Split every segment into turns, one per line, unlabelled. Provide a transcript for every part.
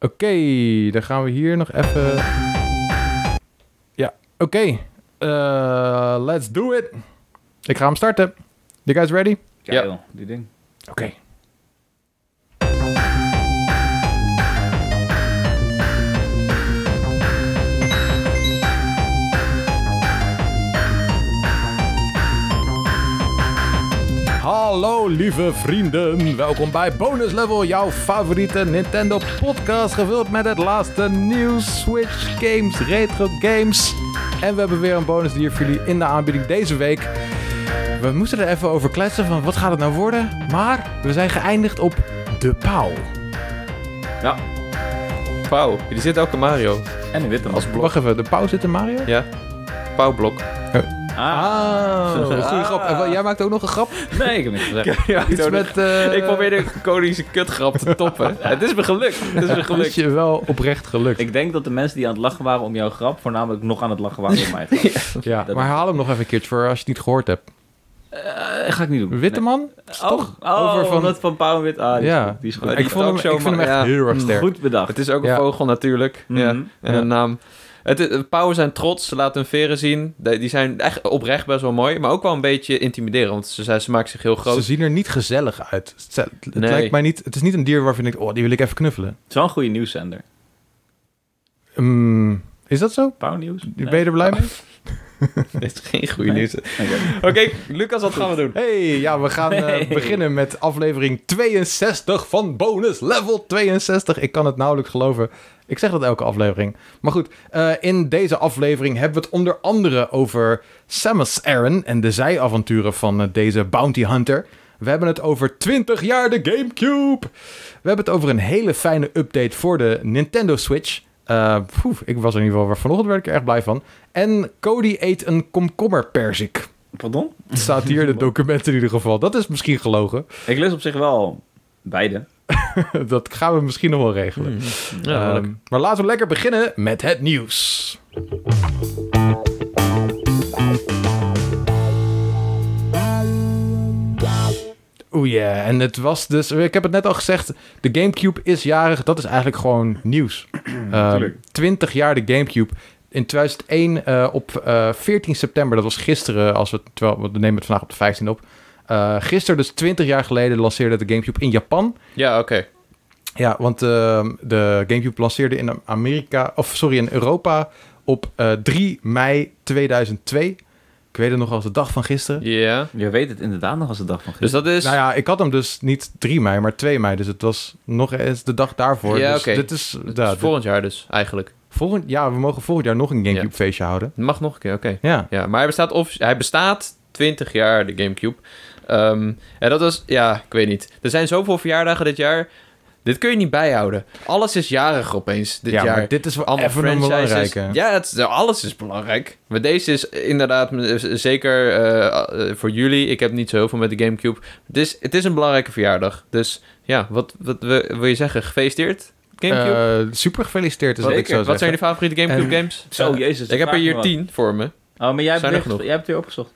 Oké, dan gaan we hier nog even. Ja, oké. Eh, let's do it. Ik ga hem starten. You guys ready?
Ja,
Ja.
joh, die ding.
Oké. Hallo lieve vrienden, welkom bij Bonus Level, jouw favoriete Nintendo podcast gevuld met het laatste nieuws, Switch games, retro games. En we hebben weer een bonus die voor jullie in de aanbieding deze week. We moesten er even over kletsen van wat gaat het nou worden, maar we zijn geëindigd op de paal.
Ja,
Pauw, die zit elke Mario.
en een witte man.
Als blok.
Wacht even, de pauw zit in Mario?
Ja. Pauwblok.
Ah,
goede grap. En wa- jij maakt ook nog een grap?
nee, ik heb niks gezegd.
Ja,
Iets met... eh,
Ik probeerde een Koningse kutgrap te toppen. Het is me gelukt. Het is me
Is
gelukt.
je wel oprecht gelukt.
Ik denk dat de mensen die aan het lachen waren om jouw grap, voornamelijk nog aan het lachen waren om mijn grap.
ja. Maar herhaal hem nog even een keertje voor als je het niet gehoord hebt.
Eh, ga ik niet doen.
Witte man?
Nee.
toch?
Oh, oh,
Over van-
omdat van Pauw en Wit. Ah, die
Ja.
is goed, die is goed.
Maar
Ik,
die
vond hem,
talkshow
ik vind hem echt
man- ja.
heel erg sterk.
Goed bedacht.
Het is ook een
Ja.
vogel natuurlijk.
Mhm.
Ja. En
Ja.
een naam. Het, is- pauwen zijn trots, ze laten hun veren zien. De- die zijn echt oprecht best wel mooi, maar ook wel een beetje intimiderend. Want ze, zijn- ze maken zich heel groot.
Ze zien er niet gezellig uit. Het, het
Nee.
lijkt mij niet... Het is niet een dier waarvan ik denk, oh, die wil ik even knuffelen.
Het is wel een goede nieuwszender.
Hmm, is dat zo?
Pauw nieuws? Nee.
Ben je er blij
Eh,
mee?
Dit is geen goede
Nee.
nieuws. Oké,
Oké.
Lucas, wat gaan we doen?
Hey, ja, we gaan eh,
Hey.
beginnen met aflevering 62 van Bonus Level 62. Ik kan het nauwelijks geloven. Ik zeg dat elke aflevering. Maar goed, eh, in deze aflevering hebben we het onder andere over Samus Aran en de zijavonturen van eh, deze bounty hunter. We hebben het over 20 jaar de GameCube. We hebben het over een hele fijne update voor de Nintendo Switch. Eh, poef, ik was er in ieder geval vanochtend werd ik er erg blij van. En Cody eet een komkommerperzik.
Pardon?
Het staat hier in het document in ieder geval. Dat is misschien gelogen.
Ik lees op zich wel beide.
Dat gaan we misschien nog wel regelen.
Mm-hmm. Ja,
Ehm,
leuk.
maar laten we lekker beginnen met het nieuws. Oeh ja, en het was dus... Ik heb het net al gezegd, de Gamecube is jarig. Dat is eigenlijk gewoon nieuws. Ehm
Tuurlijk.
20 jaar de Gamecube. In 2001 eh, op eh, 14 september, dat was gisteren, als we, het- terwijl, we nemen het vandaag op de 15 op. Eh gisteren, dus 20 jaar geleden, lanceerde de Gamecube in Japan.
Ja, oké.
Ja, want ehm, de GameCube lanceerde in Amerika, of sorry, in Europa op eh, 3 mei 2002. Ik weet het nog als de dag van gisteren.
Ja.
Je weet het inderdaad nog als de dag van
Dus
gisteren.
dat is...
Nou ja, ik had hem dus niet 3 mei, maar 2 mei. Dus het was nog eens de dag daarvoor.
Ja,
dus
oké.
dit is...
het
ja,
is
dit-
volgend jaar dus, eigenlijk.
volgend, ja, we mogen volgend jaar nog een GameCube feestje houden.
Het mag nog een keer, oké.
Ja.
Ja, maar hij bestaat, offici- hij bestaat 20 jaar, de Gamecube. Ehm, en dat was, ja, ik weet niet. Er zijn zoveel verjaardagen dit jaar. Dit kun je niet bijhouden. Alles is jarig opeens dit
ja,
jaar.
maar dit is wel
Allemaal
even een
franchises.
belangrijke.
Ja, het, is- alles is belangrijk. Maar deze is inderdaad eh, z- zeker eh, eh, voor jullie. Ik heb niet zo heel veel met de Gamecube. Het is, het is een belangrijke verjaardag. Dus ja, wat, wat we- wil je zeggen? Gefeliciteerd, Gamecube?
Eh, super gefeliciteerd is
wat,
wat ik zou
wat zijn
zeggen.
je favoriete Gamecube games?
Zo, jezus.
Eh, ik heb er hier 10 voor me.
Oh, maar jij hebt,
Zijn er
weer,
genoeg?
jij hebt weer opgezocht.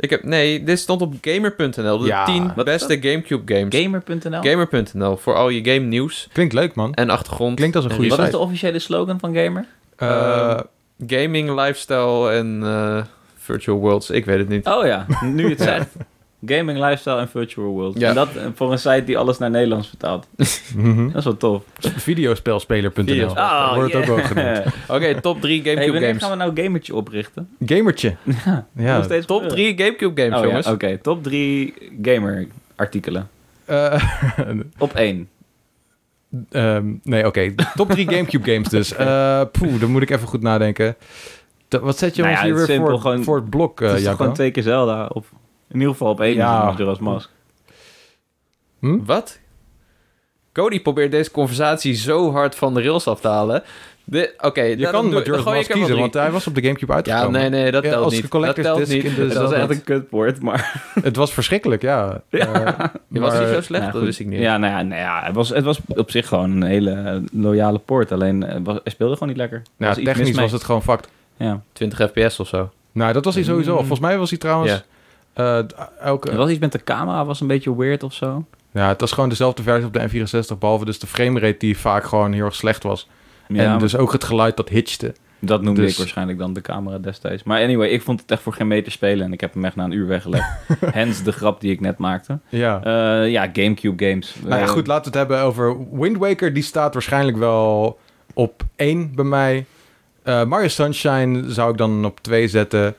Ik heb, nee, dit stond op gamer.nl. De
Ja.
10
Wat is
beste Gamecube games.
Gamer.nl?
Gamer.nl voor al je game nieuws
Klinkt leuk, man.
en achtergrond.
Klinkt als een
en
goede
Wat
site.
is de officiële slogan van Gamer?
Eh,
Gaming, lifestyle en eh, virtual worlds. Ik weet het niet.
Oh ja, nu je het zegt. Gaming, lifestyle en virtual world.
Ja.
En dat eh, voor een site die alles naar Nederlands vertaalt.
mhm.
Dat is wel tof.
Videospelspeler.nl
Videospel.
Ah,
wordt ook wel
yeah.
genoemd.
Oké, top 3
Oh. Hey,
Gamecube
wanneer gaan
games.
we nou Gamertje oprichten?
Gamertje. Ja.
Nog steeds
Top
gebeuren.
3 Gamecube games,
Oh ja,
jongens.
Oké, top 3 gamer artikelen.
Eh,
Op 1.
ehm, nee, oké. Top 3 Gamecube games dus. Eh poeh, dan moet ik even goed nadenken. Dat- wat zet je
Nou
ons
ja,
hier
het
weer
is simpel,
voor,
gewoon-
voor het blok, eh
het is toch
Jacco?
gewoon twee keer Zelda. Of in ieder geval op 1
Ja.
ja. Majora's Mask.
Hm?
Wat? Cody probeert deze conversatie zo hard van de rails af te halen. De- Oké,
Je kan Majora's Mask kiezen, want hij was op de Gamecube
Ja,
uitgekomen.
nee, nee, dat
Ja,
telt
als
niet. Dat
collector's
telt
disc
niet.
in de
Dat was
Zelda.
echt
Wat een kutwoord, maar...
Het was verschrikkelijk, ja. Eh,
Je was niet
maar-
zo slecht,
Nou,
dat
goed.
wist ik niet.
Ja, nou ja, nou ja het, was, het was op zich gewoon een hele eh, loyale poort. Alleen eh, was, hij speelde gewoon niet lekker. Er
nou,
was iets mis
technisch
mee.
was het gewoon fucked.
Ja.
20 fps of zo.
Nou, dat was hij
Mm.
sowieso. al. Volgens mij was hij trouwens...
Ja.
eh, elke,
Er was iets met de camera, was een beetje weird of zo.
Ja, het was gewoon dezelfde versie op de N64, behalve dus de framerate die vaak gewoon heel erg slecht was.
Ja,
en dus ook het geluid dat hitchte.
Ehm, dat noemde
dus-
ik waarschijnlijk dan de camera destijds. Maar anyway, ik vond het echt voor geen meter spelen en ik heb hem echt na een uur weggelegd. Hens de grap die ik net maakte.
Ja.
Eh, ja, Gamecube games.
nou ja,
Eh,
goed, laten we het hebben over Wind Waker. Die staat waarschijnlijk wel op 1 bij mij. Eh, Mario Sunshine zou ik dan op 2 zetten.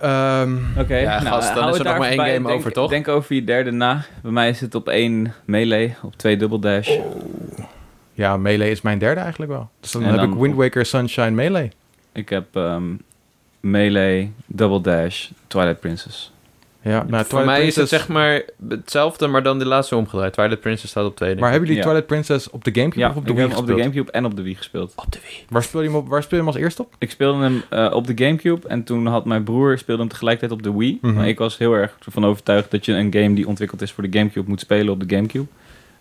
Ehm,
Oké, Nou,
Ja, gast, dan
hou
is
het
er nog maar één
daarbij.
game
Denk-
over, toch?
Denk over je derde na. Bij mij is het op één melee, op twee double dash.
ja, Melee is mijn derde eigenlijk wel. Dus dan
En
heb
dan
ik Wind
op-
Waker, Sunshine, Melee.
Ik heb ehm, melee, double dash, Twilight Princess.
Ja, nou,
Voor
Twilight
mij is het
Princess-
zeg maar hetzelfde, maar dan de laatste omgedraaid. Twilight Princess staat op tweede.
Maar hebben jullie
Ja.
Twilight Princess op de Gamecube
Ja,
of op de
op de ik
Wii
heb hem op de
gespeeld?
Gamecube en op de Wii gespeeld.
op de Wii.
Waar speel je hem op- Waar speel je hem als eerste op?
Ik speelde hem eh, op de Gamecube en toen had mijn broer speelde hem tegelijkertijd op de Wii.
Mhm.
Maar ik was heel erg ervan overtuigd dat je een game die ontwikkeld is voor de Gamecube moet spelen op de Gamecube.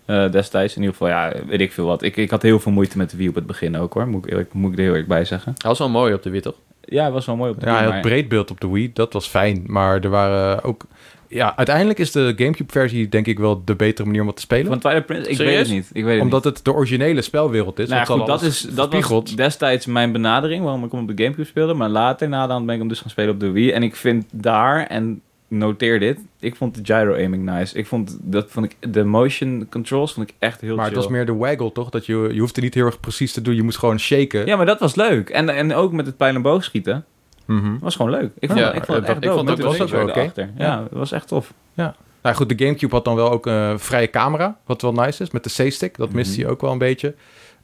Eh, destijds in ieder geval, ja, weet ik veel wat. Ik, ik had heel veel moeite met de Wii op het begin ook hoor, moet ik, eerlijk- moet ik er heel erg bij zeggen.
Hij was wel mooi op de Wii, toch?
Ja, hij was wel mooi op de
Ja,
Wii,
hij had
maar-
breed beeld op de Wii, dat was fijn. Maar er waren ook... Ja, uiteindelijk is de Gamecube-versie denk ik wel de betere manier om het te spelen.
Van Twilight Princess? Ik
Serieus?
weet het niet. Ik weet het
Omdat het de originele spelwereld is.
niet. Nou, ja,
want
goed,
ze hadden
dat, is,
alles
dat was
verspiegeld.
destijds mijn benadering waarom ik hem op de Gamecube speelde. Maar later, na de hand, ben ik hem dus gaan spelen op de Wii. En ik vind daar, en noteer dit, ik vond de gyro-aiming nice. Ik vond, dat vond ik, de motion controls vond ik echt heel
Maar het
chill.
was meer de waggle, toch? Dat je, je hoefde niet heel erg precies te doen. Je moest gewoon shaken.
Ja, maar dat was leuk. En, en ook met het pijl en boog schieten.
Mhm.
was gewoon leuk. Ik vond,
Ja,
ik vond
ja,
het
dat-
echt
ik
dope
vond
met
het
de
was ook
laser
wel oké.
erachter. Ja, het was echt tof.
Nou goed, de Gamecube had dan wel ook een vrije camera, wat wel nice is. Met de C-stick, dat miste
Mhm.
hij ook wel een beetje.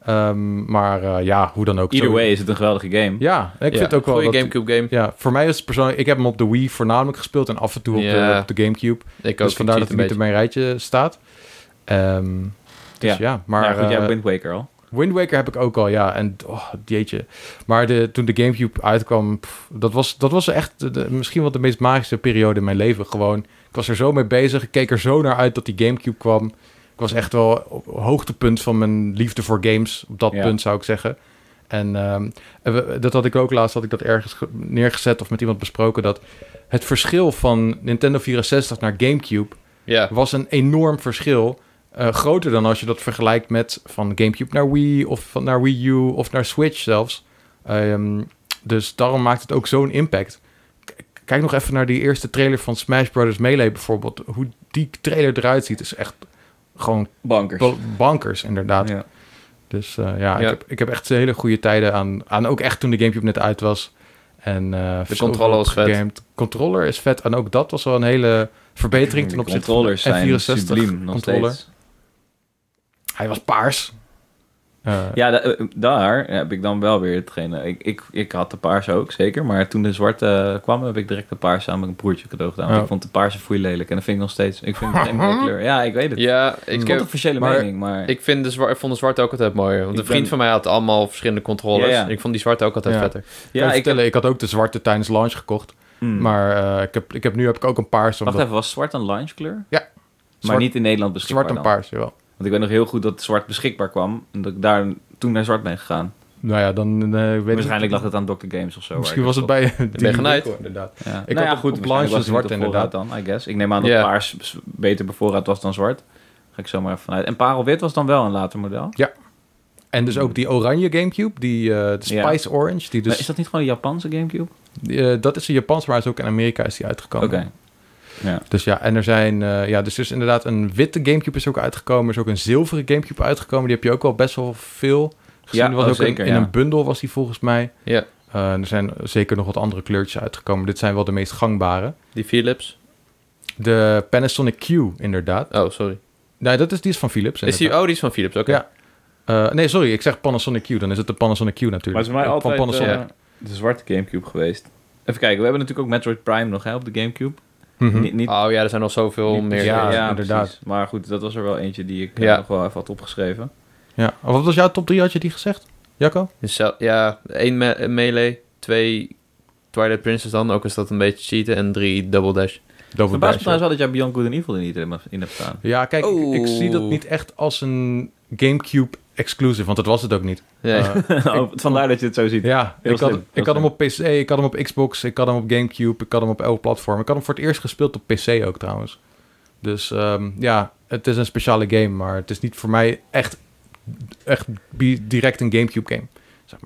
Ehm, maar eh, ja, hoe dan ook.
Either
zo-
way is het een geweldige game.
Ja, ik
Ja,
vind ook wel
Goeie
dat-
Gamecube game.
Ja, voor mij is het persoonlijk... Ik heb hem op de Wii voornamelijk gespeeld en af en toe op, de,
Ja.
op de Gamecube.
Ik ook.
dus vandaar
ik
dat hij
cheat
niet in
een beetje.
mijn rijtje staat. Ehm, dus ja.
Ja. Maar
maar
goed, jij
eh,
hebt Wind Waker al.
Wind Waker heb ik ook al, ja. En oh, jeetje. Maar de, toen de Gamecube uitkwam, pff, dat, was, dat was echt de- de- misschien wel de meest magische periode in mijn leven. Gewoon, ik was er zo mee bezig. Ik keek er zo naar uit dat die Gamecube kwam. Ik was echt wel op hoogtepunt van mijn liefde voor games. Op dat
Ja.
punt zou ik zeggen. En ehm, en we- dat had ik ook laatst, had ik dat ergens ge- neergezet of met iemand besproken. Dat het verschil van Nintendo 64 naar Gamecube
Ja.
was een enorm verschil. eh, groter dan als je dat vergelijkt met van GameCube naar Wii of van naar Wii U of naar Switch zelfs. Ehm, dus daarom maakt het ook zo'n impact. K- Kijk nog even naar die eerste trailer van Smash Brothers Melee bijvoorbeeld. Hoe die trailer eruit ziet is echt gewoon
Bankers.
ba- bankers inderdaad.
Ja.
Dus eh, ja, Ik,
Ja.
heb, ik heb echt hele goede tijden aan, aan ook echt toen de GameCube net uit was. En, eh,
De
zoveel
controller was vet.
gegamed. Controller is vet en ook dat was wel een hele verbetering ten
De
opzichte van de
controllers zijn
N64
subliem nog
controller.
steeds.
Hij was paars. Eh,
Ja, da- eh, daar heb ik dan wel weer hetgene. Ik, ik, ik had de paarse ook, zeker. Maar toen de zwarte eh, kwam, heb ik direct de paarse aan mijn broertje cadeau gedaan. Want
Oh.
ik vond de paarse foeielelijk. En dat vind ik nog steeds. Ik vind het een mooie kleur. Ja, ik weet het.
Ja, ik,
ik
heb,
heb officiële
maar
mening, maar...
ik, vind de zwart, ik vond de zwarte ook altijd mooier. Want
Ik
een vriend
ben-
van mij had allemaal verschillende controllers.
Ja, ja.
Ik vond die zwarte ook altijd
Ja.
vetter.
ja, ik
ja, ik
vertellen, ik had ook de zwarte tijdens launch gekocht.
heb- hmm.
Maar eh, ik heb, ik heb, nu heb ik ook een paars.
Wacht
Omdat
even, was zwart een lounge kleur?
Ja.
Maar
Zwart-
niet in Nederland beschikbaar
zwart en
dan?
paars, jawel.
Want ik weet nog heel goed dat zwart beschikbaar kwam. En dat ik daar toen naar zwart ben gegaan.
Nou ja, dan eh, weet ik
Waarschijnlijk
niet.
lag het aan Dr. Games of zo. waar
Misschien
ik
was het bij
ben je genaaid.
winkel, inderdaad.
Ja.
Ik
nou
had
ja,
een goed
goed,
blanche
waarschijnlijk was
zwart
het niet op voorraad dan, I guess. Ik neem aan dat
Ja.
paars s- beter bevoorraad was dan zwart. Ga ik zomaar even vanuit. En parelwit was dan wel een later model.
En dus ook die oranje Gamecube, die eh, de
Ja.
Spice Orange. Die
Maar
dus,
is dat niet gewoon een Japanse Gamecube?
die, eh, dat is in Japans, maar hij is ook in Amerika is die
Oké.
uitgekomen. Dus ja, en er zijn... eh, ja, dus er is inderdaad een witte Gamecube is ook uitgekomen. Er is ook een zilveren Gamecube uitgekomen. Die heb je ook wel best wel veel gezien.
Ja,
Er was
oh,
ook een-
zeker,
in
ja.
een bundel was die volgens mij.
Ja,
Eh, er zijn zeker nog wat andere kleurtjes uitgekomen. Dit zijn wel de meest gangbare.
die Philips.
De Panasonic Q, inderdaad.
Oh, sorry.
Nee, dat is, die is van Philips.
Is die,
inderdaad.
oh, die is van Philips, oké.
Ja. Eh, nee, sorry, ik zeg Panasonic Q. Dan is het de Panasonic Q natuurlijk. Eh, van Panasonic.
eh,
de zwarte Gamecube geweest. Even kijken, we hebben natuurlijk ook Metroid Prime nog hè, op de Gamecube.
Mhm.
Niet, niet,
Oh ja, er zijn nog zoveel
niet-
meer.
ja.
ja.
inderdaad.
precies. Maar goed, dat was er wel eentje die ik eh,
Ja.
nog wel even had opgeschreven.
Ja. Of Wat was jouw top 3, had je die gezegd? Jacco?
Dus zo- ja, één me- melee, twee Twilight Princess dan, ook is dat een beetje cheaten, en drie Double Dash.
Het
Double
verbaast me
Dash,
trouwens wel dat jij Beyond Good and Evil er niet in hebt- in hebt staan.
Ja, kijk, ik- ik,
Oeh.
zie dat niet echt als een GameCube exclusive, want dat was het ook niet.
Ja.
Eh,
Oh, Vandaar dat je het zo ziet.
ja,
Heel
ik had,
slim, heel
ik had hem op PC, ik had hem op Xbox, ik had hem op GameCube, ik had hem op elk platform. Ik had hem voor het eerst gespeeld op PC ook trouwens. Dus ehm, ja, het is een speciale game, maar het is niet voor mij echt, echt bi- direct een GameCube game.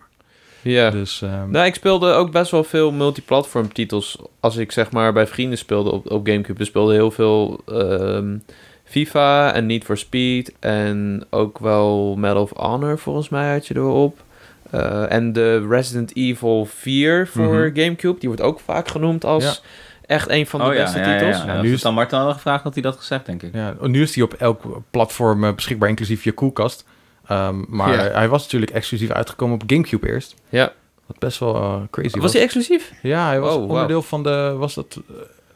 Ja.
Dus ehm,
Nou, ik speelde ook best wel veel multiplatform titels. Als ik zeg maar bij vrienden speelde op, op Gamecube. We speelden heel veel ehm, FIFA en Need for Speed. En ook wel Medal of Honor volgens mij had je erop. Eh, en de Resident Evil 4 voor
Mhm.
Gamecube. Die wordt ook vaak genoemd als
Ja.
echt een van de
oh,
beste
ja, ja,
titels.
Ja,
Ja,
ja.
nu
nu
is-
is dan Martin hadden gevraagd, had hij dat gezegd, denk ik.
ja, nu is die op elk platform eh, beschikbaar, inclusief je koelkast. Ehm, maar
Ja.
hij was natuurlijk exclusief uitgekomen op GameCube eerst.
Ja.
Wat best wel eh, crazy was.
Was die exclusief?
Ja, hij was
Oh, wauw.
onderdeel van de... Was dat,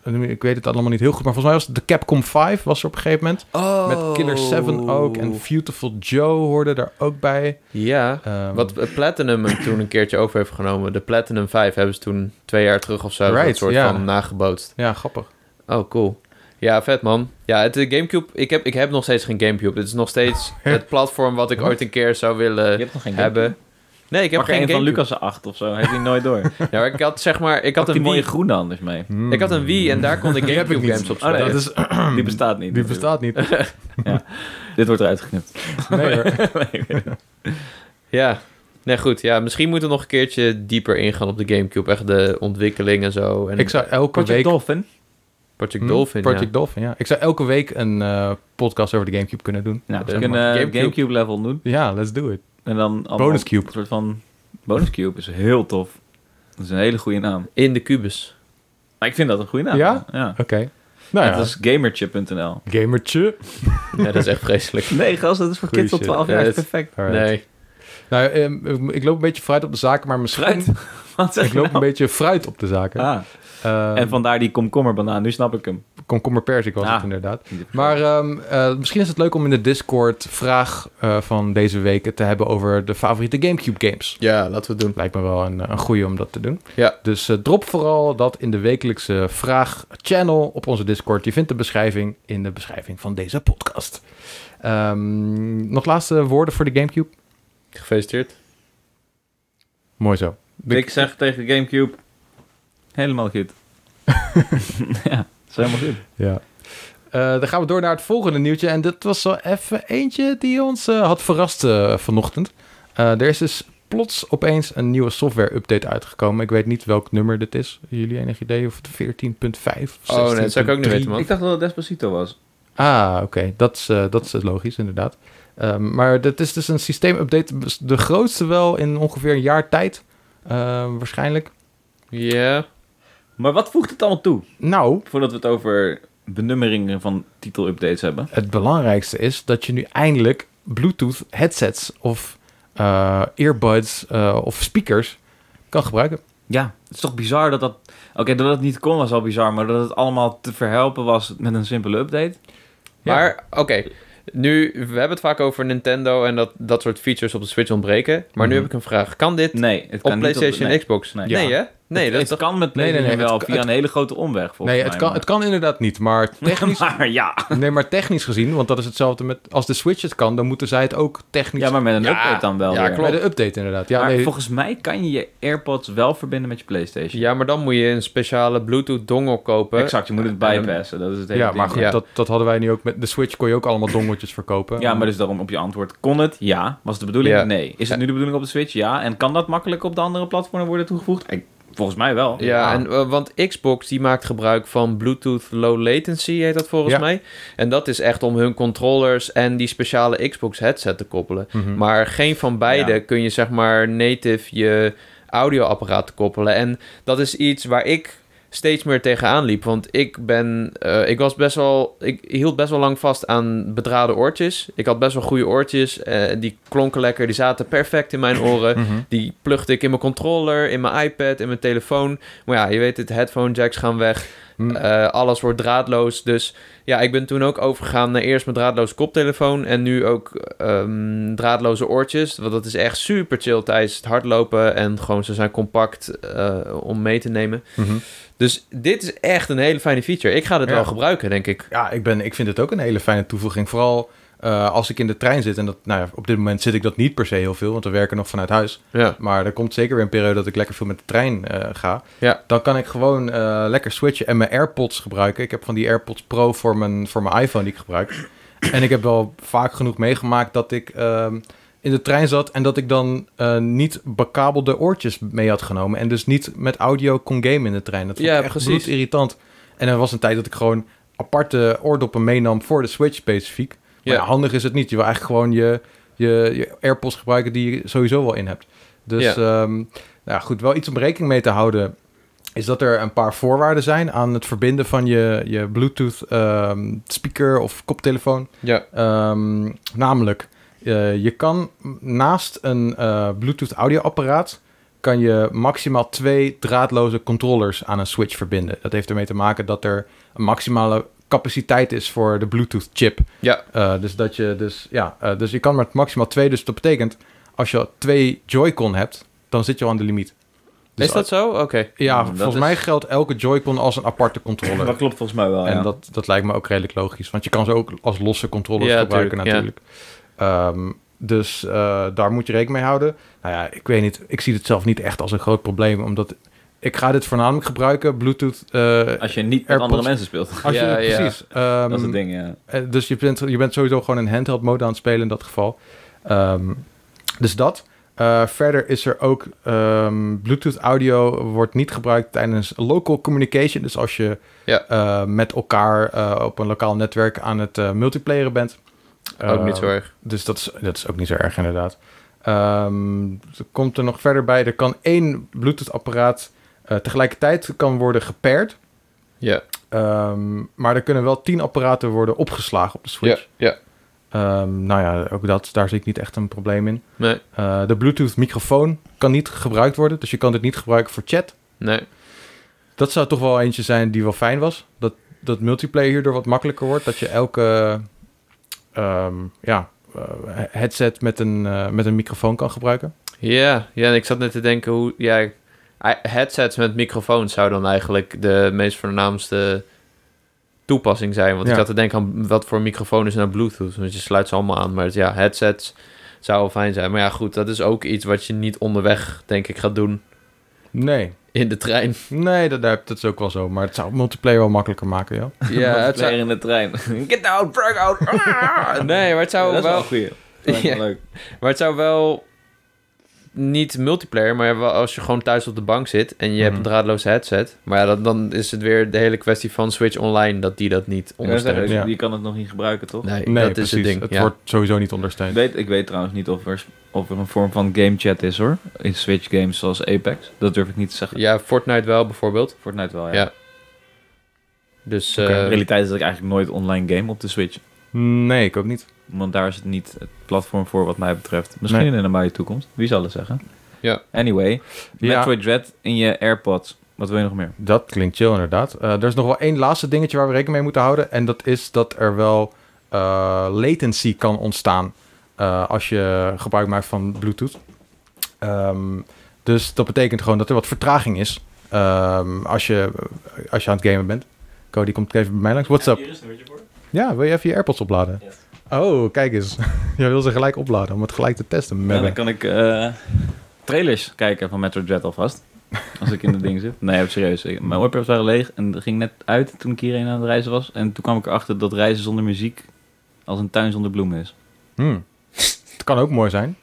eh, ik weet het allemaal niet heel goed, maar volgens mij was het de Capcom 5 was er op een gegeven moment.
Oh.
Met Killer 7 ook en Beautiful Joe hoorde daar ook bij.
Ja.
Ehm,
Wat eh, Platinum hem toen een keertje over heeft genomen. De Platinum 5 hebben ze toen twee jaar terug of zo...
Right,
dat soort
ja.
van nagebootst.
Ja, grappig.
Oh, cool. Ja, vet man. Ja, het eh, Gamecube... Ik heb, ik heb nog steeds geen Gamecube. Het is nog steeds het platform wat ik ooit een keer zou willen
Je hebt nog geen game.
eh, hebben. Nee, ik
Ik
heb
heb
geen
een van
Gamecube.
Lucas' 8 of zo. Heeft hij nooit door. Ik
Ja, maar ik had zeg maar... Ik had,
die
een
mooie
Wii...
groene anders mee.
Hmm. Ik had Ah, een Wii en daar kon ik
Die heb ik
Gamecube
niet.
games op
Oh,
spelen.
nee,
Ah, Dat is,
Die bestaat niet.
die
natuurlijk.
bestaat niet.
Dit wordt eruit geknipt.
Nee, hoor.
Ja. Nee, goed. Ja, misschien moeten we nog een keertje dieper ingaan op de Gamecube. Echt de ontwikkeling en zo. En
Ik zou elke
Project
week...
Dolphin.
Project
Hm,
Dolphin, ja.
Project Dolphin, ja. Ik zou elke week een eh, podcast over de Gamecube kunnen doen.
Nou, we
Eh,
kunnen eh,
Gamecube.
Gamecube. level doen.
Ja, let's do it.
En dan allemaal
Bonus Cube.
Een soort van... Bonus Cube is heel tof. Dat is een hele goede naam.
In de kubus.
Maar ik vind dat een goede naam.
Ja?
ja.
Oké. Nou ja,
Dat is gamerchip.nl.
gamertje.
Ja, dat is echt vreselijk.
Nee, gast, dat is voor
Goeie
kids tot
shit.
12 jaar.
Ja,
is
het-
perfect.
Alright.
Nee.
Nou, ehm, ik loop een beetje fruit op de zaken, maar misschien...
Fruit? Wat zeg
Ik
je
loop een
nou?
beetje fruit op de zaken.
Ah,
Ehm,
en vandaar die komkommerbanaan. Nu snap ik hem.
Komkommer persik was
Ah.
het inderdaad. Maar ehm, eh, misschien is het leuk om in de Discord vraag eh, van deze week te hebben over de favoriete Gamecube games.
Ja, laten we het doen.
Lijkt me wel een, een goeie om dat te doen.
Ja.
Dus eh, drop vooral dat in de wekelijkse vraag-channel op onze Discord. Je vindt de beschrijving in de beschrijving van deze podcast. Ehm, nog laatste woorden voor de Gamecube?
Gefeliciteerd.
Mooi zo.
Ik zeg tegen Gamecube... Helemaal goed. ja, dat is helemaal goed.
Ja. Eh, dan gaan we door naar het volgende nieuwtje. En dit was wel even eentje die ons eh, had verrast eh, vanochtend. Eh, er is dus plots opeens een nieuwe software-update uitgekomen. Ik weet niet welk nummer dit is. Jullie enig idee of het 14.5 of
Oh, nee, dat zou ik ook niet
16.3?
weten, man.
Ik dacht dat het Despacito was.
Ah, oké. Dat, is, eh, dat is logisch, inderdaad. Ehm, maar dat is dus een systeemupdate. De grootste wel in ongeveer een jaar tijd. Ehm, waarschijnlijk.
Ja.
Maar wat voegt het allemaal toe?
Nou,
Voordat we het over benummeringen van titel-updates hebben.
het belangrijkste is dat je nu eindelijk Bluetooth headsets of eh, earbuds eh, of speakers kan gebruiken.
Ja, het is toch bizar dat dat... Oké, dat het niet kon was al bizar, maar dat het allemaal te verhelpen was met een simpele update.
Maar, oké. Nu, we hebben het vaak over Nintendo en dat, dat soort features op de Switch ontbreken. Maar nu
Mhm.
heb ik een vraag. Kan dit
Nee, het kan
op
niet
PlayStation en
nee.
Xbox?
Nee.
Nee, hè? Nee, dat
het,
is toch...
kan met
Nee, nee, nee, het
PlayStation wel
kan-
via
het-
een hele grote omweg, volgens
nee,
mij.
het kan,
maar-
het kan inderdaad niet, maar technisch,
maar ja.
nee, maar technisch gezien, want dat is hetzelfde met als de Switch het kan, dan moeten zij het ook technisch
Ja, maar met een
Ja,
update dan wel
ja,
weer.
klopt.
bij de update inderdaad. Ja,
maar
nee,
volgens mij kan je je AirPods wel verbinden met je PlayStation.
Ja, maar dan moet je een speciale Bluetooth dongle kopen.
Exact, je moet het bypassen. Dat is het hele
ja,
ding.
maar goed,
Ja.
Dat, dat hadden wij nu ook met de Switch kon je ook allemaal dongeltjes verkopen.
Ja, maar dus daarom op je antwoord. Kon het? Ja. Was het de bedoeling?
Ja.
Nee. Is het nu de bedoeling op de Switch? Ja. En kan dat makkelijk op de andere platformen worden toegevoegd? Ik- volgens mij wel.
Ja, en, eh, want Xbox die maakt gebruik van Bluetooth Low Latency, heet dat volgens
Ja.
mij. En dat is echt om hun controllers en die speciale Xbox headset te koppelen.
Mhm.
Maar geen van beide
Ja.
kun je zeg maar native je audioapparaat koppelen. En dat is iets waar ik steeds meer tegenaan liep. Want ik ben, eh, ik was best wel, ik hield best wel lang vast aan bedraden oortjes. Ik had best wel goede oortjes. eh, die klonken lekker, die zaten perfect in mijn oren.
Mhm.
Die plugde ik in mijn controller, in mijn iPad, in mijn telefoon. Maar ja, je weet het, headphone jacks gaan weg.
Hm.
eh, alles wordt draadloos. Dus ja, ik ben toen ook overgegaan naar eerst mijn draadloze koptelefoon. En nu ook ehm, draadloze oortjes. Want dat is echt super chill tijdens het hardlopen. En gewoon, ze zijn compact eh, om mee te nemen.
Mhm.
Dus dit is echt een hele fijne feature. Ik ga dit
Ja.
wel gebruiken, denk ik.
Ja, ik, ben, ik vind het ook een hele fijne toevoeging. Vooral eh, als ik in de trein zit, en dat, nou ja, op dit moment zit ik dat niet per se heel veel, want we werken nog vanuit huis.
Ja.
Maar er komt zeker weer een periode dat ik lekker veel met de trein eh, ga.
Ja.
Dan kan ik gewoon eh, lekker switchen en mijn AirPods gebruiken. Ik heb van die AirPods Pro voor mijn, voor mijn iPhone die ik gebruik. En ik heb wel vaak genoeg meegemaakt dat ik ehm, in de trein zat en dat ik dan eh, niet bekabelde oortjes mee had genomen. En dus niet met audio kon gamen in de trein. Dat vond
Ja,
ik echt
precies.
irritant. En er was een tijd dat ik gewoon aparte oordoppen meenam voor de Switch specifiek. Maar
Ja.
ja, handig is het niet. Je wil eigenlijk gewoon je, je, je AirPods gebruiken die je sowieso wel in hebt. Dus
Ja.
ja. nou ja, goed, wel iets om rekening mee te houden is dat er een paar voorwaarden zijn aan het verbinden van je, je Bluetooth ehm, speaker of koptelefoon.
Ja.
Ehm, namelijk, eh, je kan naast een eh, Bluetooth audioapparaat kan je maximaal twee draadloze controllers aan een switch verbinden. Dat heeft ermee te maken dat er een maximale capaciteit is voor de Bluetooth chip.
Ja.
Eh, dus dat je dus ja, eh, dus je kan met maximaal twee. Dus dat betekent als je twee Joy-Con hebt, dan zit je al aan de limiet. Dus
is dat zo? Oké.
ja,
Mm, Dat
volgens
is-
mij geldt elke Joy-Con als een aparte controller.
Dat klopt volgens mij wel.
en
ja.
dat, dat lijkt me ook redelijk logisch. Want je kan ze ook als losse controllers
Ja,
gebruiken
tuurlijk, ja.
natuurlijk. Ehm, dus eh, daar moet je rekening mee houden. Nou ja, ik weet niet. Ik zie het zelf niet echt als een groot probleem. Omdat ik ga dit voornamelijk gebruiken. Bluetooth. eh,
Als je niet met
AirPods-
andere mensen speelt.
als je,
Ja, ja.
precies.
dat is
Ehm,
het ding, ja.
eh, dus je bent, je bent sowieso gewoon een handheld mode aan het spelen in dat geval. Ehm, dus dat. Eh, verder is er ook ehm, Bluetooth audio wordt niet gebruikt tijdens local communication. Dus als je
Ja.
eh, met elkaar eh, op een lokaal netwerk aan het eh, multiplayeren bent.
Ook niet
Eh,
zo erg.
dus dat is, dat is ook niet zo erg, inderdaad. Ehm, er komt er nog verder bij. Er kan één Bluetooth-apparaat eh, tegelijkertijd kan worden gepaired.
Ja.
Ehm, maar er kunnen wel tien apparaten worden opgeslagen op de Switch.
Ja. ja.
Ehm, nou ja, ook dat, daar zie ik niet echt een probleem in.
Nee.
Eh, de Bluetooth-microfoon kan niet gebruikt worden. Dus je kan dit niet gebruiken voor chat.
Nee.
Dat zou toch wel eentje zijn die wel fijn was. Dat, dat multiplayer hierdoor wat makkelijker wordt. Dat je elke ehm, ja, eh, headset met een, eh, met een microfoon kan gebruiken.
Ja. Ja. en Ik zat net te denken hoe. Ja. i- Headsets met microfoons zou dan eigenlijk de meest voornaamste toepassing zijn. Want ik
Ja.
zat te denken aan wat voor microfoon is nou Bluetooth. Want je sluit ze allemaal aan. Maar het- ja, headsets zou wel fijn zijn. Maar ja, goed. Dat is ook iets wat je niet onderweg, denk ik, gaat doen
Nee,
in de trein.
nee dat, dat dat is ook wel zo. Maar het zou multiplayer wel makkelijker maken, ja.
Ja, het zou-
in de trein. Get down, break out.
Nee, maar het zou
dat is wel
wel...
een goeie. Dat lijkt me
Ja.
leuk.
Maar het zou wel niet multiplayer, maar wel als je gewoon thuis op de bank zit en je hebt een
Mhm.
draadloze headset. Maar ja, dan, dan is het weer de hele kwestie van Switch Online dat die dat niet ondersteunt.
Ja.
Je kan het nog niet gebruiken, toch?
Nee,
Nee,
dat
precies.
is het ding.
Het
ja.
wordt sowieso niet
Ik
ondersteund.
weet, ik weet trouwens niet of er, of er een vorm van game chat is hoor. In Switch games zoals Apex. Dat durf ik niet te zeggen.
ja, Fortnite wel bijvoorbeeld.
Fortnite wel, ja.
Ja. Dus
Oké, de
eh,
realiteit is dat ik eigenlijk nooit online game op de Switch.
Nee, ik ook niet.
Want daar is het niet het platform voor wat mij betreft. Misschien
Nee.
in de nabije toekomst. Wie zal het zeggen?
Ja.
Anyway,
Ja.
Metroid Dread in je AirPods. Wat wil je nog meer?
Dat klinkt chill, inderdaad. Eh, er is nog wel één laatste dingetje waar we rekening mee moeten houden. En dat is dat er wel eh, latency kan ontstaan eh, als je gebruik maakt van Bluetooth. Ehm, dus dat betekent gewoon dat er wat vertraging is ehm, als, je, als je aan het gamen bent. Cody komt even bij mij langs. What's up? Ja, wil je even je AirPods opladen?
Yes.
Oh, kijk eens. Jij wil ze gelijk opladen om het gelijk te testen.
Ja,
Melle.
dan kan ik eh, trailers kijken van Metroid Dread alvast. Als ik in het ding zit. Nee, serieus. ik- Mijn oorpjes waren leeg en dat ging net uit toen ik hierheen aan het reizen was. En toen kwam ik erachter dat reizen zonder muziek als een tuin zonder bloemen is.
Hmm. Het kan ook mooi zijn.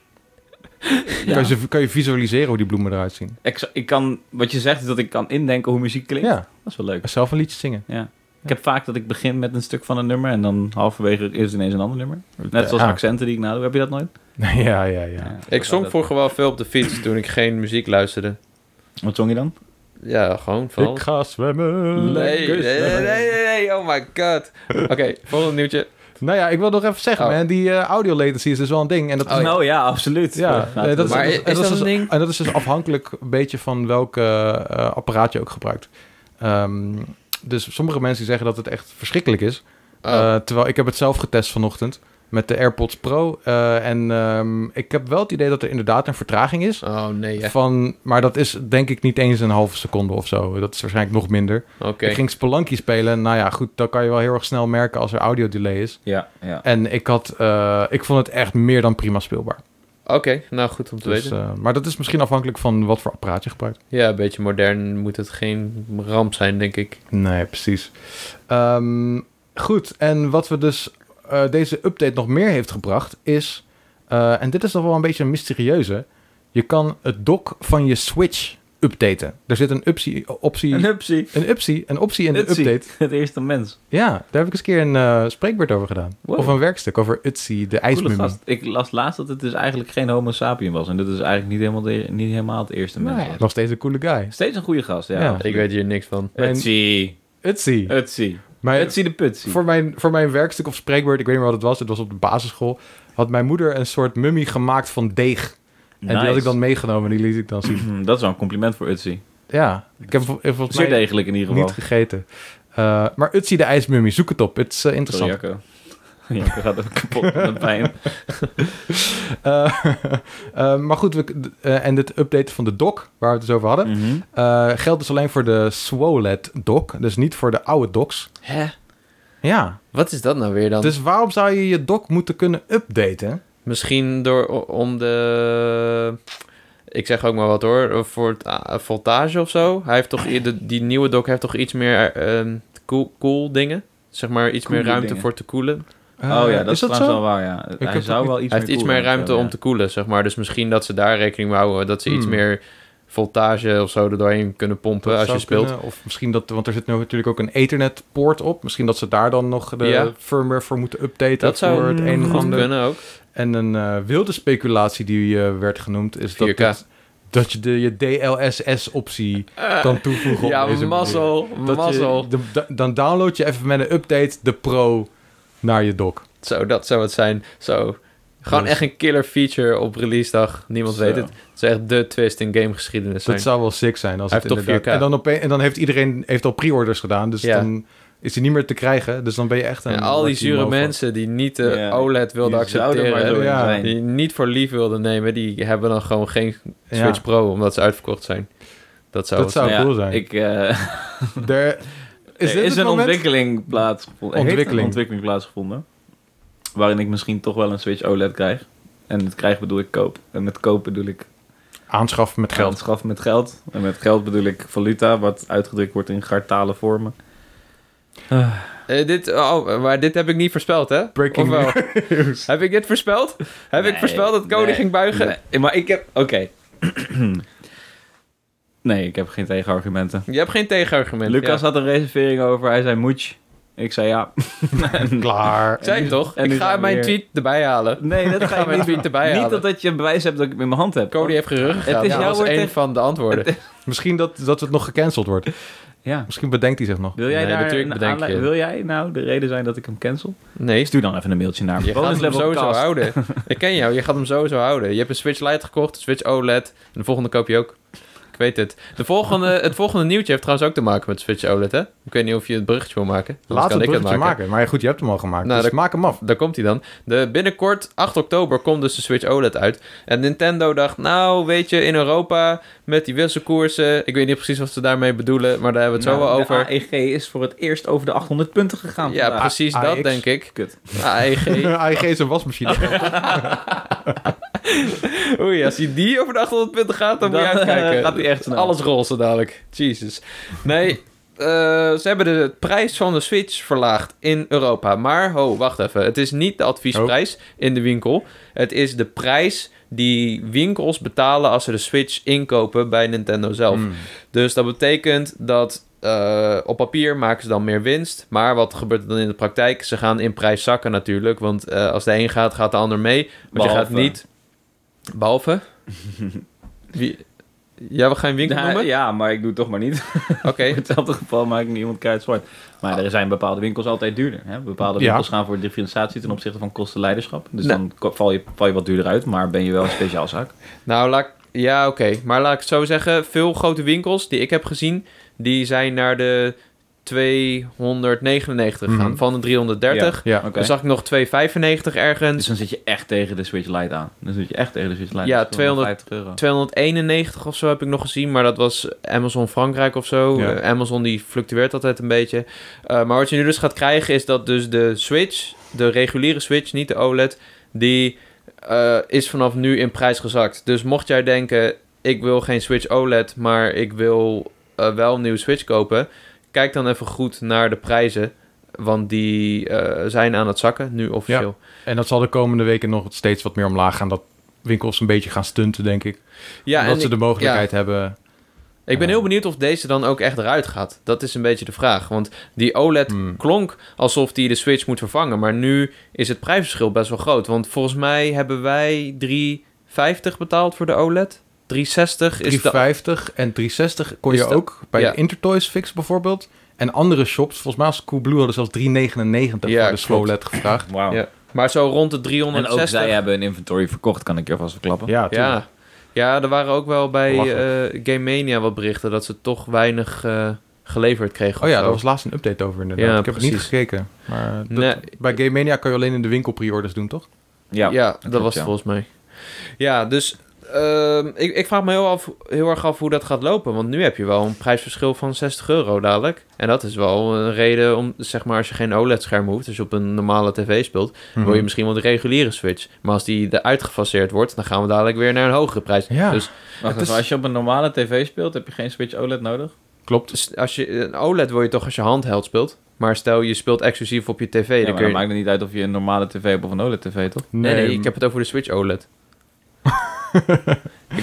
Ja.
Kan, je, ze- kan je visualiseren hoe die bloemen eruit zien?
Ik, zou- ik kan, wat je zegt is dat ik kan indenken hoe muziek klinkt.
Ja,
Dat is wel leuk.
zelf een liedje zingen.
Ja. Ik heb vaak dat ik begin met een stuk van een nummer en dan halverwege is het ineens een ander nummer. Net zoals
Ah.
accenten die ik nadoe. Heb je dat nooit?
Ja, ja, ja.
ik zong vroeger wel veel op de fiets toen ik geen muziek luisterde.
Wat zong je dan?
Ja, gewoon van.
Ik ga zwemmen.
Nee, nee,
lekker
nee,
zwemmen.
nee, nee, oh my god. Oké, volgende nieuwtje.
Nou ja, ik wil nog even zeggen,
Oh.
man, die eh, audio latency is dus wel een ding. En dat is,
Oh, ja.
Nou ja, absoluut.
ja,
Laten
eh,
we
dat is,
Maar
dat
is
en dat
dat
dus-
een ding?
En dat is dus afhankelijk een beetje van welk eh, eh, apparaat je ook gebruikt. Ehm, dus sommige mensen die zeggen dat het echt verschrikkelijk is.
Oh,
Eh, terwijl ik heb het zelf getest vanochtend. met de AirPods Pro. Eh, en ehm, ik heb wel het idee dat er inderdaad een vertraging is.
Oh nee, echt.
Van, maar dat is denk ik niet eens een halve seconde of zo. Dat is waarschijnlijk nog minder.
Oké.
Ik ging Spelunky spelen. Nou ja, goed, dan kan je wel heel erg snel merken als er audio delay is.
Ja, ja.
En ik, had, eh, ik vond het echt meer dan prima speelbaar.
Oké, nou goed om te
Dus,
weten.
eh, maar dat is misschien afhankelijk van wat voor apparaat je gebruikt.
Ja, een beetje modern moet het geen ramp zijn, denk ik.
Nee, precies. Ehm, goed, en wat we dus eh, deze update nog meer heeft gebracht is... eh, en dit is toch wel een beetje een mysterieuze. Je kan het dock van je Switch updaten. Er zit een optie, optie,
Een
een,
hupsie.
optie, een optie in de
Upsie.
update.
Het eerste mens.
Ja, daar heb ik eens een keer een eh, spreekbeurt over gedaan.
Wow.
Of een werkstuk over Utsi, de
Coole
ijsmummie.
gast. Ik las laatst dat het dus eigenlijk geen homo sapien was. En dat is eigenlijk niet helemaal, de, niet helemaal het eerste mens. was.
Nog steeds een coole guy.
Steeds een goede gast, ja.
Ja.
Ik weet hier niks van.
Mijn-
Utsie.
Utsi.
Utsie.
Mijn-
Utsie de putsie.
Voor mijn, voor mijn werkstuk of spreekwoord, ik weet niet meer wat het was, het was op de basisschool, had mijn moeder een soort mummie gemaakt van deeg. En die had ik dan meegenomen en die liet ik dan zien.
Hm, Dat is wel een compliment voor Utsie.
Ja, ik heb vol- eh, volgens
Zeer
mij
degelijk in ieder geval.
niet gegeten. Eh, maar Utsi de ijsmummie, zoek het op, het is eh,
Sorry,
interessant.
Jacco. Jacco gaat even kapot met de pijn.
Eh, eh, maar goed, we, eh, en dit updaten van de dock, waar we het dus over hadden,
Mhm.
eh, geldt dus alleen voor de SWOLED dock, dus niet voor de oude docks.
Hè?
Ja,
Wat is dat nou weer dan?
dus waarom zou je je dock moeten kunnen updaten?
Misschien door o- om de. Ik zeg ook maar wat hoor. Voor het a- voltage of zo. Hij heeft toch, i- de, die nieuwe dock heeft toch iets meer ehm, koel koel dingen. Zeg maar iets
Koele
meer ruimte
dingen.
voor te koelen.
Oh ja, dat is,
Eh, Ah, dat
trouwens
zo?
wel waar, ja. hij
heb
zou
dat
wel iets
Hij heeft
meer
iets
koeler
meer ruimte om
moeten
te koelen, zeg maar. Dus misschien dat ze daar rekening mee houden. Dat ze iets
Hmm.
meer voltage of zo er doorheen kunnen pompen
Dat
als
zou
je speelt.
kunnen, Of misschien dat, want er zit nu natuurlijk ook een Ethernet poort op. Misschien dat ze daar dan nog de
Ja.
firmware voor moeten updaten.
Dat
voor het
zou
een of
goed
ander.
kunnen ook.
En een eh, wilde speculatie die eh, werd genoemd is dat,
4K.
het- dat je de, je DLSS-optie kan toevoegen. op
Eh, ja,
deze manier.
mazzel.
Dat je-
Mazzel.
de- da- dan download je even met een update de Pro naar je dock.
Zo, dat zou het zijn. Zo. Gewoon
Dus-
echt een killer feature op release dag. Niemand
Zo.
weet het. Het is echt de twist in gamegeschiedenis zijn.
Dat zou wel sick zijn. Als
Hij
het
heeft toch
inderdaad-
4K.
En dan, opeen- en dan heeft iedereen heeft al pre-orders gedaan. Dus
Ja.
dan is hij niet meer te krijgen. Dus dan ben je echt een...
En al die
lucky
zure
mofo.
mensen die niet de
Ja,
OLED wilden
Die zouden maar
accepteren,
zo in
Ja.
zijn.
die niet voor lief wilden nemen, die hebben dan gewoon geen Switch
Ja.
Pro omdat ze uitverkocht zijn. Dat zou
Dat
het zijn.
zou
Ja,
cool zijn.
Ik, eh,
Er is,
Er
dit
is
het
een
moment?
ontwikkeling plaatsgevonden. Er heeft
Ontwikkeling.
een ontwikkeling plaatsgevonden. Waarin ik misschien toch wel een Switch OLED krijg. En met krijg bedoel ik koop. En met koop bedoel ik
Aanschaffen met geld.
aanschaf met geld. En met geld bedoel ik valuta, wat uitgedrukt wordt in gartale vormen.
Eh, dit, oh, maar dit heb ik niet voorspeld, hè?
Breaking
Of wel? heb ik dit voorspeld? Heb ik
Nee,
voorspeld dat Cody
nee,
ging buigen?
Nee, maar ik heb... Oké. nee, ik heb geen tegenargumenten.
Je hebt geen tegenargument.
Lucas
ja.
had een reservering over. Hij zei moech. Ik zei ja.
Klaar.
Ik zei hem toch?
en nu
Ik ga
zijn we
mijn
weer-
tweet erbij halen.
Nee, dat ga
Ga
ik
mijn
niet
tweet erbij
Niet
halen.
dat, dat je bewijs hebt dat ik hem in mijn hand heb.
Cody heeft gerug gegaan.
Het is
Ja,
jouw
dat was
woord eh,
één
tegen-
van de antwoorden.
Misschien dat, dat het nog gecanceld wordt.
Ja.
Misschien bedenkt hij zich nog.
Wil jij,
Nee,
daar
natuurlijk
een
bedenk
aanlei-
je.
wil jij nou de reden zijn dat ik hem cancel?
Nee,
Stuur dan even een mailtje naar
Je gaat hem sowieso
bonuslevelcast.
houden. ik ken jou, je gaat hem sowieso houden. Je hebt een Switch Lite gekocht, een Switch OLED. En de volgende koop je ook. Ik weet het. De volgende, het volgende nieuwtje heeft trouwens ook te maken met Switch OLED, hè? Ik weet niet of je het bruggetje wil maken. Anders
Laat
kan
het
ik
bruggetje maken. Maar ja, goed, je hebt hem al gemaakt.
Nou,
dus
dat-
maak hem af.
Daar komt hij dan. De, binnenkort, 8 oktober, komt dus de Switch OLED uit. En Nintendo dacht, nou weet je, in Europa met die wisselkoersen. Ik weet niet precies wat ze daarmee bedoelen, maar daar hebben we het zo wel
Nou,
over.
De AEG is voor het eerst over de 800 punten gegaan.
Ja,
vandaag.
precies
AEX.
dat denk ik. E
Kut.
AEG.
AIG is een wasmachine.
Oei, als hij die over de 820 gaat, dan, moet je
Dan,
uitkijken.
eh, gaat hij echt snel.
Alles roze dadelijk. Jesus. Nee, eh, ze hebben de prijs van de Switch verlaagd in Europa. Maar, ho, wacht even. Het is niet de adviesprijs in de winkel. Het is de prijs die winkels betalen als ze de Switch inkopen bij Nintendo zelf.
Hmm.
Dus dat betekent dat eh, op papier maken ze dan meer winst. Maar wat gebeurt er dan in de praktijk? Ze gaan in prijs zakken natuurlijk. Want eh, als de een gaat, gaat de ander mee. Want je gaat
Behalve.
niet... Behalve? Wie... Ja, we gaan een winkel
Ja,
noemen?
Nou, ja, maar ik doe het toch maar niet.
Oké.
In hetzelfde geval maak ik niet iemand kaart zwart. Maar er zijn bepaalde winkels altijd duurder. Hè? Bepaalde
Ja.
winkels gaan voor differentiatie ten opzichte van kostenleiderschap. Dus
Nee.
dan ko- val je, val je wat duurder uit, maar ben je wel een speciaalzaak.
Nou, laat ik- ja, oké. Maar laat ik het zo zeggen. Veel grote winkels die ik heb gezien, die zijn naar de 299 gaan
Mhm.
van de 330.
Ja.
Oké.
Dan zag ik nog 295
Dus
ergens.
dan zit je echt tegen de Switch Lite aan. Dan zit je echt tegen de Switch Lite.
Ja,
Dat is
200
euro.
291 of zo heb ik nog gezien, maar dat was Amazon Frankrijk of zo.
Ja.
Eh, Amazon die fluctueert altijd een beetje. Eh, maar wat je nu dus gaat krijgen is dat dus de Switch, de reguliere Switch, niet de OLED, die eh, is vanaf nu in prijs gezakt. Dus mocht jij denken, ik wil geen Switch OLED, maar ik wil eh, wel een nieuwe Switch kopen, kijk dan even goed naar de prijzen, want die eh, zijn aan het zakken nu officieel.
En dat zal de komende weken nog steeds wat meer omlaag gaan. Dat winkels een beetje gaan stunten, denk ik.
Ja,
Omdat ze
ik-
de mogelijkheid hebben.
Ik ben
Ja.
heel benieuwd of deze dan ook echt eruit gaat. Dat is een beetje de vraag. Want die OLED
Hmm.
klonk alsof die de Switch moet vervangen. Maar nu is het prijsverschil best wel groot. Want volgens mij hebben wij 3,50 betaald voor de E OLED. 3,60 is de...
350 en 360 kon
Is
je
de-
ook bij
ja.
de Intertoys Fix bijvoorbeeld. En andere shops, volgens mij als Coolblue hadden zelfs 399
Ja,
voor de
klopt.
SlowLed gevraagd.
Wauw.
Ja, Maar zo rond de
En
360.
ook zij hebben een inventory verkocht, kan ik je vast verklappen.
Ja, tuurlijk.
ja. ja, er waren ook wel bij eh
Belachelijk.
Game Mania wat berichten... dat ze toch weinig eh, geleverd kregen.
Oh
of
ja,
zo.
daar was laatst een update over inderdaad.
Ja,
ik heb het niet
precies.
gekeken. Maar dat-
Nee.
bij Game Mania kan je alleen in de winkel pre-orders doen, toch?
Ja.
Ja, dat,
klopt,
was
ja.
het volgens mij. Ja, dus ehm, ik, ik vraag me heel, af, heel erg af hoe dat gaat lopen. Want nu heb je wel een prijsverschil van 60 euro dadelijk. En dat is wel een reden om, zeg maar, als je geen OLED-scherm hoeft, dus je op een normale tv speelt,
Mhm.
wil je misschien wel de reguliere Switch. Maar als die eruit gefaseerd wordt, dan gaan we dadelijk weer naar een hogere prijs.
Ja.
Dus
Wacht
Het is-
even, als je op een normale tv speelt, heb je geen Switch OLED nodig?
Klopt.
s- als je, een OLED wil je toch als je handheld speelt. Maar stel je speelt exclusief op je tv.
Ja,
dan
maar
kun
dan
je...
maakt het niet uit of je een normale tv hebt of een OLED tv, toch?
nee, nee,
mm.
ik heb het over de Switch OLED.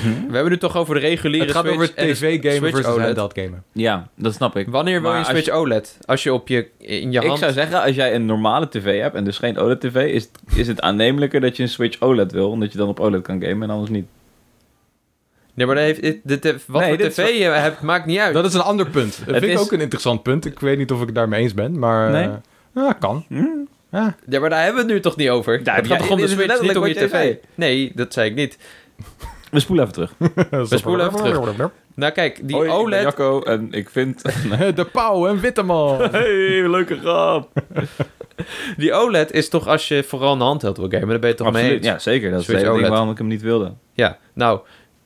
We hebben het toch over de reguliere
het gaat
Switch
over
en de
tv-gamen
Switch E
versus
OLED.
handheld gamen.
Ja, dat snap ik.
Wanneer wil
Maar
je een
als
Switch OLED? Als je op je in je
Ik
hand.
zou zeggen, als jij een normale tv hebt en dus geen OLED tv, is, het- is het aannemelijker dat je een Switch OLED wil, omdat je dan op OLED kan gamen en anders niet.
Nee, maar dat heeft, dit- dit, dit- wat
Nee,
voor
dit
tv je hebt, maakt niet uit.
Dat is een ander punt. Dat vind ik
is-
ook een interessant punt. Ik weet niet of ik het daarmee eens ben, maar...
Nee?
eh, ja, kan. Ja.
Ja, maar daar hebben we het nu toch niet over.
Daar
het
heb jij-
gaat toch om de
dit is
Switch, niet om je
letterlijk
tv.
wat jij
Nee, dat zei ik niet.
We spoelen even terug.
We
spoelen even terug. Nou kijk, die
Hoi, ik ben
OLED...
Jacco en ik vind...
De Pauw en Ah, Witteman.
hey, leuke grap!
Die OLED is toch als je vooral een handheld wil gamen, dan ben je toch mee
Absoluut,
eens?
ja zeker. Dat is de
Switch
hele ding
OLED.
waarom ik hem niet wilde.
Ja, nou...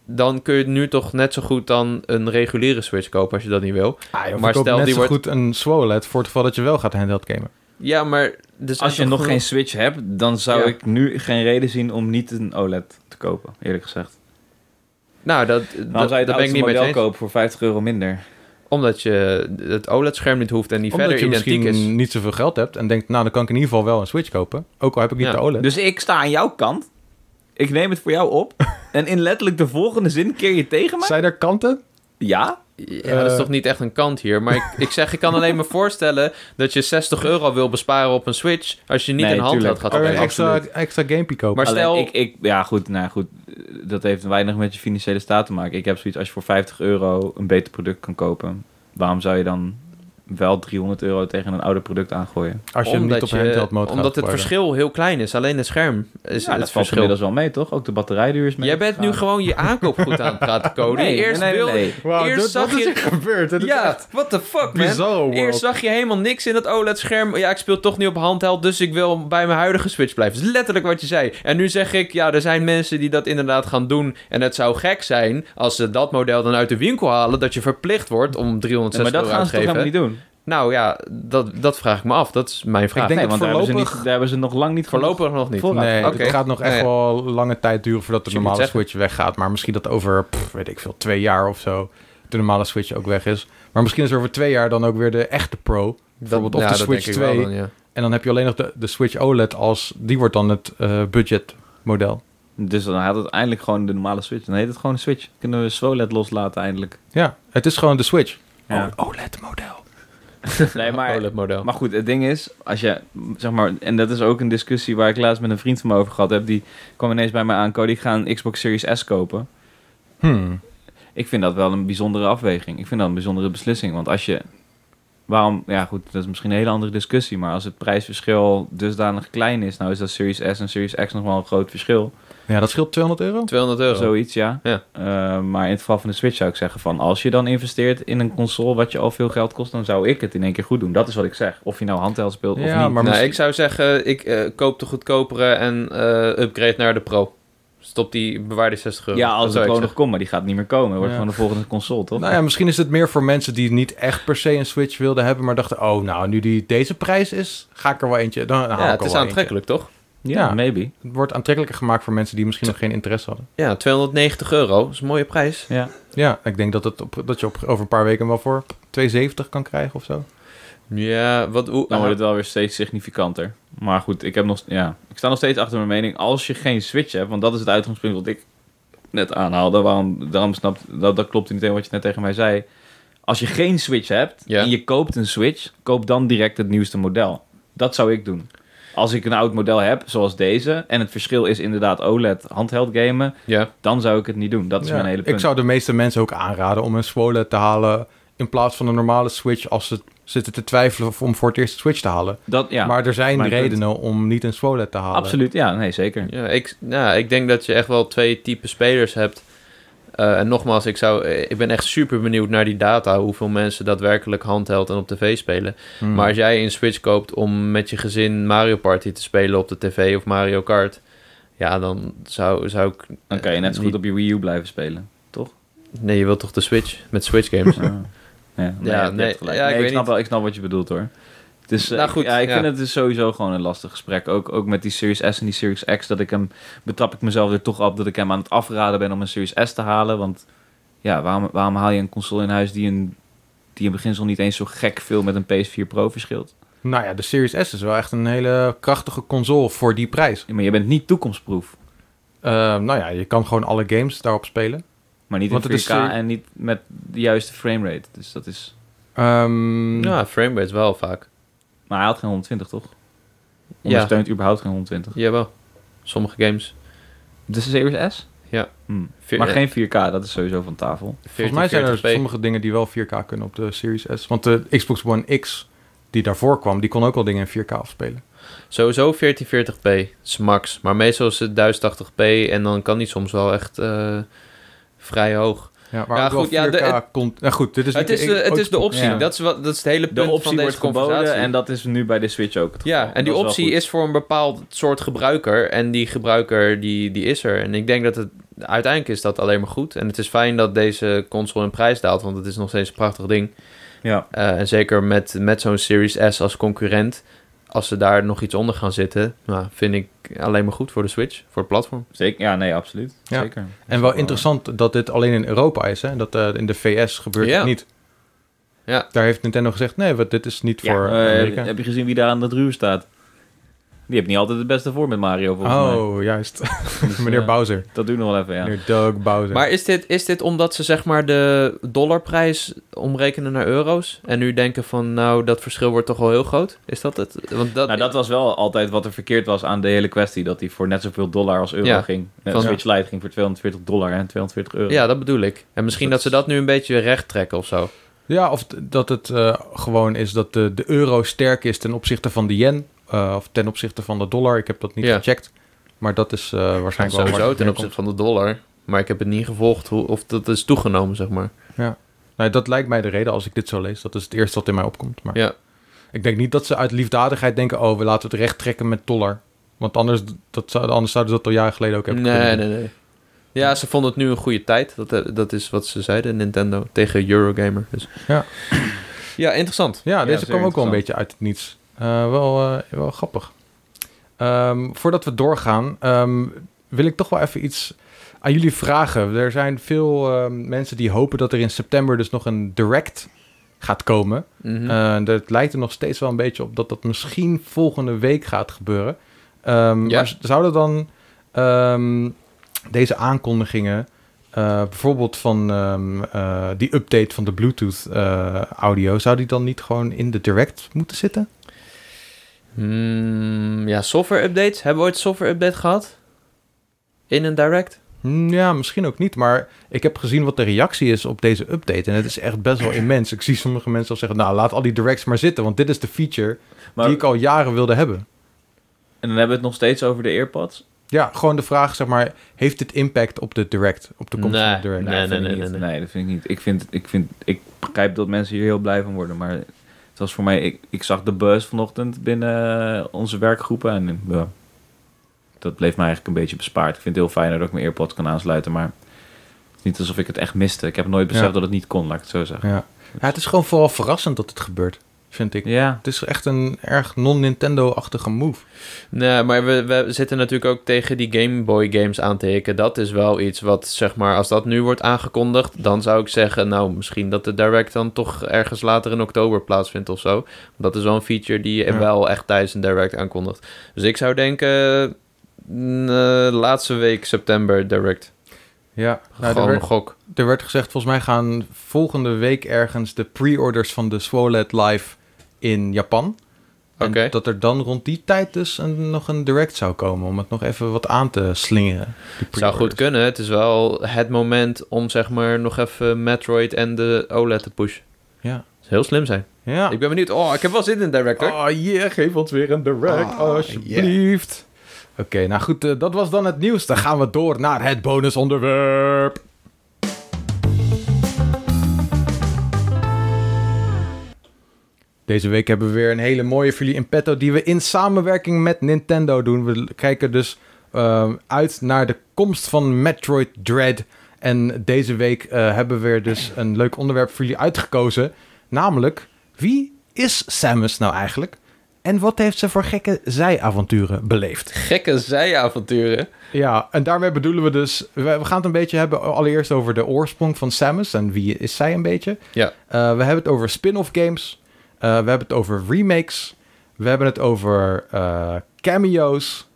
Dan kun je nu toch net zo goed dan een reguliere Switch kopen als je dat niet wil.
maar
maar
stel,
stel
net
die
zo
wordt...
goed een SWOLED E voor het geval dat je wel gaat handheld gamen.
Ja, maar... Dus
Als je nog geen Switch hebt, dan zou
Ja.
ik nu geen reden zien om niet een OLED te kopen, eerlijk gezegd.
Nou, dat,
Dan
dat,
zou je het
dat ben ik
oudste
niet mee
model
eens.
kopen voor 50 euro minder.
Omdat je het OLED-scherm niet hoeft en die
Omdat
verder
je
identiek
misschien
is.
niet zoveel geld hebt en denkt, nou, dan kan ik in ieder geval wel een Switch kopen. Ook al heb ik niet
Ja.
de E OLED.
Dus ik sta aan jouw kant. Ik neem het voor jou op. en in letterlijk de volgende zin keer je tegen
Dus-
mij.
Zijn er kanten?
Ja?
Ja, dat is
Eh.
toch niet echt een kant hier. Maar ik, ik zeg, ik kan alleen maar voorstellen dat je 60 euro wil besparen op een Switch als je niet
Nee,
een handheld
tuurlijk.
gaat
Kan je een
spelen.
extra, extra gamepie kopen?
Maar stel-
Alleen, ik, ik, ja, goed, nou ja, goed. Dat heeft weinig met je financiële staat te maken. Ik heb zoiets, als je voor 50 euro een beter product kan kopen, waarom zou je dan wel 300 euro tegen een ouder product aangooien?
als je hem niet
Omdat
op
je-
een handheld mode gaat
Omdat het
gebruiken.
verschil heel klein is. Alleen het scherm is
Ja,
het
Nou, dat valt
verschil.
inmiddels wel mee, toch? Ook de batterijduur is mee. Ah.
Jij bent nu gewoon je aankoop goed aan het praten, Cody.
Nee,
Eerst
nee, nee,
wil-
nee.
Wauw,
Eerst
dat,
zag
dat is
je-
echt gebeurd. Dat is
Ja,
echt
what the fuck, man.
bizarre world.
Eerst zag je helemaal niks in dat OLED-scherm. Ja, ik speel toch niet op handheld, dus ik wil bij mijn huidige Switch blijven. Dat is letterlijk wat je zei. En nu zeg ik, ja, er zijn mensen die dat inderdaad gaan doen. En het zou gek zijn als ze dat model dan uit de winkel halen... dat je verplicht wordt om 360
maar dat
euro
gaan
uit
ze
te
toch helemaal
geven.
niet doen?
Nou ja, dat, dat vraag ik me af. Dat is mijn vraag.
denk
nee,
dat
want daar hebben, ze
voorlopig-
niet, daar hebben ze nog lang niet genoeg-
Voorlopig nog niet.
Vol-
Nee,
Oké.
het gaat nog echt
Ja, ja.
wel lange tijd duren voordat de
Dus je
normale
moet zeggen-
Switch weggaat. Maar misschien dat over, pff, weet ik veel, twee jaar of zo de normale Switch ook weg is. Maar misschien is er over twee jaar dan ook weer de echte Pro. Bijvoorbeeld of
ja,
de
dat
Switch
denk ik wel
2.
dan, ja.
En dan heb je alleen nog de, de Switch OLED als... Die wordt dan het eh budgetmodel.
Dus dan had het eindelijk gewoon de normale Switch. Dan heet het gewoon een Switch. Kunnen we SWOLED loslaten eindelijk.
Ja, het is gewoon de Switch.
Ja.
OLED-model.
Nee, maar
Oh.
OLED-model.
Maar goed, het ding is, als je, zeg maar, en dat is ook een discussie waar ik laatst met een vriend van me over gehad heb, die kwam ineens bij mij aan, Cody, ik ga een Xbox Series S kopen.
Hmm.
Ik vind dat wel een bijzondere afweging. Ik vind dat een bijzondere beslissing, want als je waarom, ja goed, dat is misschien een hele andere discussie. Maar als het prijsverschil dusdanig klein is, nou is dat Series S en Series X nog wel een groot verschil.
Ja, dat scheelt 200 euro.
200 euro.
Zoiets, ja.
Ja.
Eh, maar in het geval van de Switch zou ik zeggen van... als je dan investeert in een console wat je al veel geld kost... dan zou ik het in één keer goed doen. Dat is wat ik zeg. Of je nou handheld speelt of
Ja,
niet.
maar
nou,
misschien-
ik zou zeggen, ik eh, koop de goedkopere en eh, upgrade naar de pro. Stop die, bewaar die 60 euro.
Ja, als
eh, Dat
de
zou
Pro
ik
nog
zeggen.
komt, maar die gaat niet meer komen. Het Wordt
Ja.
gewoon de volgende console, toch?
Nou ja, misschien is het meer voor mensen die niet echt per se een Switch wilden hebben, maar dachten, oh, nou, nu die deze prijs is, ga ik er wel eentje. Dan haal ik
Ja,
er
het is
wel
aantrekkelijk, toch?
ja,
Ja.
maybe.
eentje. Het wordt aantrekkelijker gemaakt voor mensen die misschien nog geen interesse hadden.
Ja, 290 euro. Dat is een mooie prijs.
Ja.
Ja, ik denk dat, het op, dat je op, over een paar weken wel voor 270 kan krijgen of zo.
Ja, wat... Hoe,
Dan wordt het wel weer steeds significanter. Maar goed, ik, heb nog, ja, ik sta nog steeds achter mijn mening. Als je geen Switch hebt, want dat is het uitgangspunt wat ik net aanhaalde. Waarom, daarom snapt, dat, dat klopt niet helemaal wat je net tegen mij zei. Als je geen Switch hebt
Ja.
en je koopt een Switch, koop dan direct het nieuwste model. Dat zou ik doen. Als ik een oud model heb, zoals deze, en het verschil is inderdaad OLED handheld gamen,
ja.
dan zou ik het niet doen. Dat is
Ja,
mijn hele punt.
Ik zou de meeste mensen ook aanraden om een Swole te halen in plaats van een normale Switch als ze zitten te twijfelen of om voor het eerst een Switch te halen.
dat, ja,
maar er zijn
mijn punt.
redenen om niet een Swole te halen.
absoluut. Ja, nee, zeker.
Ja, ik, nou, ik denk dat je echt wel twee typen spelers hebt. Eh, en nogmaals, ik, zou, ik ben echt super benieuwd naar die data. Hoeveel mensen daadwerkelijk handheld en op tv spelen.
Hmm.
Maar als jij een Switch koopt om met je gezin Mario Party te spelen op de tv of Mario Kart. Ja, dan zou, zou ik...
Dan kan je net zo goed op je Wii U blijven spelen.
Nee, je wilt toch de Switch? Met Switch games.
Ja,
Ja,
ja,
nee,
nee,
ja, ik
ik,
weet
snap
niet.
Wel, ik snap wat je bedoelt hoor. Het is, eh,
Nou,
ik-
goed,
ja, ik
ja.
vind het dus sowieso gewoon een lastig gesprek. Ook, ook met die Series S en die Series X. Dat ik hem, betrap ik mezelf er toch op dat ik hem aan het afraden ben om een Series S te halen. Want ja, waarom, waarom haal je een console in huis die, een, die in beginsel niet eens zo gek veel met een PS4 Pro verschilt?
Nou ja, de Series S is wel echt een hele krachtige console voor die prijs.
Ja, maar je bent niet toekomstproef.
Eh, nou ja, je kan gewoon alle games daarop spelen.
Maar niet in
Want
4K
het is, eh,
en niet met de juiste framerate. Dus dat is...
Ehm,
ja, framerate wel vaak.
Maar hij had geen 120 toch?
Ja.
Ondersteunt überhaupt geen 120.
Jawel. Sommige games.
De Series S?
Ja.
Hmm.
Veer-
maar geen 4K, dat is sowieso van tafel.
volgens mij zijn er
1440p.
sommige dingen die wel 4K kunnen op de Series S. Want de Xbox One X die daarvoor kwam, die kon ook al dingen in 4K afspelen.
Sowieso 1440p is max. Maar meestal is het 1080p en dan kan die soms wel echt eh, vrij hoog.
Ja,
Ja,
maar ook
goed, ja,
wel 4K
de- het-
kon... Nou goed,
Dus
dit is
het,
niet
is de, het is de
uitgesproken-
optie.
Ja.
Dat, is wat, dat is het hele punt
De
van
optie
deze
wordt geboden
conversatie.
en dat is nu bij de Switch ook het
ja,
geval.
en
Dat
die
is wel
optie
goed.
is voor een bepaald soort gebruiker. En die gebruiker die, die is er. En ik denk dat het uiteindelijk is dat alleen maar goed. En het is fijn dat deze console in prijs daalt, want het is nog steeds een prachtig ding.
Ja.
Eh, en zeker met, met zo'n Series S als concurrent. Als ze daar nog iets onder gaan zitten, nou, vind ik alleen maar goed voor de Switch, voor het platform.
Zeker, ja, nee, absoluut.
Ja.
Zeker.
En wel interessant dat dit alleen in Europa is. Hè? Dat eh, in de VS gebeurt
Ja.
het niet.
Ja.
Daar heeft Nintendo gezegd, nee, wat, dit is niet voor
Ja, eh,
Amerika.
heb je gezien wie daar aan dat ruur staat? Die heeft niet altijd het beste voor met Mario, volgens mij.
oh, juist. Meneer
eh,
Bowser.
Dat doe ik nog wel even, ja.
Meneer Doug Bowser.
Maar is dit, is dit omdat ze zeg maar de dollarprijs omrekenen naar euro's? En nu denken van, nou, dat verschil wordt toch wel heel groot? Is dat het? Want dat,
nou, dat was wel altijd wat er verkeerd was aan de hele kwestie. Dat die voor net zoveel dollar als euro
Ja.
ging. Eh,
Van-
Switch Lite ging voor 240 dollar en 240 euro.
Ja, dat bedoel ik. En misschien dat,
Dat
ze
is-
dat nu een beetje recht trekken of zo.
Ja, of t- dat het eh, gewoon is dat de, de euro sterk is ten opzichte van de yen. eh, of ten opzichte van de dollar. Ik heb dat niet
Ja.
gecheckt. Maar dat is eh, waarschijnlijk wel waar
Sowieso
het
ten
neerkomt.
opzichte van de dollar. Maar ik heb het niet gevolgd hoe, of dat is toegenomen, zeg maar.
Nou, dat lijkt mij de reden als ik dit zo lees. Dat is het eerste wat in mij opkomt. Maar
Ja.
ik denk niet dat ze uit liefdadigheid denken... oh, we laten het recht trekken met dollar. Want anders, dat zou, anders zouden ze dat al jaren geleden ook hebben kunnen
Nee,
doen.
nee, nee. Ja, ze vonden het nu een goede tijd. Dat, eh, dat is wat ze zeiden, Nintendo, tegen Eurogamer. Dus.
Ja.
ja, interessant.
Ja, deze
zeer
kwam ook wel een
interessant.
beetje uit het niets. Eh, wel, eh, wel grappig. Ehm, voordat we doorgaan, ehm, wil ik toch wel even iets aan jullie vragen. Er zijn veel ehm, mensen die hopen dat er in september dus nog een direct gaat komen.
Mhm.
Eh, dat lijkt er nog steeds wel een beetje op dat dat misschien volgende week gaat gebeuren. Ehm,
Ja.
Maar z- zouden dan ehm, deze aankondigingen, eh, bijvoorbeeld van ehm, eh, die update van de Bluetooth-audio, zou die dan niet gewoon in de direct moeten zitten?
Hmm, ja, software updates. Hebben we ooit software update gehad? In een direct?
Hm, Ja, misschien ook niet, maar ik heb gezien wat de reactie is op deze update. En het is echt best wel immens. Ik zie sommige mensen al zeggen, nou, laat al die directs maar zitten, want dit is de feature
Maar,
die ik al jaren wilde hebben.
En dan hebben we het nog steeds over de AirPods.
Ja, gewoon de vraag, zeg maar, heeft dit impact op de direct, op de komst van
Nee,
de direct?
nee.
dat vind ik niet.
nee.
dat vind ik niet. Ik, vind, ik, vind, ik begrijp dat mensen hier heel blij van worden, maar het was voor mij... Ik, ik zag de buzz vanochtend binnen eh, onze werkgroepen en ja, dat bleef mij eigenlijk een beetje bespaard. Ik vind het heel fijn dat ik mijn AirPods kan aansluiten, maar het is niet alsof ik het echt miste. Ik heb nooit beseft
Ja.
dat het niet kon, laat ik het zo zeggen.
Ja. ja, het is gewoon vooral verrassend dat het gebeurt, vind ik.
Ja,
Het is echt een erg non-Nintendo-achtige move.
Nee, maar we, we zitten natuurlijk ook tegen die Game Boy games aan te hikken. Dat is wel iets wat, zeg maar, als dat nu wordt aangekondigd, dan zou ik zeggen, nou, misschien dat de Direct dan toch ergens later in oktober plaatsvindt of zo. Dat is wel een feature die je
Ja.
wel echt tijdens een Direct aankondigt. Dus ik zou denken, mm, eh, laatste week september Direct.
Ja, nou, er,
Gewoon een
werd,
gok.
er werd gezegd, volgens mij gaan volgende week ergens de pre-orders van de SWOLED Live in Japan. En
Oké.
dat er dan rond die tijd dus een, nog een direct zou komen om het nog even wat aan te slingeren. die
Zou goed
pre-orders.
kunnen. Het is wel het moment om, zeg maar, nog even Metroid en de OLED te pushen.
Ja.
Dat zou heel slim zijn.
Ja.
Ik ben benieuwd. Oh, ik heb wel zin in Direct, hoor.
Oh yeah, geef ons weer een direct,
Ah,
alsjeblieft. Oké, nou goed, eh, dat was dan het nieuws. Dan gaan we door naar het bonusonderwerp. Deze week hebben we weer een hele mooie voor jullie in petto die we in samenwerking met Nintendo doen. We kijken dus ehm, uit naar de komst van Metroid Dread. En deze week eh, hebben we weer dus een leuk onderwerp voor jullie uitgekozen. Namelijk, wie is Samus nou eigenlijk? En wat heeft ze voor gekke zijavonturen beleefd?
Gekke zijavonturen.
Ja, en daarmee bedoelen we dus... We, we gaan het een beetje hebben allereerst over de oorsprong van Samus. En wie is zij een beetje?
Ja.
Eh, we hebben het over spin-off games. Eh, we hebben het over remakes. We hebben het over eh, cameo's.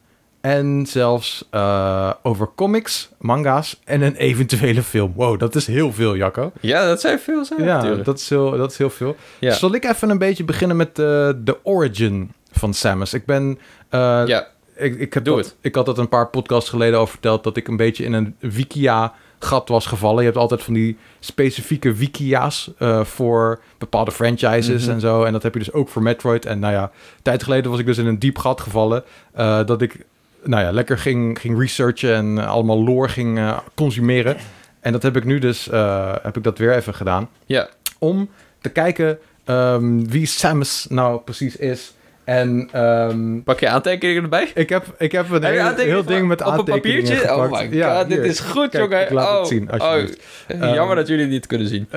En zelfs eh, over comics, manga's en een eventuele film. Wow, dat is heel veel, Jacco.
Ja, dat zijn veel
Ja,
zijavonturen.
dat is heel, dat is heel veel.
Ja.
Zal ik even een beetje beginnen met eh, de origin van Samus? Ik ben... eh,
ja.
ik, ik, heb
Doe
dat-
het.
ik had dat een paar podcasts geleden over verteld... dat ik een beetje in een wikia-gat was gevallen. Je hebt altijd van die specifieke wikia's... eh, voor bepaalde franchises
Mhm.
en zo. En dat heb je dus ook voor Metroid. En nou ja, een tijd geleden was ik dus in een diep gat gevallen... eh, dat ik nou ja, lekker ging, ging researchen... en eh, allemaal lore ging eh, consumeren. En dat heb ik nu dus eh, heb ik dat weer even gedaan
ja.
om te kijken ehm, wie Samus nou precies is. En ehm,
Pak je aantekeningen erbij?
ik, heb, ik heb een
Heb je
heel,
aantekeningen
heel ding met
op een
aantekeningen
papiertje?
gepakt.
Oh my god,
Ja,
dit
hier.
is goed,
Kijk,
jongen.
ik laat
oh,
het zien, alsjeblieft.
oh,
Ehm,
jammer dat jullie het niet kunnen zien.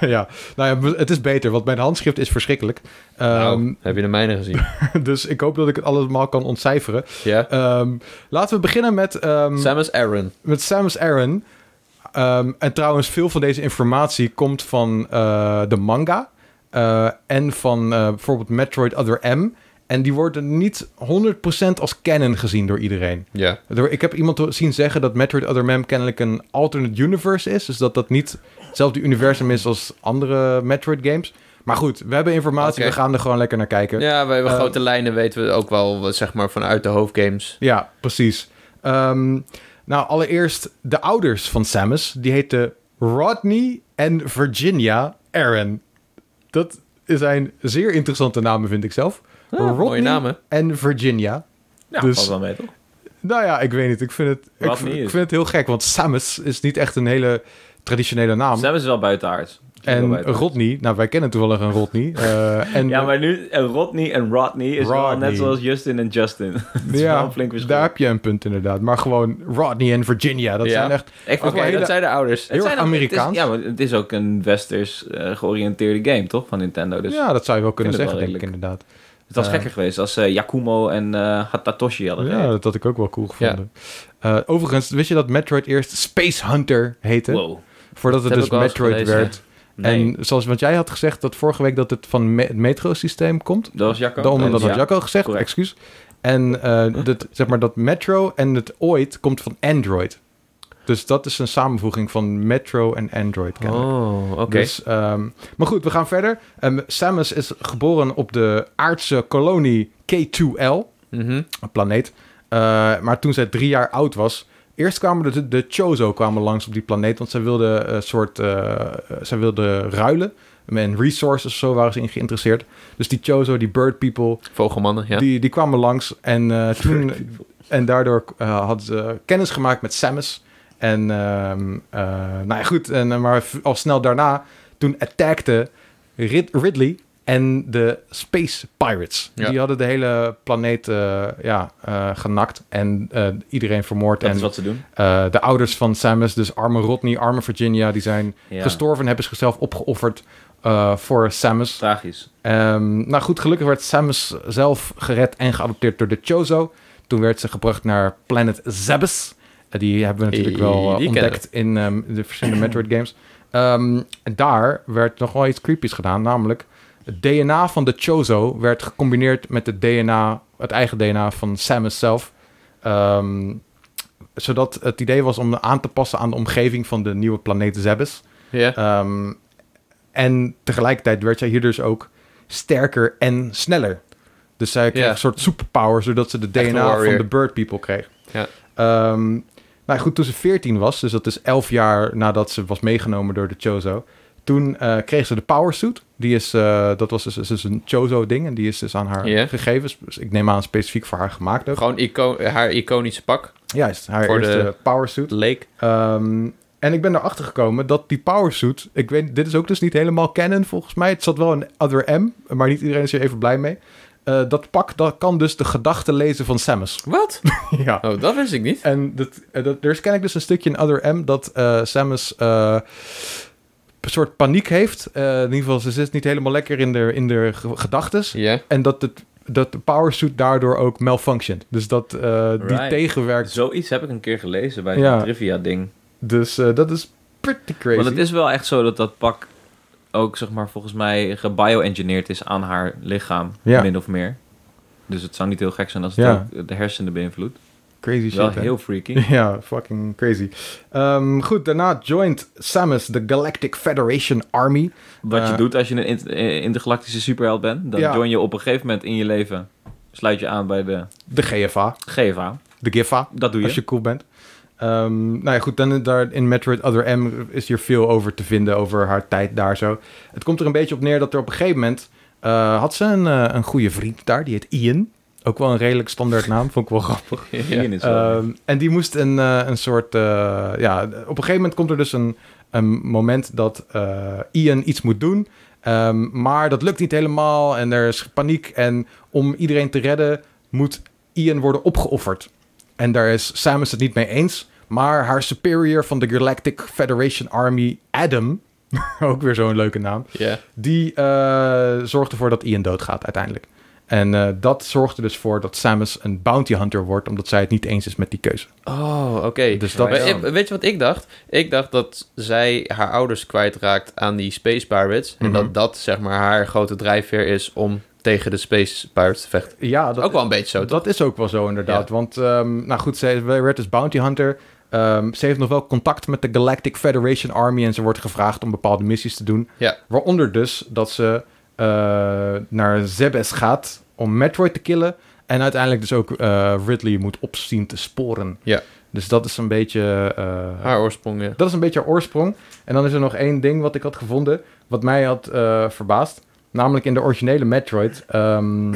ja. Nou ja, het is beter, want mijn handschrift is verschrikkelijk. Ehm,
nou, heb je de mijne gezien?
Dus ik hoop dat ik het allemaal kan ontcijferen.
ja.
Ehm, laten we beginnen met, ehm,
Samus Aran.
met Samus Aran. Ehm, en trouwens, veel van deze informatie komt van eh, de manga. eh, en van eh, bijvoorbeeld Metroid Other M. En die worden niet 100% als canon gezien door iedereen.
Ja.
Door- Ik heb iemand zien zeggen dat Metroid Other M kennelijk een alternate universe is. Dus dat dat niet hetzelfde universum is als andere Metroid games. Maar goed, we hebben informatie.
Oké.
We gaan er gewoon lekker naar kijken.
Ja, we hebben
Ehm,
grote lijnen, weten we ook wel, wat, zeg maar, vanuit de hoofdgames.
Ja, precies. Ehm, nou, allereerst de ouders van Samus. Die heten Rodney en Virginia Aaron. Dat zijn zeer interessante namen, vind ik zelf.
Ah,
Rodney
mooie namen.
en Virginia.
Ja,
Dus-
valt wel mee, toch?
Nou ja, ik weet niet. Ik vind het, ik,
Rodney
vind-
is-
ik vind het heel gek, want Samus is niet echt een hele traditionele naam.
Sam is wel buitenaards.
en Rodney, nou wij kennen toevallig een Rodney. eh, en
Ja, maar nu en Rodney en Rodney is wel
Rodney.
net zoals Justin en Justin. Het is
ja,
wel een flink verschil.
daar heb je een punt inderdaad. Maar gewoon Rodney en Virginia, dat
Ja.
zijn echt
Ik
Oké,
vond het-
hele-
dat zijn de ouders.
heel
het
erg
zijn ook- het is-
Amerikaans.
ja, maar het is ook een westers eh, georiënteerde game, toch? Van Nintendo. Dus
ja, dat zou je wel kunnen
vind
zeggen,
het wel
denk ik inderdaad.
het was
eh,
gekker geweest als eh, Yakumo en eh Hatatoshi hadden
Ja,
gereden.
dat had ik ook wel cool gevonden. Eh, overigens, wist je dat Metroid eerst Space Hunter heette?
Wow.
Voordat het
heb
dus
ik wel eens
Metroid
gelezen,
werd.
Nee,
En zoals want jij had gezegd dat vorige week dat het van me- het metro-systeem komt.
dat was Jacco.
Daarom
Eh,
dat had
ja.
Jacco gezegd,
correct.
excuus. En eh, dat, zeg maar dat Metro en het ooit komt van Android. Dus dat is een samenvoeging van Metro en Android. kennelijk.
Oh, oké.
Dus, ehm, maar goed, we gaan verder. Ehm, Samus is geboren op de aardse kolonie K2L,
Mhm.
een planeet. Eh, maar toen zij drie jaar oud was, Eerst kwamen de, de Chozo kwamen langs op die planeet, want zij wilden eh, soort, eh, eh, zij wilden ruilen. En resources of zo waren ze in geïnteresseerd. Dus die Chozo, die Bird People,
Vogelmannen, ja.
die, die kwamen langs. En, eh, toen, en daardoor eh, hadden ze kennis gemaakt met Samus. En ehm, eh, nou ja, goed, en, eh, maar v- al snel daarna, toen attackte Rid- Ridley en de Space Pirates.
Ja.
Die hadden de hele planeet eh, ja, eh, genakt en eh, iedereen vermoord.
Dat
en
is wat ze doen.
eh, de ouders van Samus, dus arme Rodney, arme Virginia, die zijn
Ja.
gestorven, hebben zichzelf opgeofferd eh, voor Samus.
Tragisch.
Ehm, nou goed, gelukkig werd Samus zelf gered en geadopteerd door de Chozo. Toen werd ze gebracht naar Planet Zebes. Eh, die hebben we natuurlijk
Hey,
wel eh,
die
ontdekt in ehm, de verschillende Metroid games. Ehm, en daar werd nog wel iets creepies gedaan, namelijk het DNA van de Chozo werd gecombineerd met het DNA, het eigen DNA van Samus zelf. Ehm, zodat het idee was om aan te passen aan de omgeving van de nieuwe planeet Zebes.
ja.
Ehm, en tegelijkertijd werd zij hier dus ook sterker en sneller. Dus zij kreeg
Ja.
een soort superpower, zodat ze de
Echt een
DNA van
warrior.
de Bird People kreeg.
Ja.
Ehm, nou goed, toen ze 14 was, dus dat is 11 jaar nadat ze was meegenomen door de Chozo. Toen eh, kreeg ze de power suit. Die is, eh, dat was dus, dus een Chozo-ding. En die is dus aan haar
Ja.
gegeven. Dus ik neem aan specifiek voor haar gemaakt ook.
Gewoon ico- haar iconische pak.
Juist, haar
Voor de-
eerste power suit.
Leek.
Ehm, en ik ben erachter gekomen dat die powersuit... Ik weet, dit is ook dus niet helemaal canon volgens mij. Het zat wel een other M, maar niet iedereen is er even blij mee. Eh, dat pak dat kan dus de gedachten lezen van Samus.
Wat?
ja.
Oh, dat wist ik niet.
En dat, eh, dat, er is kennelijk dus een stukje in Other M dat eh, Samus eh, een soort paniek heeft. Eh, in ieder geval, ze zit niet helemaal lekker in de, in de ge- gedachtes.
Ja.
En dat, het, dat de powersuit daardoor ook malfunctioned. Dus dat eh, die
Right.
tegenwerkt.
Zoiets heb ik een keer gelezen bij
Ja.
zo'n trivia ding.
Dus eh, dat is pretty crazy.
Want het is wel echt zo dat dat pak ook, zeg maar, volgens mij gebioengineerd is aan haar lichaam,
Ja.
min of meer. Dus het zou niet heel gek zijn als het
Ja.
ook de hersenen beïnvloedt.
crazy shit.
Wel
hè?
heel freaky.
Ja, fucking crazy. Ehm, goed, daarna joined Samus de Galactic Federation Army.
Wat
Eh.
je doet als je een inter- eh, intergalactische superheld bent, dan
Ja.
join je op een gegeven moment in je leven, sluit je aan bij de
De GFA,
GVA.
de GIFA,
Dat doe je.
als je cool bent. Ehm, nou ja, goed, dan daar in Metroid Other M is hier veel over te vinden, over haar tijd daar zo. Het komt er een beetje op neer dat er op een gegeven moment... eh, had ze een, eh, een goede vriend daar, die heet Ian. Ook wel een redelijk standaard naam, vond ik wel grappig.
Ian is wel-
Ehm, en die moest een, eh, een soort. eh, ja, op een gegeven moment komt er dus een, een moment dat eh, Ian iets moet doen. Ehm, maar dat lukt niet helemaal en er is paniek. En om iedereen te redden moet Ian worden opgeofferd. En daar is Samus het niet mee eens. Maar haar superior van de Galactic Federation Army, Adam. ook weer zo'n leuke naam
Ja.
die eh, zorgt ervoor dat Ian doodgaat uiteindelijk. En eh, dat zorgt er dus voor dat Samus een bounty hunter wordt, omdat zij het niet eens is met die keuze.
Oh, oké.
Dus dat
Maar
Ja.
ik- weet je wat ik dacht? Ik dacht dat zij haar ouders kwijtraakt aan die Space Pirates. En
Mhm.
dat dat, zeg maar, haar grote drijfveer is om tegen de Space Pirates te vechten.
ja, dat,
ook wel een beetje zo, toch?
dat is ook wel zo inderdaad. Want, ehm, nou goed, zij werd dus bounty hunter. Ehm, ze heeft nog wel contact met de Galactic Federation Army en ze wordt gevraagd om bepaalde missies te doen.
Ja.
Waaronder dus dat ze eh, naar Zebes gaat om Metroid te killen. En uiteindelijk dus ook eh, Ridley moet opzien te sporen.
Ja.
Dus dat is een beetje... eh,
Haar oorsprong, ja.
Dat is een beetje haar oorsprong. En dan is er nog één ding wat ik had gevonden, wat mij had eh, verbaasd. Namelijk in de originele Metroid. ehm,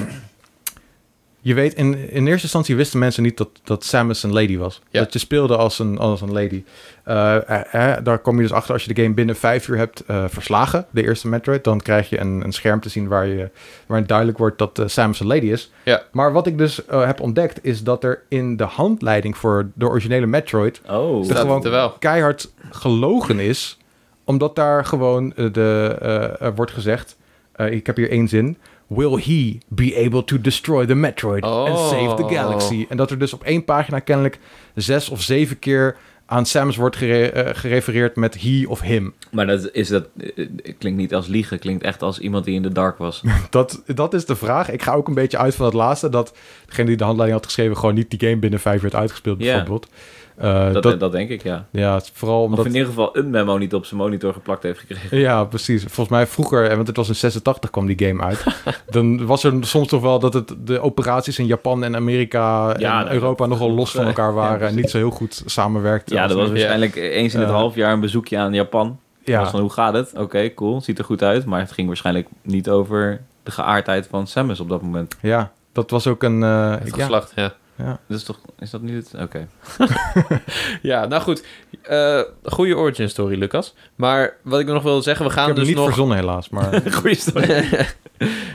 je weet, in, in eerste instantie wisten mensen niet dat, dat Samus een lady was.
Ja.
Dat je speelde als een, als een lady. Eh, eh, eh, daar kom je dus achter als je de game binnen vijf uur hebt eh, verslagen, de eerste Metroid. Dan krijg je een, een scherm te zien waar je, waarin duidelijk wordt dat eh, Samus een lady is.
Ja.
Maar wat ik dus eh, heb ontdekt, is dat er in de handleiding voor de originele Metroid
Oh,
dat
Staat
gewoon
het er wel?
keihard gelogen is. Omdat daar gewoon eh, de, eh, er wordt gezegd... eh, ik heb hier één zin. Will he be able to destroy the Metroid and
Oh.
save the galaxy? En dat er dus op één pagina kennelijk zes of zeven keer aan Samus wordt gere- eh, gerefereerd met he of him.
maar dat, is dat eh, eh, klinkt niet als liegen, klinkt echt als iemand die in de dark was.
Dat, dat is de vraag. Ik ga ook een beetje uit van het laatste. Dat degene die de handleiding had geschreven... gewoon niet die game binnen vijf werd uitgespeeld
Ja.
bijvoorbeeld. Eh,
dat,
dat,
dat, denk ik, ja.
ja, het is vooral
Of
omdat...
in ieder geval een memo niet op zijn monitor geplakt heeft gekregen.
Ja, precies. Volgens mij vroeger, eh, want het was in 86 kwam die game uit. dan was er soms toch wel dat het, de operaties in Japan en Amerika en
Ja, dat-
Europa nogal los van elkaar waren. en
precies.
niet zo heel goed samenwerkten.
Ja,
Als-
dat was waarschijnlijk eens in het
Eh,
half jaar een bezoekje aan Japan.
ja.
Was van, hoe gaat het? Oké, cool. Ziet er goed uit. Maar het ging waarschijnlijk niet over de geaardheid van Samus op dat moment.
Ja, dat was ook een... eh,
Het
ik- ja.
geslacht, ja.
Dat is toch... Is dat niet het... Oké.
Ja, nou goed. Eh goede origin story, Lucas. Maar wat ik nog wil zeggen, we
Ik
gaan
heb hem
dus
niet
nog...
verzonnen helaas, maar
Goeie story.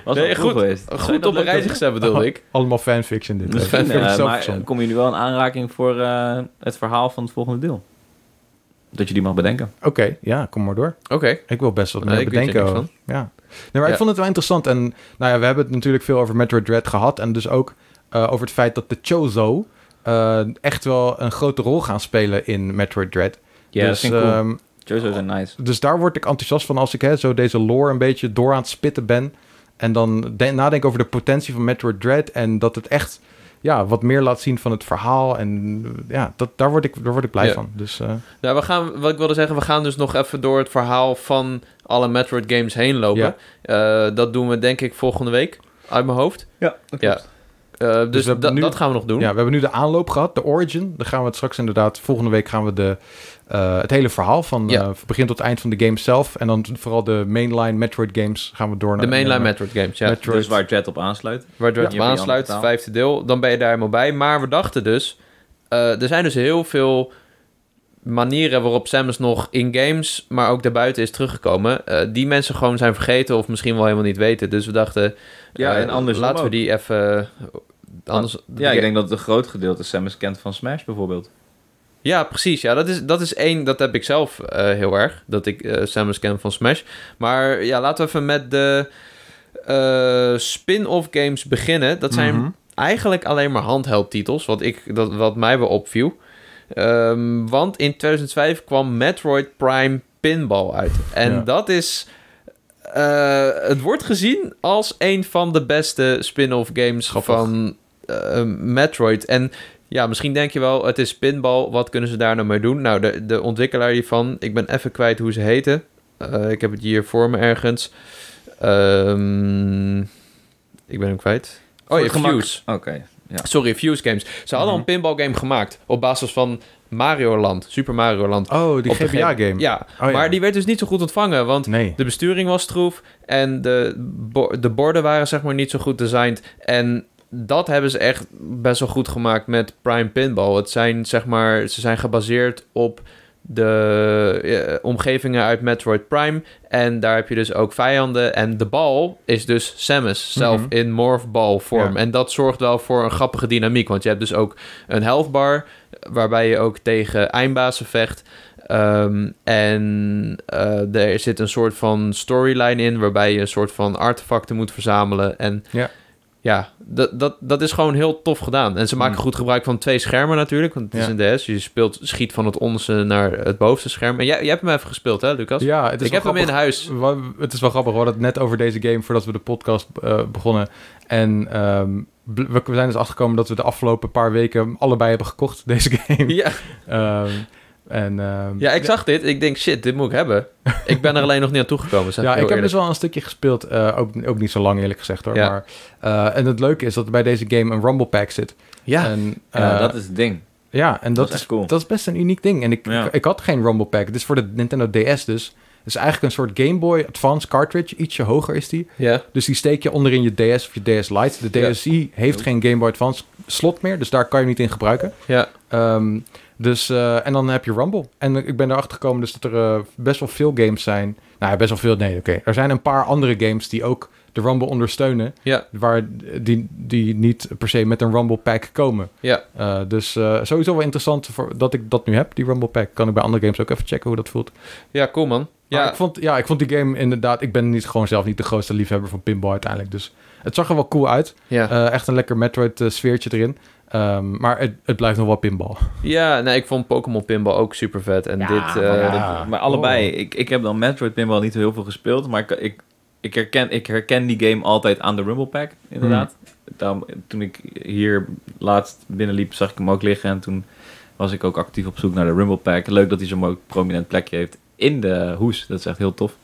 Was
Nee,
wel
goed.
goed geweest. Zou je
Goed
dat
op
leuk
een rijtje gezet, bedoelde ik.
allemaal fanfiction dit.
Misschien,
Ik heb het
eh,
zelf
maar
verzonnen.
kom je nu wel in aanraking voor eh, het verhaal van het volgende deel? Dat je die mag bedenken.
Oké, ja, kom maar door.
Oké.
Ik wil best wat
Nee,
meer
ik weet er
bedenken.
niks
hoor. Ja. Nee, maar
Ja.
ik vond het wel interessant. En nou ja, we hebben het natuurlijk veel over Metroid Dread gehad. En dus ook eh, over het feit dat de Chozo eh, echt wel een grote rol gaan spelen in Metroid Dread. dus,
dat vind ik cool.
ehm,
Chozo zijn nice.
dus daar word ik enthousiast van als ik hè, zo deze lore een beetje door aan het spitten ben. En dan de- nadenk over de potentie van Metroid Dread. En dat het echt ja, wat meer laat zien van het verhaal. En ja, dat, daar, word ik, daar word ik blij
Ja.
van. Dus eh,
Nou, we gaan, wat ik wilde zeggen, we gaan dus nog even door het verhaal van alle Metroid games heen lopen. Eh, dat doen we denk ik volgende week, uit mijn hoofd.
Ja,
Ja. Eh, dus
we hebben
da-
nu-
dat gaan we nog doen.
Ja, we hebben nu de aanloop gehad, de origin. Dan gaan we het straks inderdaad, volgende week gaan we de, eh, het hele verhaal van
Ja.
eh, begin tot eind van de game zelf. En dan vooral de mainline Metroid games gaan we door naar
De mainline
naar-
Metroid games, ja.
Metroid.
Dus waar Jet op aansluit.
Waar Dread
Ja.
op aansluit,
Ja.
het vijfde deel. Dan ben je daar helemaal bij. Maar we dachten dus... eh, er zijn dus heel veel manieren waarop Samus nog in games... maar ook daarbuiten is teruggekomen... eh, die mensen gewoon zijn vergeten of misschien wel helemaal niet weten. Dus we dachten...
Ja,
eh,
en andersom
Laten we
ook. Ah,
die even... eh, Anders,
Ja, ik denk dat een groot gedeelte Samus kent van Smash bijvoorbeeld.
Ja, precies. Ja, dat is, dat is één. Dat heb ik zelf eh, heel erg. Dat ik eh, Samus ken van Smash. Maar ja, laten we even met de eh, spin-off games beginnen. Dat zijn
Mhm.
eigenlijk alleen maar handheldtitels. Wat, ik, dat, wat mij wel opviel. Ehm, want in 2005 kwam Metroid Prime Pinball uit. En
Ja.
dat is... eh, het wordt gezien als een van de beste spin-off games
Grappig.
van eh, Metroid. En ja, misschien denk je wel, het is pinball. Wat kunnen ze daar nou mee doen? Nou, de, de ontwikkelaar hiervan, ik ben even kwijt hoe ze heten. Eh, ik heb het hier voor me ergens. Ehm, ik ben hem kwijt. Oh ja,
het gemak.
Fuse.
Oké.
Sorry, Fuse Games. Ze hadden al een
Mhm.
pinball game gemaakt op basis van Mario Land, Super Mario Land.
Oh, die
Op de
GBA-game.
Ja,
ja.
maar die werd dus niet zo goed ontvangen, want
Nee.
de besturing was stroef en de, bo- de borden waren zeg maar niet zo goed designed. En dat hebben ze echt best wel goed gemaakt met Prime Pinball. Het zijn zeg maar, ze zijn gebaseerd op de eh, omgevingen uit Metroid Prime. En daar heb je dus ook vijanden. En de bal is dus Samus zelf
Mhm.
in Morph Ball vorm.
Ja.
En dat zorgt wel voor een grappige dynamiek. Want je hebt dus ook een health bar... waarbij je ook tegen eindbazen vecht. Ehm, en eh, er zit een soort van storyline in... waarbij je een soort van artefacten moet verzamelen. En
Ja.
ja, dat, dat, dat is gewoon heel tof gedaan. En ze maken
Mm.
goed gebruik van twee schermen natuurlijk. Want het is
Ja.
een DS. Je speelt, schiet van het onderste naar het bovenste scherm. En jij, jij hebt hem even gespeeld, hè, Lucas?
Ja, het is
ik heb hem in huis.
in Het is wel grappig, we hadden het net over deze game voordat we de podcast eh, begonnen. En ehm, bl- we we zijn dus achtergekomen dat we de afgelopen paar weken allebei hebben gekocht, deze game.
Ja,
Ehm, en, ehm,
ja, ik zag dit. Ik denk, shit, dit moet ik hebben. Ik ben er alleen nog niet aan toegekomen, zeg
ja,
ik heel
ik heb dus
eerlijk.
wel een stukje gespeeld. eh, ook, ook niet zo lang, eerlijk gezegd hoor.
Ja.
Maar, eh, en het leuke is dat er bij deze game een Rumble Pack zit.
Ja,
en,
Ja,
eh,
dat is het ding.
ja, en dat,
is echt
is,
cool.
dat is best een uniek ding. En ik,
Ja.
ik, ik had geen Rumble Pack. Dit is voor de Nintendo DS dus. Het is eigenlijk een soort Game Boy Advance cartridge. Ietsje hoger is die.
ja.
Dus die steek je onderin je DS of je DS Lite. De
Ja.
DSi heeft geen Game Boy Advance slot meer. Dus daar kan je hem niet in gebruiken.
ja.
Ehm, dus, eh, en dan heb je Rumble. En ik ben erachter gekomen dus dat er eh, best wel veel games zijn. Nou, ja, best wel veel. Nee, oké. Er zijn een paar andere games die ook de Rumble ondersteunen.
Ja.
Waar die, die niet per se met een Rumble Pack komen.
Ja.
Eh, dus eh, sowieso wel interessant voor, dat ik dat nu heb, die Rumble Pack. Kan ik bij andere games ook even checken hoe dat voelt.
ja, cool man.
Ja.
Ja,
ik vond, ja, ik vond die game inderdaad... Ik ben niet, gewoon zelf niet de grootste liefhebber van pinball uiteindelijk. Dus het zag er wel cool uit.
ja.
Eh, echt een lekker Metroid-sfeertje erin. Ehm, maar het, het blijft nog wel pinball.
ja nee, ik vond Pokémon Pinball ook super vet. En
Ja,
dit... eh,
maar, ja,
dat-
maar allebei.
Oh.
Ik, ik heb dan Metroid Pinball niet heel veel gespeeld, maar ik, ik, ik, herken, ik herken die game altijd aan de Rumble Pack,
Hmm.
inderdaad. Daarom, toen ik hier laatst binnenliep, zag ik hem ook liggen en toen was ik ook actief op zoek naar de Rumble Pack. Leuk dat hij zo'n mooi prominent plekje heeft in de hoes. Dat is echt heel tof.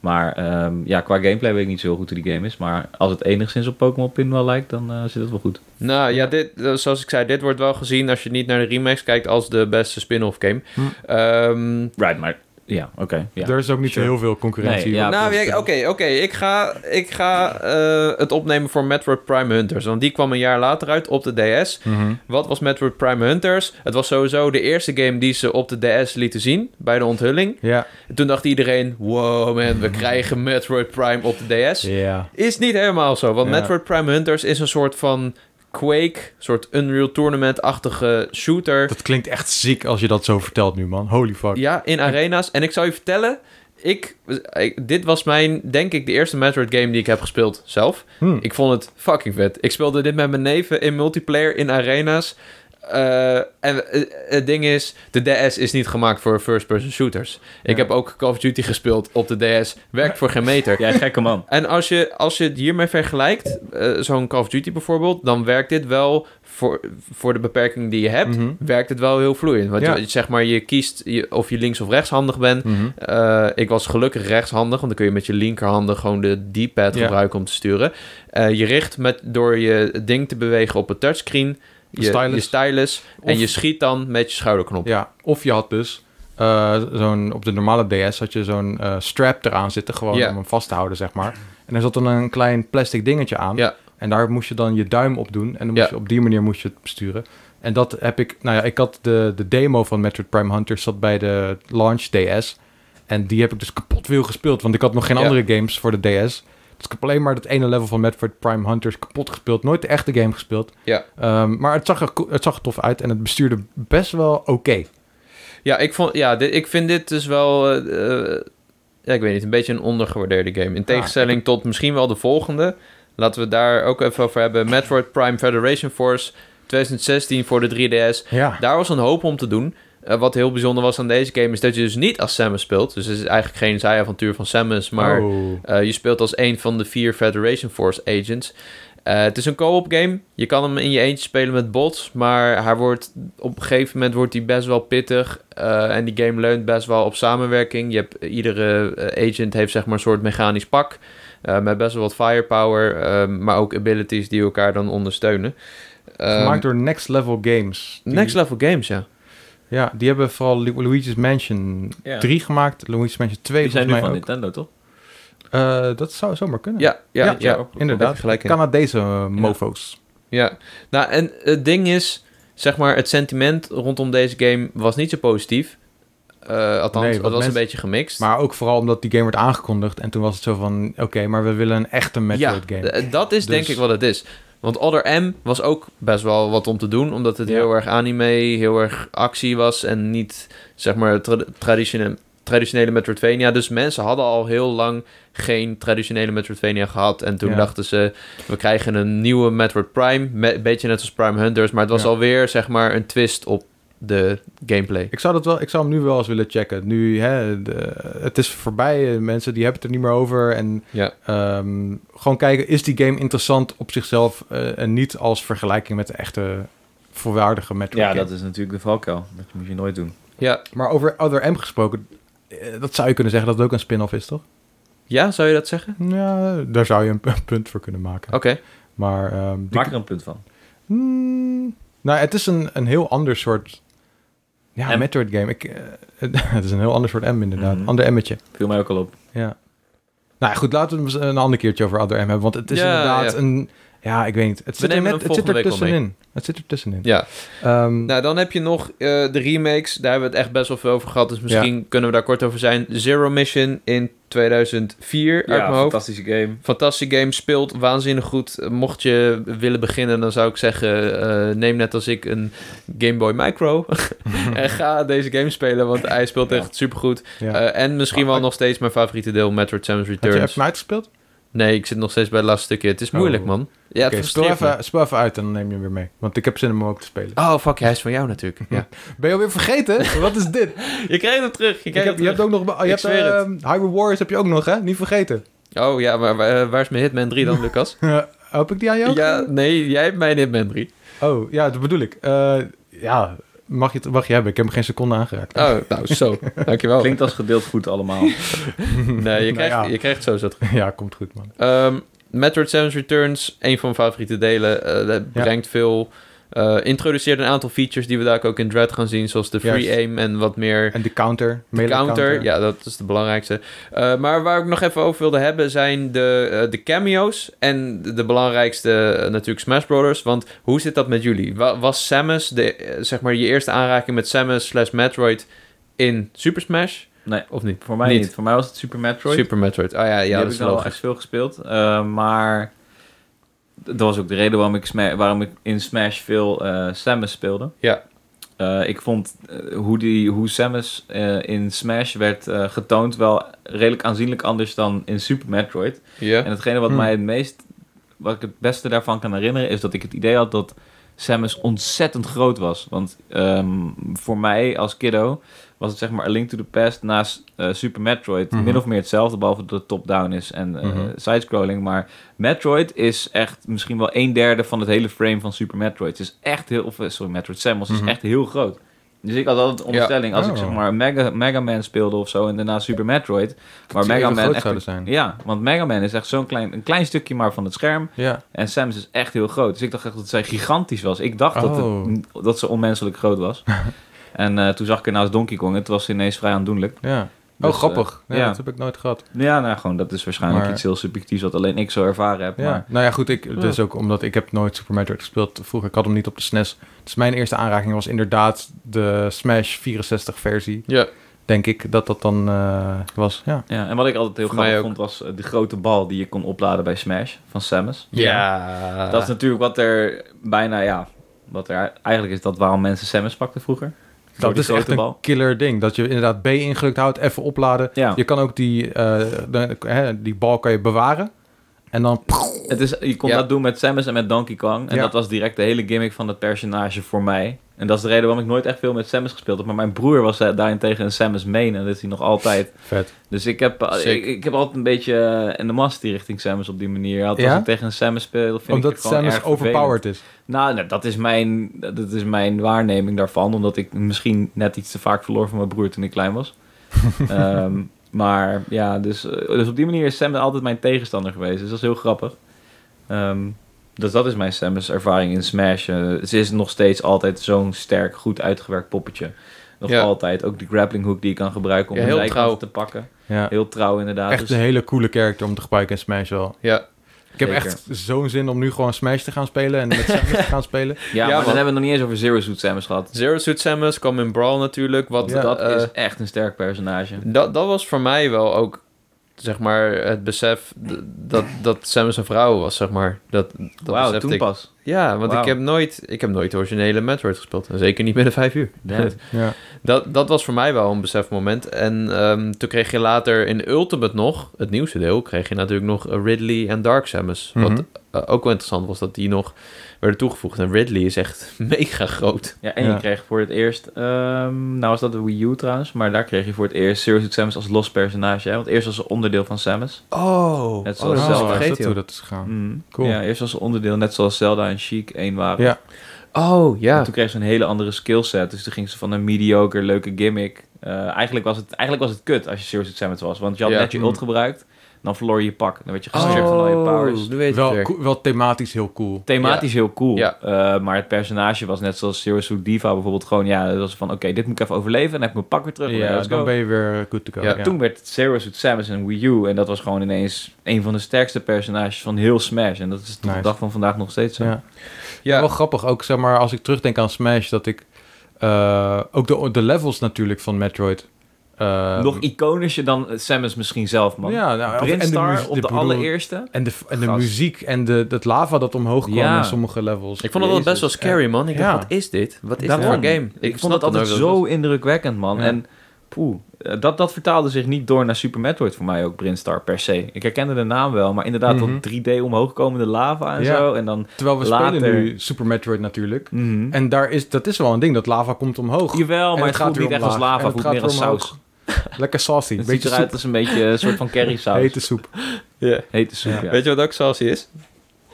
Maar ehm, ja, qua gameplay weet ik niet zo heel goed hoe die game is. Maar als het enigszins op Pokémon Pinball lijkt, dan eh, zit het wel goed.
Nou ja, dit, eh, zoals ik zei, dit wordt wel gezien als je niet naar de remakes kijkt als de beste spin-off game.
Hm.
Ehm,
Right, maar ja, oké. ja.
Er is ook niet
sure.
zo heel veel concurrentie.
Nee, ja.
nou,
dat
ja,
is-
oké, oké. Ik ga, ik ga eh, het opnemen voor Metroid Prime Hunters. Want die kwam een jaar later uit op de DS.
Mhm.
Wat was Metroid Prime Hunters? Het was sowieso de eerste game die ze op de DS lieten zien bij de onthulling.
ja.
En toen dacht iedereen: wow man, we krijgen Metroid Prime op de DS.
Ja.
Is niet helemaal zo, want
Ja.
Metroid Prime Hunters is een soort van Quake, soort Unreal Tournament-achtige shooter.
Dat klinkt echt ziek als je dat zo vertelt nu, man. Holy fuck.
Ja, in arena's. En ik zou je vertellen, ik, ik- dit was mijn, denk ik, de eerste Metroid game die ik heb gespeeld zelf.
Hm.
Ik vond het fucking vet. Ik speelde dit met mijn neven in multiplayer in arena's. Eh, en eh, het ding is, de DS is niet gemaakt voor first-person shooters.
Ja.
Ik heb ook Call of Duty gespeeld op de DS. Werkt voor geen meter.
Jij gekke man.
En als je, als je het hiermee vergelijkt, eh, zo'n Call of Duty bijvoorbeeld, dan werkt dit wel voor, voor de beperking die je hebt,
Mhm.
werkt het wel heel vloeiend. Want
Ja.
je, zeg maar, je kiest je- of je links of rechtshandig bent.
Mhm.
Eh, ik was gelukkig rechtshandig, want dan kun je met je linkerhanden gewoon de D-pad
Ja.
gebruiken om te sturen. Eh, je richt met, door je ding te bewegen op het touchscreen, je
Stylus.
stylus, je stylus en
Of-
je schiet dan met je schouderknop.
Ja, of je had dus eh, zo'n, op de normale DS had je zo'n eh, strap eraan zitten, gewoon
Ja.
om hem vast te houden, zeg maar. En er zat dan een klein plastic dingetje aan.
Ja.
En daar moest je dan je duim op doen. En dan moest
Ja.
je, op die manier moest je het besturen. En dat heb ik, nou ja, ik had de, de demo van Metroid Prime Hunters zat bij de launch DS. En die heb ik dus kapot veel gespeeld, want ik had nog geen
Ja.
andere games voor de DS. Dus ik heb alleen maar dat ene level van Metroid Prime Hunters kapot gespeeld. Nooit de echte game gespeeld.
Ja.
Ehm, maar het zag, er, ko- het zag er tof uit en het bestuurde best wel oké.
Ja, ik, vond, ja dit, ik vind dit dus wel. eh, eh, ja, ik weet niet, een beetje een ondergewaardeerde game. In tegenstelling tot misschien wel de volgende. Laten we het daar ook even over hebben. Metroid Prime Federation Force 2016 voor de 3DS.
Ja.
Daar was een hoop om te doen. Eh, wat heel bijzonder was aan deze game is dat je dus niet als Samus speelt. Dus het is eigenlijk geen zijavontuur van Samus, maar
Oh.
eh, je speelt als een van de vier Federation Force agents. Eh, het is een co-op game. Je kan hem in je eentje spelen met bots. Maar hij wordt, op een gegeven moment wordt hij best wel pittig. eh, en die game leunt best wel op samenwerking. Je hebt, iedere eh, agent heeft zeg maar een soort mechanisch pak. eh, met best wel wat firepower. eh, maar ook abilities die elkaar dan ondersteunen. Ehm,
Gemaakt door Next Level Games. Die-
Next Level Games, ja.
Ja, die hebben vooral Lu- Luigi's Mansion
Ja.
3 gemaakt. Luigi's Mansion 2
Die zijn nu
volgens
van
mij ook.
Nintendo, toch?
Eh, dat zou zomaar kunnen.
Ja, ja,
Ja,
ja.
ja,
Inderdaad.
Gelijk in.
Canadese eh, mofo's.
Ja, nou en het ding is, zeg maar, het sentiment rondom deze game was niet zo positief. Eh, althans,
Nee, want
dat was
mensen-
een beetje gemixt.
Maar ook vooral omdat die game werd aangekondigd. En toen was het zo van, oké, maar we willen een echte Metroid
ja,
game.
d- dat is
Dus-
denk ik wat het is. Want Other M was ook best wel wat om te doen, omdat het
Ja.
heel erg anime, heel erg actie was en niet, zeg maar, tra- traditione- traditionele Metroidvania. Dus mensen hadden al heel lang geen traditionele Metroidvania gehad. En toen
Ja.
dachten ze, we krijgen een nieuwe Metroid Prime, me- beetje net als Prime Hunters, maar het was
Ja.
alweer, zeg maar, een twist op de gameplay.
Ik zou, dat wel, ik zou hem nu wel eens willen checken. Nu, hè, de- het is voorbij. eh, Mensen die hebben het er niet meer over. En
Ja.
ehm, gewoon kijken, is die game interessant op zichzelf? eh, en niet als vergelijking met de echte volwaardige Metroid
Ja,
game.
dat is natuurlijk de valkuil. Dat moet je nooit doen.
Ja.
Maar over Other M gesproken, eh, dat zou je kunnen zeggen dat het ook een spin-off is, toch?
ja, zou je dat zeggen?
Ja, daar zou je een p- een punt voor kunnen maken.
Oké.
Maar ehm, die-
Maak er een punt van.
Hmm, nou, het is een, een heel ander soort ja,
M.
Metroid game. Ik, eh, het is een heel ander soort M inderdaad.
Mhm.
Ander M'tje.
Viel mij ook al op.
Ja. Nou ja, goed, laten we het eens een ander keertje over Other M hebben. Want het is
Ja,
inderdaad
ja.
een... Ja, ik weet niet. Het zit er,
nemen
net,
hem
het zit
volgende
er
week al mee.
tussenin. Het zit er tussenin.
Ja.
Ehm,
Nou, dan heb je nog eh, de remakes. Daar hebben we het echt best wel veel over gehad. Dus misschien kunnen we daar kort over zijn. Zero Mission in 2004 uit mijn hoofd.
fantastische game.
Fantastische game, speelt waanzinnig goed. Eh, Mocht je willen beginnen, dan zou ik zeggen... eh, neem net als ik een Game Boy Micro. en ga deze game spelen, want hij speelt
Ja.
echt supergoed.
ja.
Eh, en misschien wel
Ah,
nog steeds mijn favoriete deel, Metroid Samus
Had je
Returns.
even uitgespeeld?
Nee, ik zit nog steeds bij het laatste stukje. Het is moeilijk,
Oh.
man. Ja,
Oké,
het
speel,
frustreert me.
even, speel even uit en dan neem je hem weer mee. Want ik heb zin om hem ook te spelen.
Oh, fuck, hij is van jou natuurlijk. Ja.
Ben je alweer vergeten? Wat is dit?
je krijgt hem terug. Je
Ik heb-
krijgt hem
je
terug.
hebt ook nog... be- oh, Je
Ik
hebt,
zweer
ehm, Hyrule Warriors heb je ook nog, hè? Niet vergeten.
Oh ja, maar wa- eh, waar is mijn Hitman 3 dan, Lucas?
Hoop ik die aan jou?
ja, nee, jij hebt mijn Hitman 3.
Oh, ja, dat bedoel ik. Eh, ja, mag je, het- mag je hebben. Ik heb hem geen seconde aangeraakt.
Oh, nou zo. Dankjewel.
Klinkt als gedeeld goed allemaal.
Nee, je
Nou
krijgt,
ja.
je krijgt sowieso terug.
Ja, komt goed, man.
Ehm, Metroid Samus Returns, een van mijn favoriete delen. Eh, dat
Ja.
brengt veel... eh, introduceert een aantal features die we daar ook in Dread gaan zien. Zoals de free
Juist.
aim en wat meer...
En de counter.
De
melee
counter, ja, dat is de belangrijkste. Eh, maar waar ik nog even over wilde hebben zijn de, eh, de cameo's. En de, de belangrijkste eh, natuurlijk Smash Brothers. Want hoe zit dat met jullie? Wa- was Samus, de, eh, zeg maar je eerste aanraking met Samus slash Metroid in Super Smash?
Nee.
Of niet?
Voor mij niet.
Niet.
Voor mij was het Super Metroid.
Super Metroid. Ah ja,
Die
ja
heb
dat
ik
is
dan wel
logisch.
echt veel gespeeld. eh, maar dat was ook de reden waarom ik, Sma- waarom ik in Smash veel eh, Samus speelde.
Ja.
Eh, ik vond eh, hoe, die, hoe Samus eh, in Smash werd eh, getoond wel redelijk aanzienlijk anders dan in Super Metroid.
Ja.
En hetgene wat
Hmm.
mij het meest, wat ik het beste daarvan kan herinneren, is dat ik het idee had dat Samus ontzettend groot was. Want ehm, voor mij als kiddo was het zeg maar A Link to the Past naast eh, Super Metroid
Mhm.
min of meer hetzelfde, behalve dat het top-down is en eh,
Mhm.
sidescrolling. Maar Metroid is echt misschien wel een derde van het hele frame van Super Metroid. Het is echt heel, of eh, sorry, Metroid Samus
Mhm.
is echt heel groot. Dus ik had altijd de onderstelling, als ik
Oh.
zeg maar Mega, Mega Man speelde of zo en daarna Super Metroid, waar
ze
Mega
even
Man
groot
echt
zouden zijn.
ja, want Mega Man is echt zo'n klein, een klein stukje maar van het scherm.
Ja.
En Samus is echt heel groot. Dus ik dacht echt dat zij gigantisch was. Ik dacht dat, het,
Oh.
dat ze onmenselijk groot was. en eh, toen zag ik er naast Donkey Kong. Het was ineens vrij aandoenlijk.
ja. Oh,
Dus,
grappig.
eh,
ja.
ja.
Dat heb ik nooit gehad.
Ja, nou gewoon, dat is waarschijnlijk
Maar-
iets heel subjectiefs wat alleen ik zo ervaren heb.
Ja.
Maar
Nou ja, goed. Ik, dus ook omdat ik heb nooit Super Metroid gespeeld vroeger. Ik had hem niet op de SNES. Dus mijn eerste aanraking was inderdaad de Smash 64 versie.
ja.
Denk ik dat dat dan eh, was. Ja.
ja, en wat ik altijd heel
Voor mij
grappig
ook.
vond was eh, de grote bal die je kon opladen bij Smash van Samus.
Ja.
Ah.
Dat is natuurlijk wat er bijna, ja, wat er eigenlijk is dat waarom mensen Samus pakten vroeger. Door
Dat
die
is echt een killer ding. Dat je inderdaad B ingedrukt houdt, even opladen.
Ja.
Je kan ook die, eh, de- hè, die bal kan je bewaren. En dan...
Het is, je kon
Ja.
dat doen met Samus en met Donkey Kong. En
Ja.
dat was direct de hele gimmick van het personage voor mij. En dat is de reden waarom ik nooit echt veel met Samus gespeeld heb. Maar mijn broer was eh, daarentegen een Samus main. En dat is hij nog altijd.
Vet.
Dus ik heb, eh,
Sick.
ik, ik heb altijd een beetje eh, in de mast die richting Samus op die manier. Altijd
Ja?
Als ik tegen een Samus speel, vind ik
Omdat
het gewoon
Samus
erg vervelend.
overpowered is.
Nou, nou, dat, is mijn, dat is mijn waarneming daarvan. Omdat ik misschien net iets te vaak verloor van mijn broer toen ik klein was. Ehm, maar ja, dus, eh, dus op die manier is Sam altijd mijn tegenstander geweest. Dus dat is heel grappig. Ehm, dus dat is mijn Samus ervaring in Smash. Eh, ze is nog steeds altijd zo'n sterk, goed uitgewerkt poppetje. Nog
Ja.
altijd. Ook de grappling hook die je kan gebruiken om
Ja,
een
heel
zijkant
trouw.
te pakken.
Ja.
Heel trouw inderdaad.
Echt eh,
Dus-
een hele coole character om te gebruiken in Smash wel.
Ja.
Ik heb
Zeker.
echt zo'n zin om nu gewoon Smash te gaan spelen en met Samus te gaan spelen.
ja,
Ja,
maar
want-
dan hebben we het nog niet eens over Zero Suit Samus gehad.
Zero Suit Samus kwam in Brawl natuurlijk. Wat,
Want dat
eh,
is echt een sterk personage.
Dat, dat was voor mij wel ook, zeg maar, het besef d- dat, dat Samus een vrouw was, zeg maar. Dat, dat
Wauw,
besefte
toen
ik.
pas.
Ja, want
Wauw.
ik, heb nooit, ik heb nooit de originele Metroid gespeeld. En Zeker niet binnen vijf uur.
Damn.
Ja.
Dat, dat was voor mij wel een besefmoment. En ehm, toen kreeg je later in Ultimate nog, het nieuwste deel, kreeg je natuurlijk nog Ridley en Dark Samus. Wat
Mhm.
eh, ook wel interessant was, dat die nog werden toegevoegd. En Ridley is echt mega groot.
Ja, en je
Ja.
kreeg voor het eerst... ehm, nou was dat de Wii U trouwens, maar daar kreeg je voor het eerst Serious Samus als los personage. Hè? Want eerst was ze onderdeel van Samus.
Oh,
Net
Oh,
zoals
is
Zelda.
dat
vergeten,
hoe
joh.
dat is gegaan.
Mm.
Oh, Cool.
Ja, eerst was ze onderdeel, net zoals Zelda en Chic één waren.
Ja.
Oh,
En
ja.
toen kreeg ze een hele andere skillset. Dus toen ging ze van een mediocre, leuke gimmick. Eh, eigenlijk, was het, eigenlijk was het kut als je Serious Samus was. Want je had
Ja.
net je ult
Mm.
gebruikt, dan verloor je je pak. Dan werd je gestuurd van al je
Oh,
powers.
nu weet ik het
Wel,
weer.
coo- wel thematisch heel cool.
Thematisch heel cool.
Ja.
Eh, maar het personage was net zoals Serious Suit Diva bijvoorbeeld gewoon... Ja, dat was van oké, dit moet ik even overleven. En dan heb ik mijn pak weer terug.
Ja,
let's
dan
go.
ben je weer eh, good to go.
Ja,
Ja,
Toen werd Zero Suit Samus een Wii U. En dat was gewoon ineens een van de sterkste personages van heel Smash. En dat is tot de
Nice.
dag van vandaag nog steeds zo.
Ja. Wel grappig ook, zeg maar, als ik terugdenk aan Smash, dat ik eh, ook de, de levels natuurlijk van Metroid. eh,
Ehm,
nog iconischer dan Samus misschien zelf, man.
Ja, nou, en de
Brinstar
muziek-
op de
ik bedoel,
allereerste.
En de, en de
Gast.
muziek en de, het lava dat omhoog kwam
Ja.
in sommige levels.
Ik vond het wel best wel scary, man. Ik
Ja.
dacht, wat is dit? Wat is
Daarom.
dit voor game?
Ik, vond
snap
het altijd
nooit wat
zo
het
indrukwekkend, man.
Ja.
En poeh, eh, dat, dat vertaalde zich niet door naar Super Metroid voor mij ook, Brinstar, per se. Ik herkende de naam wel, maar inderdaad
Mhm.
dat 3D omhoogkomende lava en
Ja.
zo. En dan...
Terwijl we
Later.
spelen nu Super Metroid natuurlijk.
Mhm.
En daar is, dat is wel een ding, dat lava komt omhoog.
Jawel,
En het
maar het voelt
gaat weer
niet echt als
omlaag.
lava,
En
het
het
voelt
gaat
meer als
weer omhoog.
saus.
Lekker saucy.
Het ziet
beetje
eruit
soep.
als een beetje een soort van curry saus.
Hete soep.
is. Ja.
Hete soep, ja. Oh,
Weet je wat ook salsie is?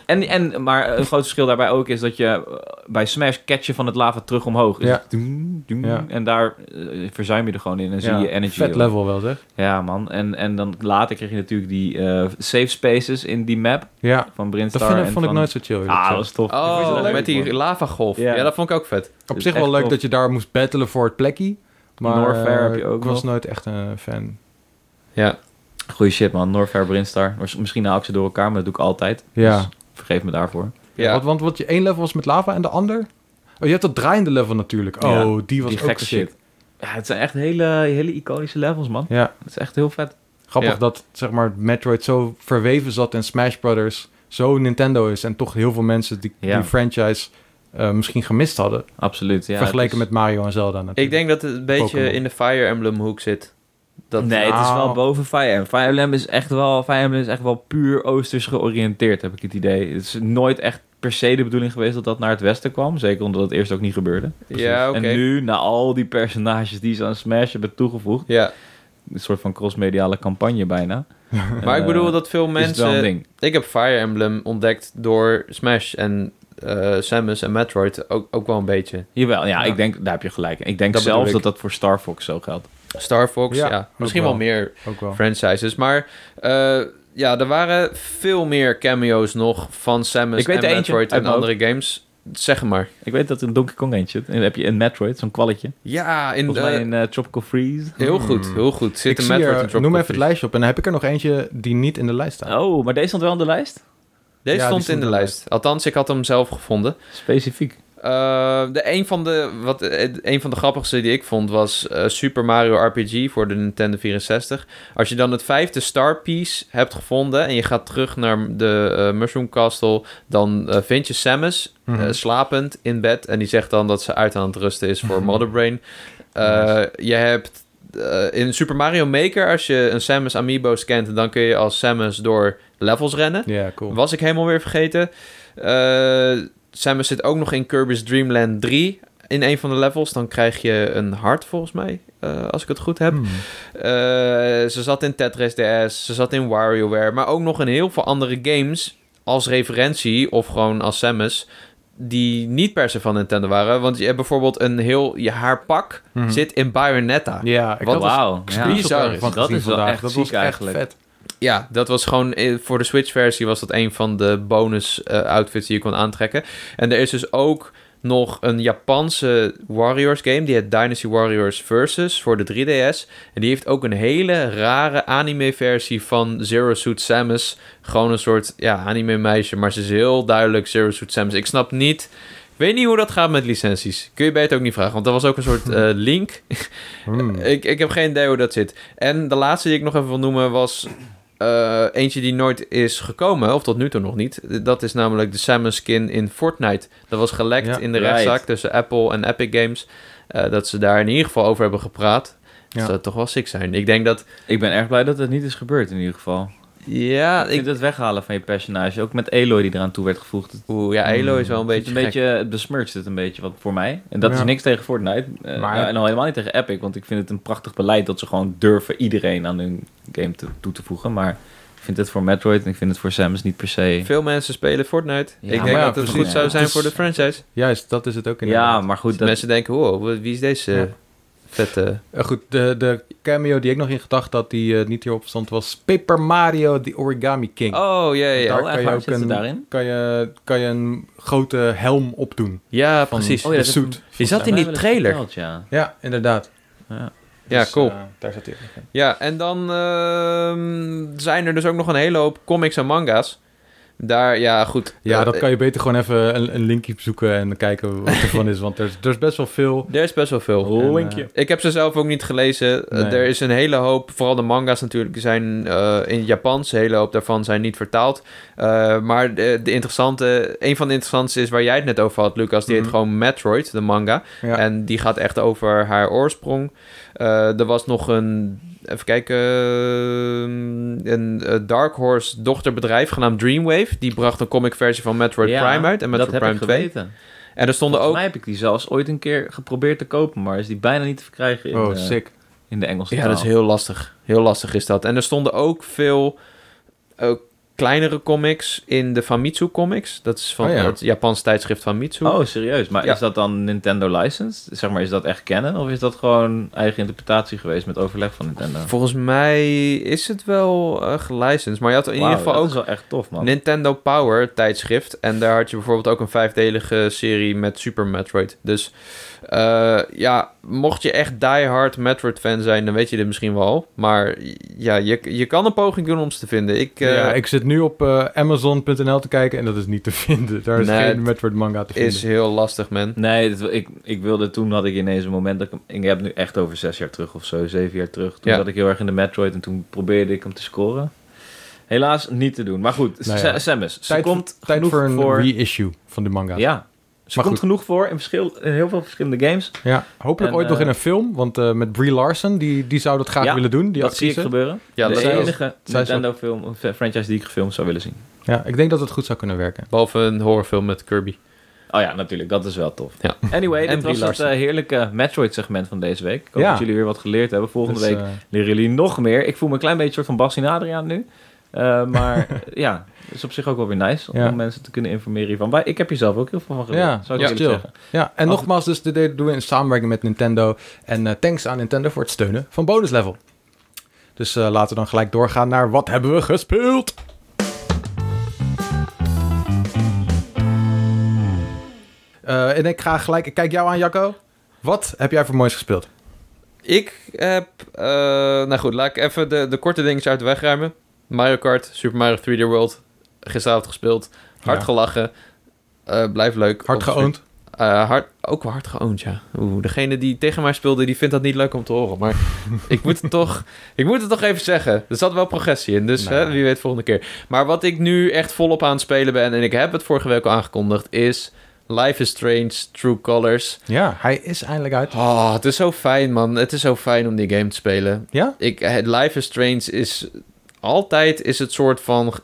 En, en, maar een groot verschil daarbij ook is dat je eh, bij Smash catch je van het lava terug omhoog. Dus
Ja.
Doem, doem.
Ja.
En daar eh, verzuim je er gewoon in en zie
Ja,
je energy.
Vet level wel, zeg.
Ja, man. En, en dan later kreeg je natuurlijk die eh, safe spaces in die map
Ja,
van
dat
Brinstar.
vind ik-
en
vond ik
van-
nooit zo chill. eerlijk
Ah, dat
gezegd.
was tof. Ik vond het
Oh,
leuk,
met die
man.
lavagolf.
Ja.
Ja, dat vond ik ook vet.
Op
is
zich wel
echt
leuk
tof.
dat je daar moest battelen voor het plekje. Maar
Norfair heb
eh,
je ook
ik was
nog.
nooit echt een fan.
Ja.
Goeie shit, man. Norfair, Brinstar. Miss- Misschien haal ik ze door elkaar, maar dat doe ik altijd.
Ja.
Dus vergeef me daarvoor.
Ja.
Want, want wat je één level was met lava en de ander? Oh, je hebt dat draaiende level natuurlijk. Oh,
Ja,
die was
die
ook
gekke
sick.
shit. Ja, het zijn echt hele, hele iconische levels, man.
Ja,
Het is echt heel vet.
grappig
Ja.
dat zeg maar Metroid zo verweven zat in Smash Brothers, zo Nintendo is en toch heel veel mensen die
Ja.
die franchise eh, misschien gemist hadden
Absoluut. Ja,
vergeleken
het
met
is-
Mario en Zelda. Natuurlijk.
Ik denk dat het een beetje
Pokémon.
in de Fire Emblem hoek zit. Dat,
nee, het is
Nou.
wel boven Fire Emblem. Fire Emblem is echt wel, Fire Emblem is echt wel puur oosters georiënteerd, heb ik het idee. Het is nooit echt per se de bedoeling geweest dat dat naar het westen kwam. Zeker omdat het eerst ook niet gebeurde.
Ja, oké.
En nu, na al die personages die ze aan Smash hebben toegevoegd...
Ja,
een soort van crossmediale campagne bijna. eh,
maar ik bedoel dat veel
Is het wel een
mensen...
ding.
Ik heb Fire Emblem ontdekt door Smash en eh, Samus en Metroid ook, ook wel een beetje.
Jawel, ja,
Ja.
ik denk, daar heb je gelijk. in. Ik denk
Dat bedoel
zelfs
ik.
dat dat voor Star Fox zo geldt.
Star Fox,
Ja,
ja.
ook
Misschien
wel.
wel meer
ook wel.
Oh. franchises. Maar eh, ja, er waren veel meer cameo's nog van Samus
Ik weet
en
er eentje
Metroid
uit
en
mijn
andere games. Zeg het maar.
Ik weet dat in Donkey Kong eentje, en dan heb je in Metroid, zo'n kwalletje.
Ja, in,
Volgens mij
de
in eh, Tropical Freeze.
heel goed, heel goed. Zit
Hmm. Ik
een
zie
Metroid
er-
en Tropical
noem even het
Freeze.
lijstje op en dan heb ik er nog eentje die niet in de lijst staat.
Oh, maar deze stond wel in de lijst?
Deze
Ja, die
stond
stond
in de
in de
lijst. Althans, ik had hem zelf gevonden.
Specifiek.
Eh, de, een, van de, wat, eh, een van de grappigste die ik vond was eh, Super Mario RPG voor de Nintendo 64. Als je dan het vijfde Star Piece hebt gevonden en je gaat terug naar de eh, Mushroom Castle, dan eh, vind je Samus
Mhm.
eh, slapend in bed en die zegt dan dat ze uit aan het rusten is voor Mother Brain. Eh, Je hebt eh, in Super Mario Maker, als je een Samus Amiibo scant, dan kun je als Samus door levels rennen.
Ja, cool.
Was ik helemaal weer vergeten. Eh, Samus zit ook nog in Kirby's Dream Land 3 in een van de levels. Dan krijg je een hart volgens mij, eh, als ik het goed heb.
Hmm.
Eh, ze zat in Tetris DS, ze zat in WarioWare, maar ook nog in heel veel andere games als referentie of gewoon als Samus die niet per se van Nintendo waren. Want je hebt bijvoorbeeld een heel... Je haar pak
Mhm.
zit in Bayonetta.
Ja, ik
Wat
had
was-
Wauw.
er screenshots
bizar
ervan gezien
is.
Dat is wel
vandaag.
echt
dat was
ziek
echt
eigenlijk.
vet.
Ja, dat was gewoon eh, voor de Switch-versie was dat een van de bonus eh, outfits die je kon aantrekken. En er is dus ook nog een Japanse Warriors game, die heet Dynasty Warriors Versus voor de 3DS. En die heeft ook een hele rare anime-versie van Zero Suit Samus. Gewoon een soort ja, anime-meisje, maar ze is heel duidelijk Zero Suit Samus. Ik snap niet. Ik weet niet hoe dat gaat met licenties. Kun je bij het ook niet vragen, want dat was ook een soort eh, link
Hmm.
Eh,
ik, ik heb geen idee hoe dat zit. En de laatste die ik nog even wil noemen was eh, eentje die nooit is gekomen, of tot nu toe nog niet. Dat is namelijk de Samus skin in Fortnite. Dat was gelekt
Ja,
in de
right.
rechtszaak tussen Apple en Epic Games. Eh, dat ze daar in ieder geval over hebben gepraat.
Ja.
Dat zou toch wel sick zijn. Ik denk dat,
Ik ben erg blij dat het niet is gebeurd in ieder geval.
ja,
Ik vind
ik,
het weghalen van je personage, ook met Eloy die eraan toe werd gevoegd. Het Mm,
oeh, ja, Elo is wel een
zit
beetje
een
gek.
beetje het besmurft het een beetje wat voor mij. En dat
Ja.
is niks tegen Fortnite. eh,
Maar-
ja, en al helemaal niet tegen Epic, want ik vind het een prachtig beleid dat ze gewoon durven iedereen aan hun game te, toe te voegen. Maar ik vind het voor Metroid en ik vind het voor Samus niet per se.
Veel mensen spelen Fortnite.
Ja,
ik
maar
denk
ja,
dat het
precies.
goed zou
Ja.
zijn
Het is-
voor de franchise.
Juist, dat is het ook inderdaad.
Ja, maar goed, dat,
Mensen denken, wow, wie is deze
Ja.
vette...
Eh, goed, de, de cameo die ik nog in gedacht had, die eh, niet hierop stond, was Paper Mario, The Origami King.
Oh, ja, ja, ja.
Daar
Oh, echt
kan je
waar?
ook
Zit ze
een-
daarin?
Kan, je, kan je een grote helm opdoen.
Ja,
Van-
precies.
Oh, ja,
dat
de
is-
suit.
Je zat in die trailer.
Verteld, ja.
Ja, inderdaad.
Ja.
Ja,
Dus,
cool.
eh, daar zat hij ook nog in.
Ja, en dan ehm, zijn er dus ook nog een hele hoop comics en manga's. Daar, ja, goed.
Ja,
Eh,
dat kan je beter gewoon even een, een linkje zoeken en kijken wat ervan is. Want er is, er is best wel veel.
Er is best wel veel.
eh,
Linkje.
Ik heb ze zelf ook niet gelezen. Eh,
Nee.
Er is een hele hoop, vooral de manga's natuurlijk, die zijn eh, in het Japans. Een hele hoop daarvan zijn niet vertaald. Eh, maar de, de interessante, een van de interessantste is waar jij het net over had, Lucas. Die
Mhm.
heet gewoon Metroid, de manga.
eh, Ja.
En die gaat echt over haar oorsprong. Eh, er was nog een, even kijken, eh, een eh, Dark Horse dochterbedrijf genaamd Dreamwave. Die bracht een comic versie van Metroid
Ja,
Prime uit en
dat
Metroid
heb
Prime
ik
2.
geweten.
En er stonden
Volgens mij
ook...
heb ik die zelfs ooit een keer geprobeerd te kopen, maar is die bijna niet te verkrijgen in,
oh,
eh,
sick.
in de Engelse
Ja,
taal.
dat is heel lastig. Heel lastig is dat. En er stonden ook veel eh, kleinere comics in de Famitsu Comics. Dat is van
Oh ja.
het Japans tijdschrift Famitsu.
Oh, serieus? Maar
Ja.
is dat dan Nintendo licensed? Zeg maar, is dat echt kennen? Of is dat gewoon eigen interpretatie geweest met overleg van Nintendo?
Volgens mij is het wel eh gelicensed. Maar je had in
Wauw,
ieder geval
dat
ook
is wel echt tof, man.
Nintendo Power tijdschrift. En daar had je bijvoorbeeld ook een vijfdelige serie met Super Metroid. Dus eh, ja, mocht je echt diehard Metroid fan zijn, dan weet je dit misschien wel. Maar ja, je, je kan een poging doen om ze te vinden. Ik, eh,
ja, ik zit nu op eh, Amazon.nl te kijken en dat is niet te vinden. Daar is
Nee,
geen
het
Metroid manga te vinden.
is heel lastig, man.
Nee, dat- ik, ik wilde toen had ik ineens een moment dat ik hem. Ik heb nu echt over zes jaar terug of zo, zeven jaar terug. Toen
Ja.
zat ik heel erg in de Metroid en toen probeerde ik hem te scoren. Helaas niet te doen. Maar goed,
Nou
nou
ja.
Samus, ze
tijd
komt
tijd
genoeg
voor een
voor.
reissue van de manga.
ja. ze
Maar
komt
goed.
genoeg voor in, verschil, in heel veel verschillende games.
Ja, hopelijk
En,
ooit nog
eh,
in een film, want eh, met Brie Larson, die, die zou dat graag
Ja,
willen doen. Die
dat zie ik
actrice.
gebeuren.
Ja, dat
de
zij is-
enige
zij is wel-
Nintendo-film of eh, franchise die ik gefilmd zou willen zien.
Ja, ik denk dat het goed zou kunnen werken.
Behalve een horrorfilm met Kirby.
Oh ja, natuurlijk, dat is wel tof.
Ja.
Anyway,
En
dit was
Brie
het eh, heerlijke Metroid-segment van deze week. Ik hoop
Ja.
dat jullie weer wat geleerd hebben. Volgende
Dus,
week
eh,
leren jullie nog meer. Ik voel me een klein beetje soort van Bas en Adriaan nu. Eh, maar ja, is op zich ook wel weer nice om
Ja.
mensen te kunnen informeren hiervan. Maar ik heb hier zelf ook heel veel van geleerd.
ja,
zou ik
ja,
eerlijk
chill.
zeggen.
Ja, en
Af-
nogmaals, dus dit deden- doen we in samenwerking met Nintendo. En eh, thanks aan Nintendo voor het steunen van Bonus Level. Dus eh, laten we dan gelijk doorgaan naar wat hebben we gespeeld? Eh, en ik ga gelijk, ik kijk jou aan, Jacco. Wat heb jij voor moois gespeeld?
Ik heb... eh, nou goed, laat ik even de, de korte dingetjes uit de weg ruimen. Mario Kart, Super Mario 3D World. Gisteravond gespeeld. Hard
Ja.
gelachen. Eh blijf leuk.
Hard
Op-
geoond.
Eh, hard, ook wel hard geoond, ja. Oeh, degene die tegen mij speelde, die vindt dat niet leuk om te horen. Maar ik, moet het toch, ik moet het toch even zeggen. Er zat wel progressie in, dus
Nou
hè,
ja.
wie weet volgende keer. Maar wat ik nu echt volop aan het spelen ben, en ik heb het vorige week al aangekondigd, is Life is Strange True Colors.
Ja, hij is eindelijk uit.
Oh, het is zo fijn, man. Het is zo fijn om die game te spelen.
Ja?
Ik, het Life is Strange is altijd is het soort van...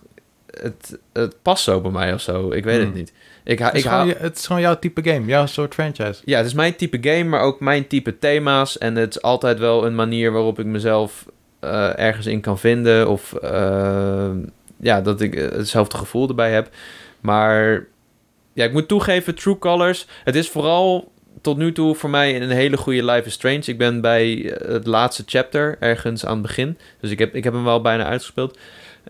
Het, het past zo bij mij of zo. Ik weet
Hmm.
het niet. Ik, ha-
Het is,
ik hou...
gewoon, je- het is gewoon jouw type game, jouw soort franchise.
Ja, het is mijn type game, maar ook mijn type thema's. En het is altijd wel een manier waarop ik mezelf eh, ergens in kan vinden. Of eh, ja, dat ik eh, hetzelfde gevoel erbij heb. Maar ja, ik moet toegeven, True Colors. Het is vooral tot nu toe voor mij een hele goede Life is Strange. Ik ben bij eh, het laatste chapter, ergens aan het begin. Dus ik heb, ik heb hem wel bijna uitgespeeld.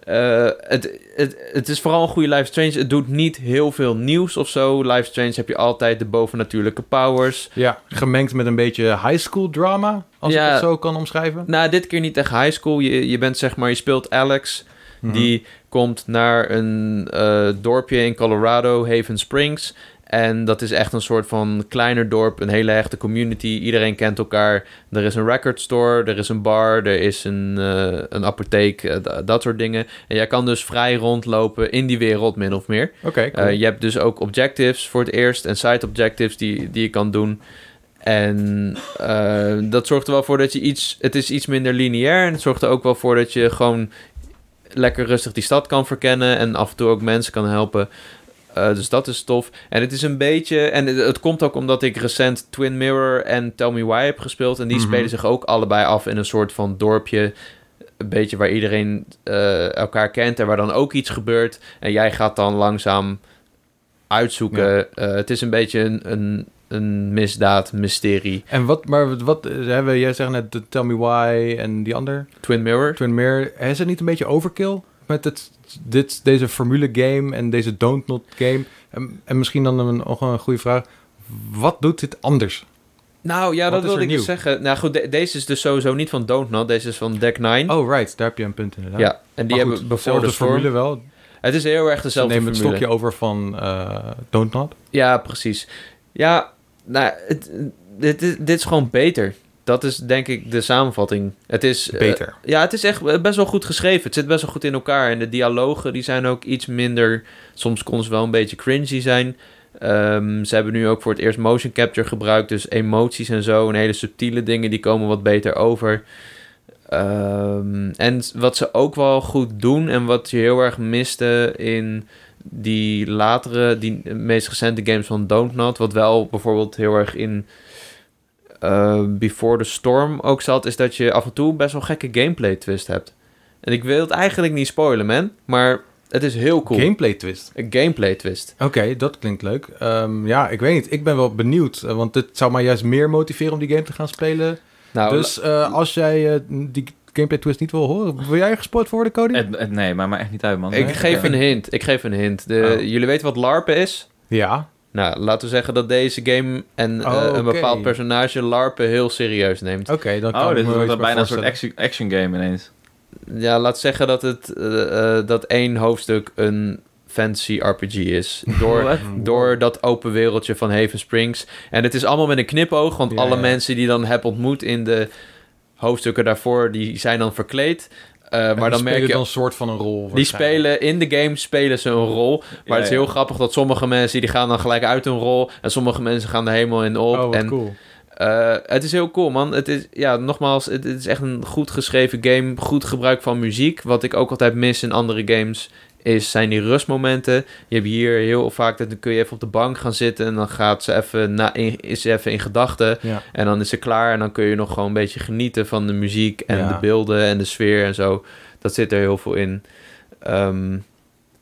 Eh, het, het, het is vooral een goede Life is Strange. Het doet niet heel veel nieuws of zo. Life is Strange heb je altijd de bovennatuurlijke powers.
Ja, gemengd met een beetje high school drama, als
Ja.
ik het zo kan omschrijven.
Nou, dit keer niet echt high school. Je, je bent zeg maar, je speelt Alex.
Mhm.
Die komt naar een eh, dorpje in Colorado, Haven Springs. En dat is echt een soort van kleiner dorp, een hele echte community. Iedereen kent elkaar. Er is een record store, er is een bar, er is een, eh, een apotheek, eh, da- dat soort dingen. En jij kan dus vrij rondlopen in die wereld, min of meer.
Oké, cool.
Eh, je hebt dus ook objectives voor het eerst en side objectives die, die je kan doen. En eh, dat zorgt er wel voor dat je iets... Het is iets minder lineair en het zorgt er ook wel voor dat je gewoon lekker rustig die stad kan verkennen en af en toe ook mensen kan helpen. Eh, dus dat is tof. En het is een beetje... En het, het komt ook omdat ik recent Twin Mirror en Tell Me Why heb gespeeld. En die
Mhm.
spelen zich ook allebei af in een soort van dorpje. Een beetje waar iedereen eh, elkaar kent en waar dan ook iets gebeurt. En jij gaat dan langzaam uitzoeken. Eh, het is een beetje een, een, een misdaad, mysterie.
En wat, maar wat- wat eh, hebben we- jij zegt net de Tell Me Why en die ander,
Twin Mirror.
Twin Mirror, is het niet een beetje overkill met het, dit, deze formule game en deze don't not game? En, en misschien dan een, nog een goede vraag, wat doet dit anders?
Nou ja,
Wat
dat
is
wilde
er
ik dus
nieuw?
zeggen. Nou goed, de- deze is dus sowieso niet van Don't Not. Deze is van Deck Nine.
Oh right, daar heb je een punt inderdaad.
Ja, en die
Maar
hebben
goed,
bijvoorbeeld
dezelfde
de
formule
formule.
wel.
Het is heel erg
Ze
dezelfde
nemen het
formule.
stokje over van eh Don't Not.
Ja, precies. Ja, nou, het, dit, is- dit is gewoon beter. Dat is denk ik de samenvatting. Het is eh,
Beter.
ja, het is echt eh, best wel goed geschreven. Het zit best wel goed in elkaar. En de dialogen die zijn ook iets minder. Soms kon ze wel een beetje cringy zijn. Ehm, ze hebben nu ook voor het eerst motion capture gebruikt. Dus emoties en zo. En hele subtiele dingen die komen wat beter over. Ehm, en wat ze ook wel goed doen. En wat je heel erg miste in die latere, die meest recente games van Don't Not. Wat wel bijvoorbeeld heel erg in eh, Before the Storm ook zat, is dat je af en toe best wel gekke gameplay twist hebt. En ik wil het eigenlijk niet spoilen, man. Maar Het is heel cool.
Gameplay twist.
Een gameplay twist.
Oké, dat klinkt leuk. Ehm, ja, ik weet niet. Ik ben wel benieuwd. eh, Want dit zou mij juist meer motiveren om die game te gaan spelen.
Nou,
dus eh, als jij eh, die gameplay twist niet wil horen, wil jij gespoord worden, Cody?
Het- het- nee, maar, maar echt niet uit, man.
ik
Nee?
geef
Oké.
een hint. Ik geef een hint. De,
Oh.
Jullie weten wat LARPen is?
Ja.
Nou, laten we zeggen dat deze game en eh,
Oh,
een
oké.
bepaald personage LARPen heel serieus neemt.
Oké, dan kan
Oh,
ik
dit
me wel
wordt
iets
dan
bij
bijna een soort
voorstellen.
action, action game ineens.
Ja, laat zeggen dat, het, eh, eh, dat één hoofdstuk een fancy RPG is. Door,
Wat?
door dat open wereldje van Haven Springs. En het is allemaal met een knipoog, want
Ja,
alle
ja.
mensen die dan heb ontmoet in de hoofdstukken daarvoor, die zijn dan verkleed. Eh,
En
maar
die
dan merk
spelen
je,
dan een soort van een rol.
die
waarschijnlijk.
spelen in de game spelen ze een rol. Maar
Ja,
het is heel
ja.
grappig dat sommige mensen die gaan dan gelijk uit hun rol en sommige mensen gaan er helemaal in op.
Oh, wat
en
cool.
eh, het is heel cool, man. Het is, ja, nogmaals, het, het is echt een goed geschreven game. Goed gebruik van muziek. Wat ik ook altijd mis in andere games is, zijn die rustmomenten. Je hebt hier heel vaak dat dan kun je even op de bank gaan zitten... en dan gaat ze even, na, in, is ze even in gedachten.
Ja.
En dan is ze klaar en dan kun je nog gewoon een beetje genieten van de muziek... en
Ja.
de beelden en de sfeer en zo. Dat zit er heel veel in. Ehm,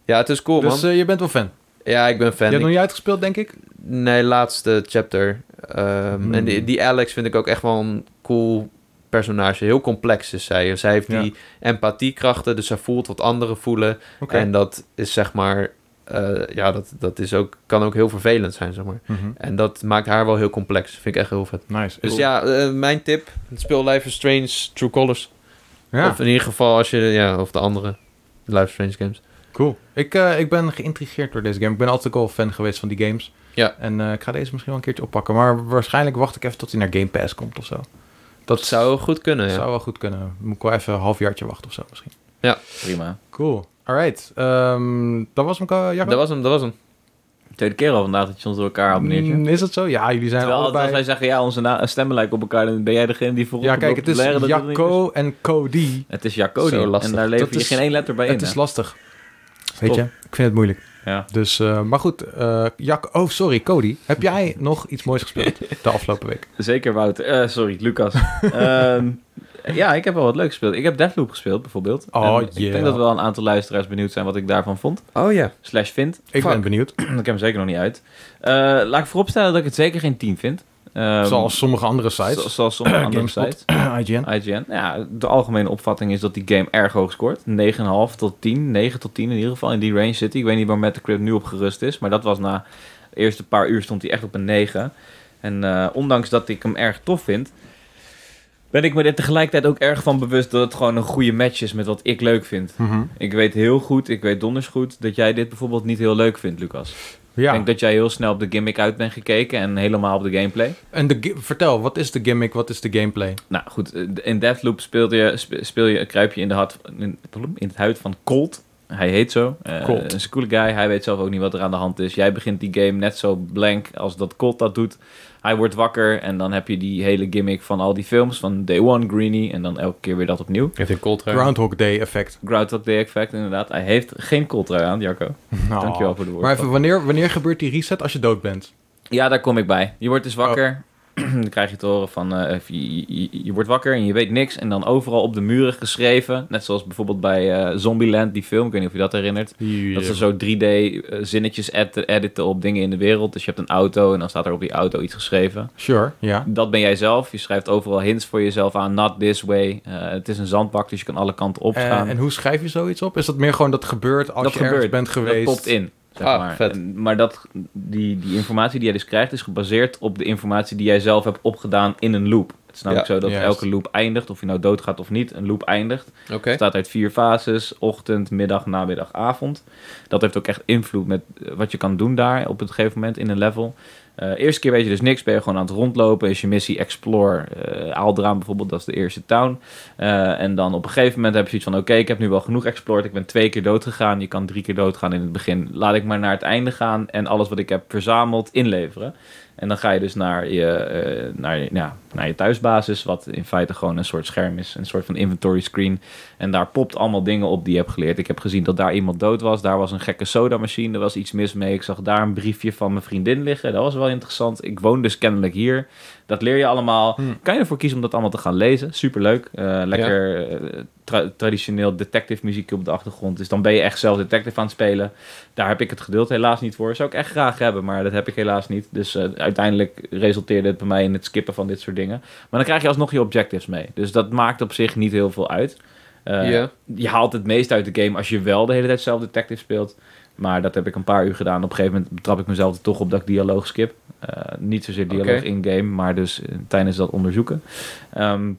ja, het is cool,
dus
man.
eh, je bent wel fan.
Ja, ik ben
je
fan.
hebt
Ik-
nog niet uitgespeeld, denk ik?
Nee, laatste chapter. Ehm,
Hmm.
En die, die Alex vind ik ook echt wel een cool personage. Heel complex is zij. Zij heeft
Ja.
die empathiekrachten, dus zij voelt wat anderen voelen.
Oké.
En dat is zeg maar... eh, ja, dat, dat is ook, kan ook heel vervelend zijn, zeg maar.
Mhm.
En dat maakt haar wel heel complex. Vind ik echt heel vet.
Nice.
Dus
Cool.
ja, eh, mijn tip. Speel Life is Strange True Colors.
Ja.
Of in ieder geval als je... Ja, of de andere Life is Strange games.
Cool. Ik, eh, ik ben geïntrigeerd door deze game. Ik ben altijd ook al fan geweest van die games.
Ja.
En eh, ik ga deze misschien wel een keertje oppakken. Maar waarschijnlijk wacht ik even tot hij naar Game Pass komt of zo.
Dat zou goed kunnen, ja.
zou wel goed kunnen. Moet ik wel even een halfjaartje wachten of zo misschien.
Prima.
Cool. Alright. Ehm dat was hem, Ka- Jacco?
Dat was hem, dat was hem.
Tweede keer al vandaag dat je ons door elkaar abonneert.
Mm, Is dat zo? Ja, jullie zijn
Terwijl altijd als
allebei...
wij zeggen, ja, onze na- eh, stemmen lijken op elkaar, dan ben jij degene die voorop
Ja, kijk,
loopt
het
te
is
leren dat het niet
Jacco en Cody.
is. Het is Jacco,
Zo lastig.
en daar lever
Dat
je
is-
geen één letter bij in.
Het is
hè?
lastig. Weet je, ik vind het moeilijk.
Ja.
Dus, eh, maar goed, eh Jac- Oh, sorry, Cody. Heb jij nog iets moois gespeeld de afgelopen week?
Zeker, Wouter. Eh, sorry, Lucas. Ehm, ja, ik heb wel wat leuk gespeeld. Ik heb Deathloop gespeeld, bijvoorbeeld.
Oh,
En Ik
yeah.
denk dat wel een aantal luisteraars benieuwd zijn wat ik daarvan vond.
Oh ja.
Slash vind.
Ik
Fuck.
ben benieuwd.
ik heb hem zeker nog niet uit. Eh, laat ik vooropstellen dat ik het zeker geen 10 vind. Ehm,
Zoals sommige andere
zo-
sites.
zoals sommige andere
GameSpot.
sites.
IGN.
IGN. Ja, de algemene opvatting is dat die game erg hoog scoort. 9,5 tot 10. 9 tot 10 in ieder geval. In die range zit hij. Ik weet niet waar Metacritic nu op gerust is. Maar dat was na de eerste paar uur stond hij echt op een 9. En eh, ondanks dat ik hem erg tof vind... ben ik me er tegelijkertijd ook erg van bewust... dat het gewoon een goede match is met wat ik leuk vind.
Mhm.
Ik weet heel goed, ik weet donders goed... dat jij dit bijvoorbeeld niet heel leuk vindt, Lucas. Ik
Ja,
denk dat jij heel snel op de gimmick uit bent gekeken... en helemaal op de gameplay.
en de gi- vertel, wat is de gimmick, wat is de gameplay?
Nou goed, eh, in Deathloop speel je, sp- speel je, kruip je in, de hart, in, in het huid van Colt. Hij heet zo. Eh,
Colt.
Een coole guy. Hij weet zelf ook niet wat er aan de hand is. Jij begint die game net zo blank als dat Colt dat doet. Hij wordt wakker en dan heb je die hele gimmick van al die films. Van Day One, Greenie en dan elke keer weer dat opnieuw.
Heeft een cold
Groundhog Day effect.
Groundhog Day Effect, inderdaad. Hij heeft geen Colt aan, Jacco.
Nou.
Dankjewel voor de woord.
Maar even, wanneer, wanneer gebeurt die reset als je dood bent?
Ja, daar kom ik bij. Je wordt dus
Oh.
wakker. dan krijg je te horen van... eh, of je, je- je, je wordt wakker en je weet niks. En dan overal op de muren geschreven. Net zoals bijvoorbeeld bij eh Zombieland, die film. Ik weet niet of je dat herinnert. Dat ze zo 3D eh, zinnetjes ed- editen op dingen in de wereld. Dus je hebt een auto en dan staat er op die auto iets geschreven.
Sure, ja.
Dat ben jij zelf. Je schrijft overal hints voor jezelf aan. Not this way. Eh, het is een zandbak, dus je kan alle kanten op
Eh,
gaan.
en hoe schrijf je zoiets op? Is dat meer gewoon dat gebeurt als je ergens bent geweest?
Dat popt in. Zeg
Ah,
maar
vet.
En- maar dat, die, die informatie die jij dus krijgt is gebaseerd op de informatie die jij zelf hebt opgedaan in een loop. Het is namelijk
Ja,
zo dat
juist.
elke loop eindigt, of je nou doodgaat of niet, een loop eindigt. Het
Oké.
bestaat uit vier fases, ochtend, middag, namiddag, avond. Dat heeft ook echt invloed met eh, wat je kan doen daar op een gegeven moment in een level. Eh eerste keer weet je dus niks, ben je gewoon aan het rondlopen. Is je missie Explore, eh Aaldraam bijvoorbeeld, dat is de eerste town. Eh, en dan op een gegeven moment heb je zoiets van... oké, ik heb nu wel genoeg explored. Ik ben twee keer dood gegaan. Je kan drie keer doodgaan in het begin. Laat ik maar naar het einde gaan... en alles wat ik heb verzameld inleveren. En dan ga je dus naar je, eh, naar, je- ja, naar je thuisbasis, wat in feite gewoon een soort scherm is, een soort van inventory screen. En daar popt allemaal dingen op die je hebt geleerd. Ik heb gezien dat daar iemand dood was, daar was een gekke sodamachine, er was iets mis mee. Ik zag daar een briefje van mijn vriendin liggen, dat was wel interessant. Ik woon dus kennelijk hier. Dat leer je allemaal.
Hmm.
Kan je ervoor kiezen om dat allemaal te gaan lezen? Superleuk. Eh, lekker eh, tra- traditioneel detective muziekje op de achtergrond. Dus dan ben je echt zelf detective aan het spelen. Daar heb ik het geduld helaas niet voor. Zou ik echt graag hebben, maar dat heb ik helaas niet. Dus eh, uiteindelijk resulteerde het bij mij in het skippen van dit soort dingen. Maar dan krijg je alsnog je objectives mee. Dus dat maakt op zich niet heel veel uit. Eh,
Ja.
Je haalt het meest uit de game als je wel de hele tijd zelf detective speelt. Maar dat heb ik een paar uur gedaan. Op een gegeven moment betrap ik mezelf er toch op dat ik dialoog skip. Eh, niet zozeer dialoog
Oké.
in-game, maar dus eh, tijdens dat onderzoeken. Ehm, maar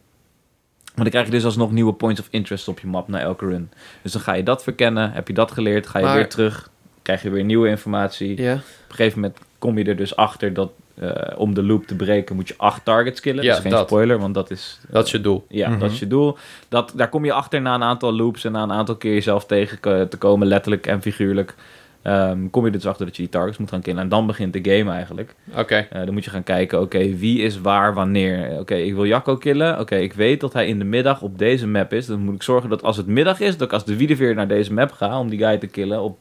dan krijg je dus alsnog nieuwe points of interest op je map na elke run. Dus dan ga je dat verkennen. Heb je dat geleerd, ga je
Maar-
weer terug. Krijg je weer nieuwe informatie.
Ja.
Op een gegeven moment kom je er dus achter dat eh, om de loop te breken moet je acht targets killen.
Ja,
dat is geen
dat.
spoiler, want dat is... eh,
Dat is je doel.
Ja,
Mhm.
dat is je doel. Dat, daar kom je achter na een aantal loops en na een aantal keer jezelf tegen ke- te komen, letterlijk en figuurlijk. ehm, kom je er dus achter dat je die targets moet gaan killen. En dan begint de game eigenlijk.
Oké.
Eh, dan moet je gaan kijken, oké, wie is waar wanneer? Oké, ik wil Jacco killen. Oké, ik weet dat hij in de middag op deze map is. Dan moet ik zorgen dat als het middag is, dat ik als de wiedeveer naar deze map ga om die guy te killen op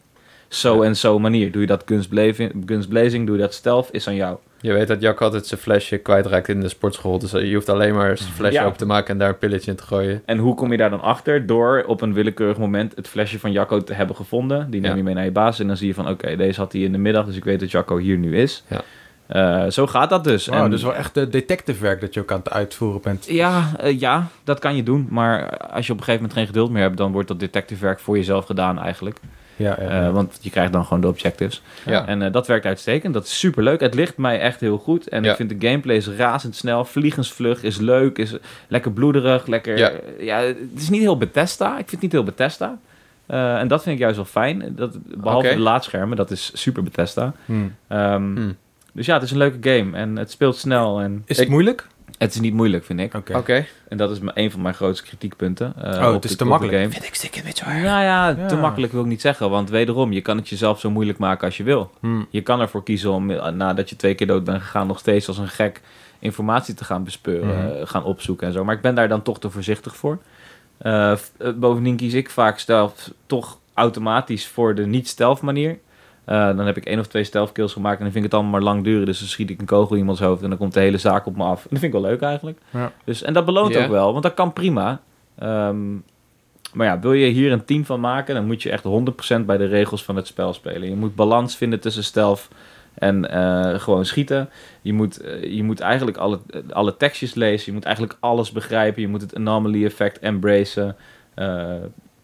zo en zo manier. Doe je dat kunstblazing, kunstblazing doe je dat stealth, is aan jou.
Je weet dat Jack altijd zijn flesje kwijtraakt in de sportschool. Dus eh, je hoeft alleen maar zijn flesje
Ja.
open te maken en daar een pilletje in te gooien.
En hoe kom je daar dan achter? Door op een willekeurig moment het flesje van Jacco te hebben gevonden. Die neem
Ja.
je mee naar je baas en dan zie je van, oké, deze had hij in de middag, dus ik weet dat Jacco hier nu is.
Ja. Ah,
Eh, zo gaat dat dus.
Wauw,
En-
dus wel echt eh, detective werk dat je ook aan het uitvoeren bent.
Ja, eh, ja, dat kan je doen. Maar als je op een gegeven moment geen geduld meer hebt, dan wordt dat detectivewerk voor jezelf gedaan eigenlijk.
Ja, ja, ja.
Eh, want je krijgt dan gewoon de objectives.
Ja.
En eh, dat werkt uitstekend. Dat is superleuk. Het ligt mij echt heel goed. En
Ja.
ik vind de gameplay is razendsnel, vliegensvlug, is leuk, is lekker bloederig, lekker... eh,
Ja.
Ja. het is niet heel Bethesda. Ik vind het niet heel Bethesda. Eh, en dat vind ik juist wel fijn. Dat, behalve
Oké.
de laadschermen, dat is super Bethesda.
Hm.
Ehm,
Hmm.
Dus ja, het is een leuke game. En het speelt snel. En
Is het
Ik-
moeilijk?
het is niet moeilijk, vind ik.
Oké.
Oké.
En dat is m- een van mijn grootste kritiekpunten. eh,
Oh,
op
het is
de-
te
op de
makkelijk.
game.
Vind ik stikken met
Nou ja, te
Ja.
makkelijk wil ik niet zeggen. Want wederom, je kan het jezelf zo moeilijk maken als je wil.
Hm.
Je kan ervoor kiezen om eh, nadat je twee keer dood bent gegaan... nog steeds als een gek informatie te gaan bespeuren,
Mhm.
eh, gaan opzoeken en zo. Maar ik ben daar dan toch te voorzichtig voor. Eh, f- eh, bovendien kies ik vaak stealth toch automatisch voor de niet-stealth manier. Eh, dan heb ik één of twee stealth kills gemaakt en dan vind ik het allemaal maar lang duren. Dus dan schiet ik een kogel in iemands hoofd en dan komt de hele zaak op me af. En dat vind ik wel leuk eigenlijk.
Ja.
Dus, en dat beloont
Ja.
ook wel, want dat kan prima. Ehm, maar ja, wil je hier een team van maken, dan moet je echt 100% bij de regels van het spel spelen. Je moet balans vinden tussen stealth en eh, gewoon schieten. Je moet, eh, je moet eigenlijk alle, alle tekstjes lezen. Je moet eigenlijk alles begrijpen. Je moet het anomaly effect embracen. Eh,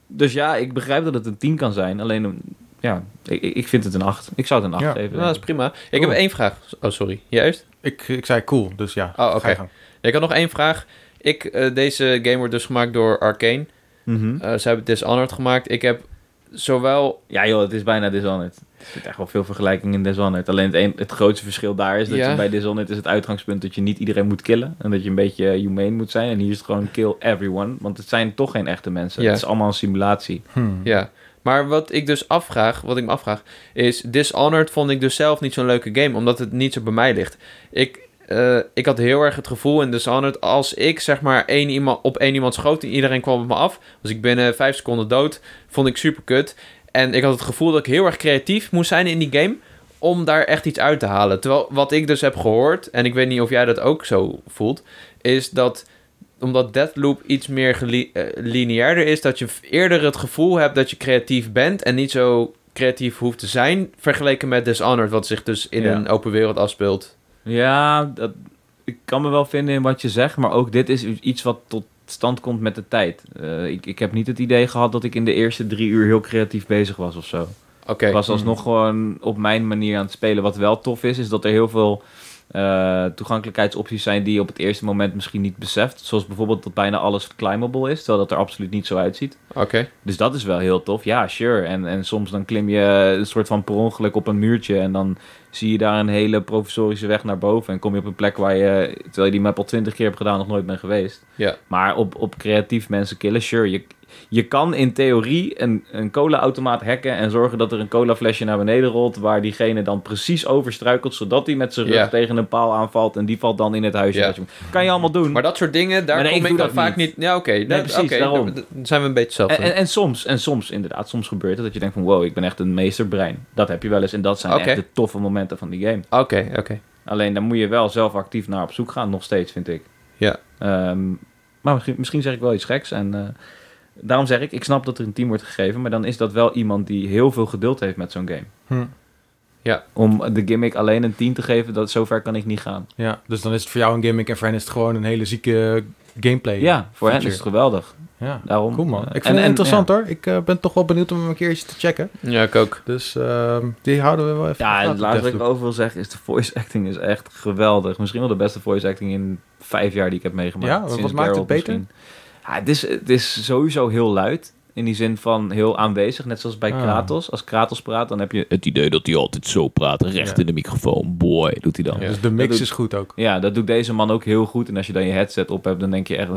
dus ja, ik begrijp dat het een 10 kan zijn. Alleen, een- ja, ik, ik ik vind het een 8. Ik zou het een 8
Ja.
geven.
Nou, dat is prima. Ik
Cool.
heb één vraag. Oh, sorry. Juist?
Ik, ik zei cool, dus ja.
Oh, oké.
ga je gang.
Ik had nog één vraag. Ik, eh, deze game wordt dus gemaakt door Arkane.
Mhm.
Eh, ze hebben Dishonored gemaakt. Ik heb zowel...
Ja joh, het is bijna Dishonored. Er zit echt wel veel vergelijking in Dishonored. Alleen het, een- het grootste verschil daar is dat
Ja.
je bij Dishonored is het uitgangspunt dat je niet iedereen moet killen. En dat je een beetje eh, humane moet zijn. En hier is het gewoon kill everyone. Want het zijn toch geen echte mensen.
Ja.
Het is allemaal een simulatie.
Hm.
Ja. Maar wat ik dus afvraag, wat ik me afvraag, is Dishonored vond ik dus zelf niet zo'n leuke game, omdat het niet zo bij mij ligt. Ik, eh, ik had heel erg het gevoel in Dishonored, als ik zeg maar één iemand, op één iemand schoot en iedereen kwam op me af, was ik binnen vijf seconden dood, vond ik super kut. En ik had het gevoel dat ik heel erg creatief moest zijn in die game, om daar echt iets uit te halen. Terwijl wat ik dus heb gehoord, en ik weet niet of jij dat ook zo voelt, is dat omdat Deathloop iets meer geli- eh, lineairder is, dat je v- eerder het gevoel hebt dat je creatief bent en niet zo creatief hoeft te zijn, vergeleken met Dishonored, wat zich dus in
Ja.
een open wereld afspeelt.
Ja, dat, ik kan me wel vinden in wat je zegt, maar ook dit is iets wat tot stand komt met de tijd. Eh, ik, ik heb niet het idee gehad dat ik in de eerste drie uur heel creatief bezig was of zo.
Oké,
Ik was alsnog gewoon op mijn manier aan het spelen. Wat wel tof is, is dat er heel veel eh, toegankelijkheidsopties zijn die je op het eerste moment misschien niet beseft. Zoals bijvoorbeeld dat bijna alles climbable is, terwijl dat er absoluut niet zo uitziet.
oké.
Dus dat is wel heel tof. Ja, sure. En, en soms dan klim je een soort van per ongeluk op een muurtje. En dan zie je daar een hele provisorische weg naar boven. En kom je op een plek waar je, terwijl je die map al twintig keer hebt gedaan, nog nooit bent geweest.
Ja.
Maar op, op creatief mensen killen, sure. Je, je kan in theorie een, een cola-automaat hacken en zorgen dat er een colaflesje naar beneden rolt, waar diegene dan precies over struikelt, zodat hij met zijn rug
Ja.
tegen een paal aanvalt en die valt dan in het huisje.
Ja.
uit je- Kan je allemaal doen.
Maar dat soort dingen, daar
Maar nee,
kom
ik
ik
doe
dan
dat
vaak niet. Ja, oké. dat-
precies,
oké,
daarom.
Dan dan zijn we een beetje zelf.
En, en,
eh,
en soms, en soms inderdaad, soms gebeurt het dat je denkt van wow, ik ben echt een meesterbrein. Dat heb je wel eens en dat zijn
Oké.
echt de toffe momenten van die game.
Oké, oké.
Alleen daar moet je wel zelf actief naar op zoek gaan, nog steeds vind ik.
Ja.
Ehm, maar misschien, misschien zeg ik wel iets geks en eh, daarom zeg ik, ik snap dat er een team wordt gegeven, maar dan is dat wel iemand die heel veel geduld heeft met zo'n game.
Hm.
Om de gimmick alleen een 10 te geven, dat zover kan ik niet gaan.
Ja, dus dan is het voor jou een gimmick en voor hen is het gewoon een hele zieke gameplay.
ja, voor hen is
feature.
het geweldig.
ja.
Daarom,
Cool man.
eh,
Ik vind
en-
het
en-
interessant hoor. Ik eh, ben toch wel benieuwd om hem een keertje te checken.
Ja, ik ook.
Dus ehm, die houden we wel even. in
Ja,
de
en
gaten,
het laatste wat ik
Deathloop.
over wil zeggen is de voice acting is echt geweldig. Misschien wel de beste voice acting in vijf jaar die ik heb meegemaakt.
Ja, wat
Sinds
maakt het
Geralt
beter?
misschien. Ja, het, is, het is sowieso heel luid. In die zin van heel aanwezig, net zoals bij
Ah.
Kratos. Als Kratos praat, dan heb je...
Het idee dat hij altijd zo praat, recht
Ja.
in de microfoon. Boy, doet hij dan.
Ja,
Ja.
Dus de mix
Dat
is goed ook.
Ja, dat doet deze man ook heel goed. En als je dan je headset op hebt, dan denk je echt...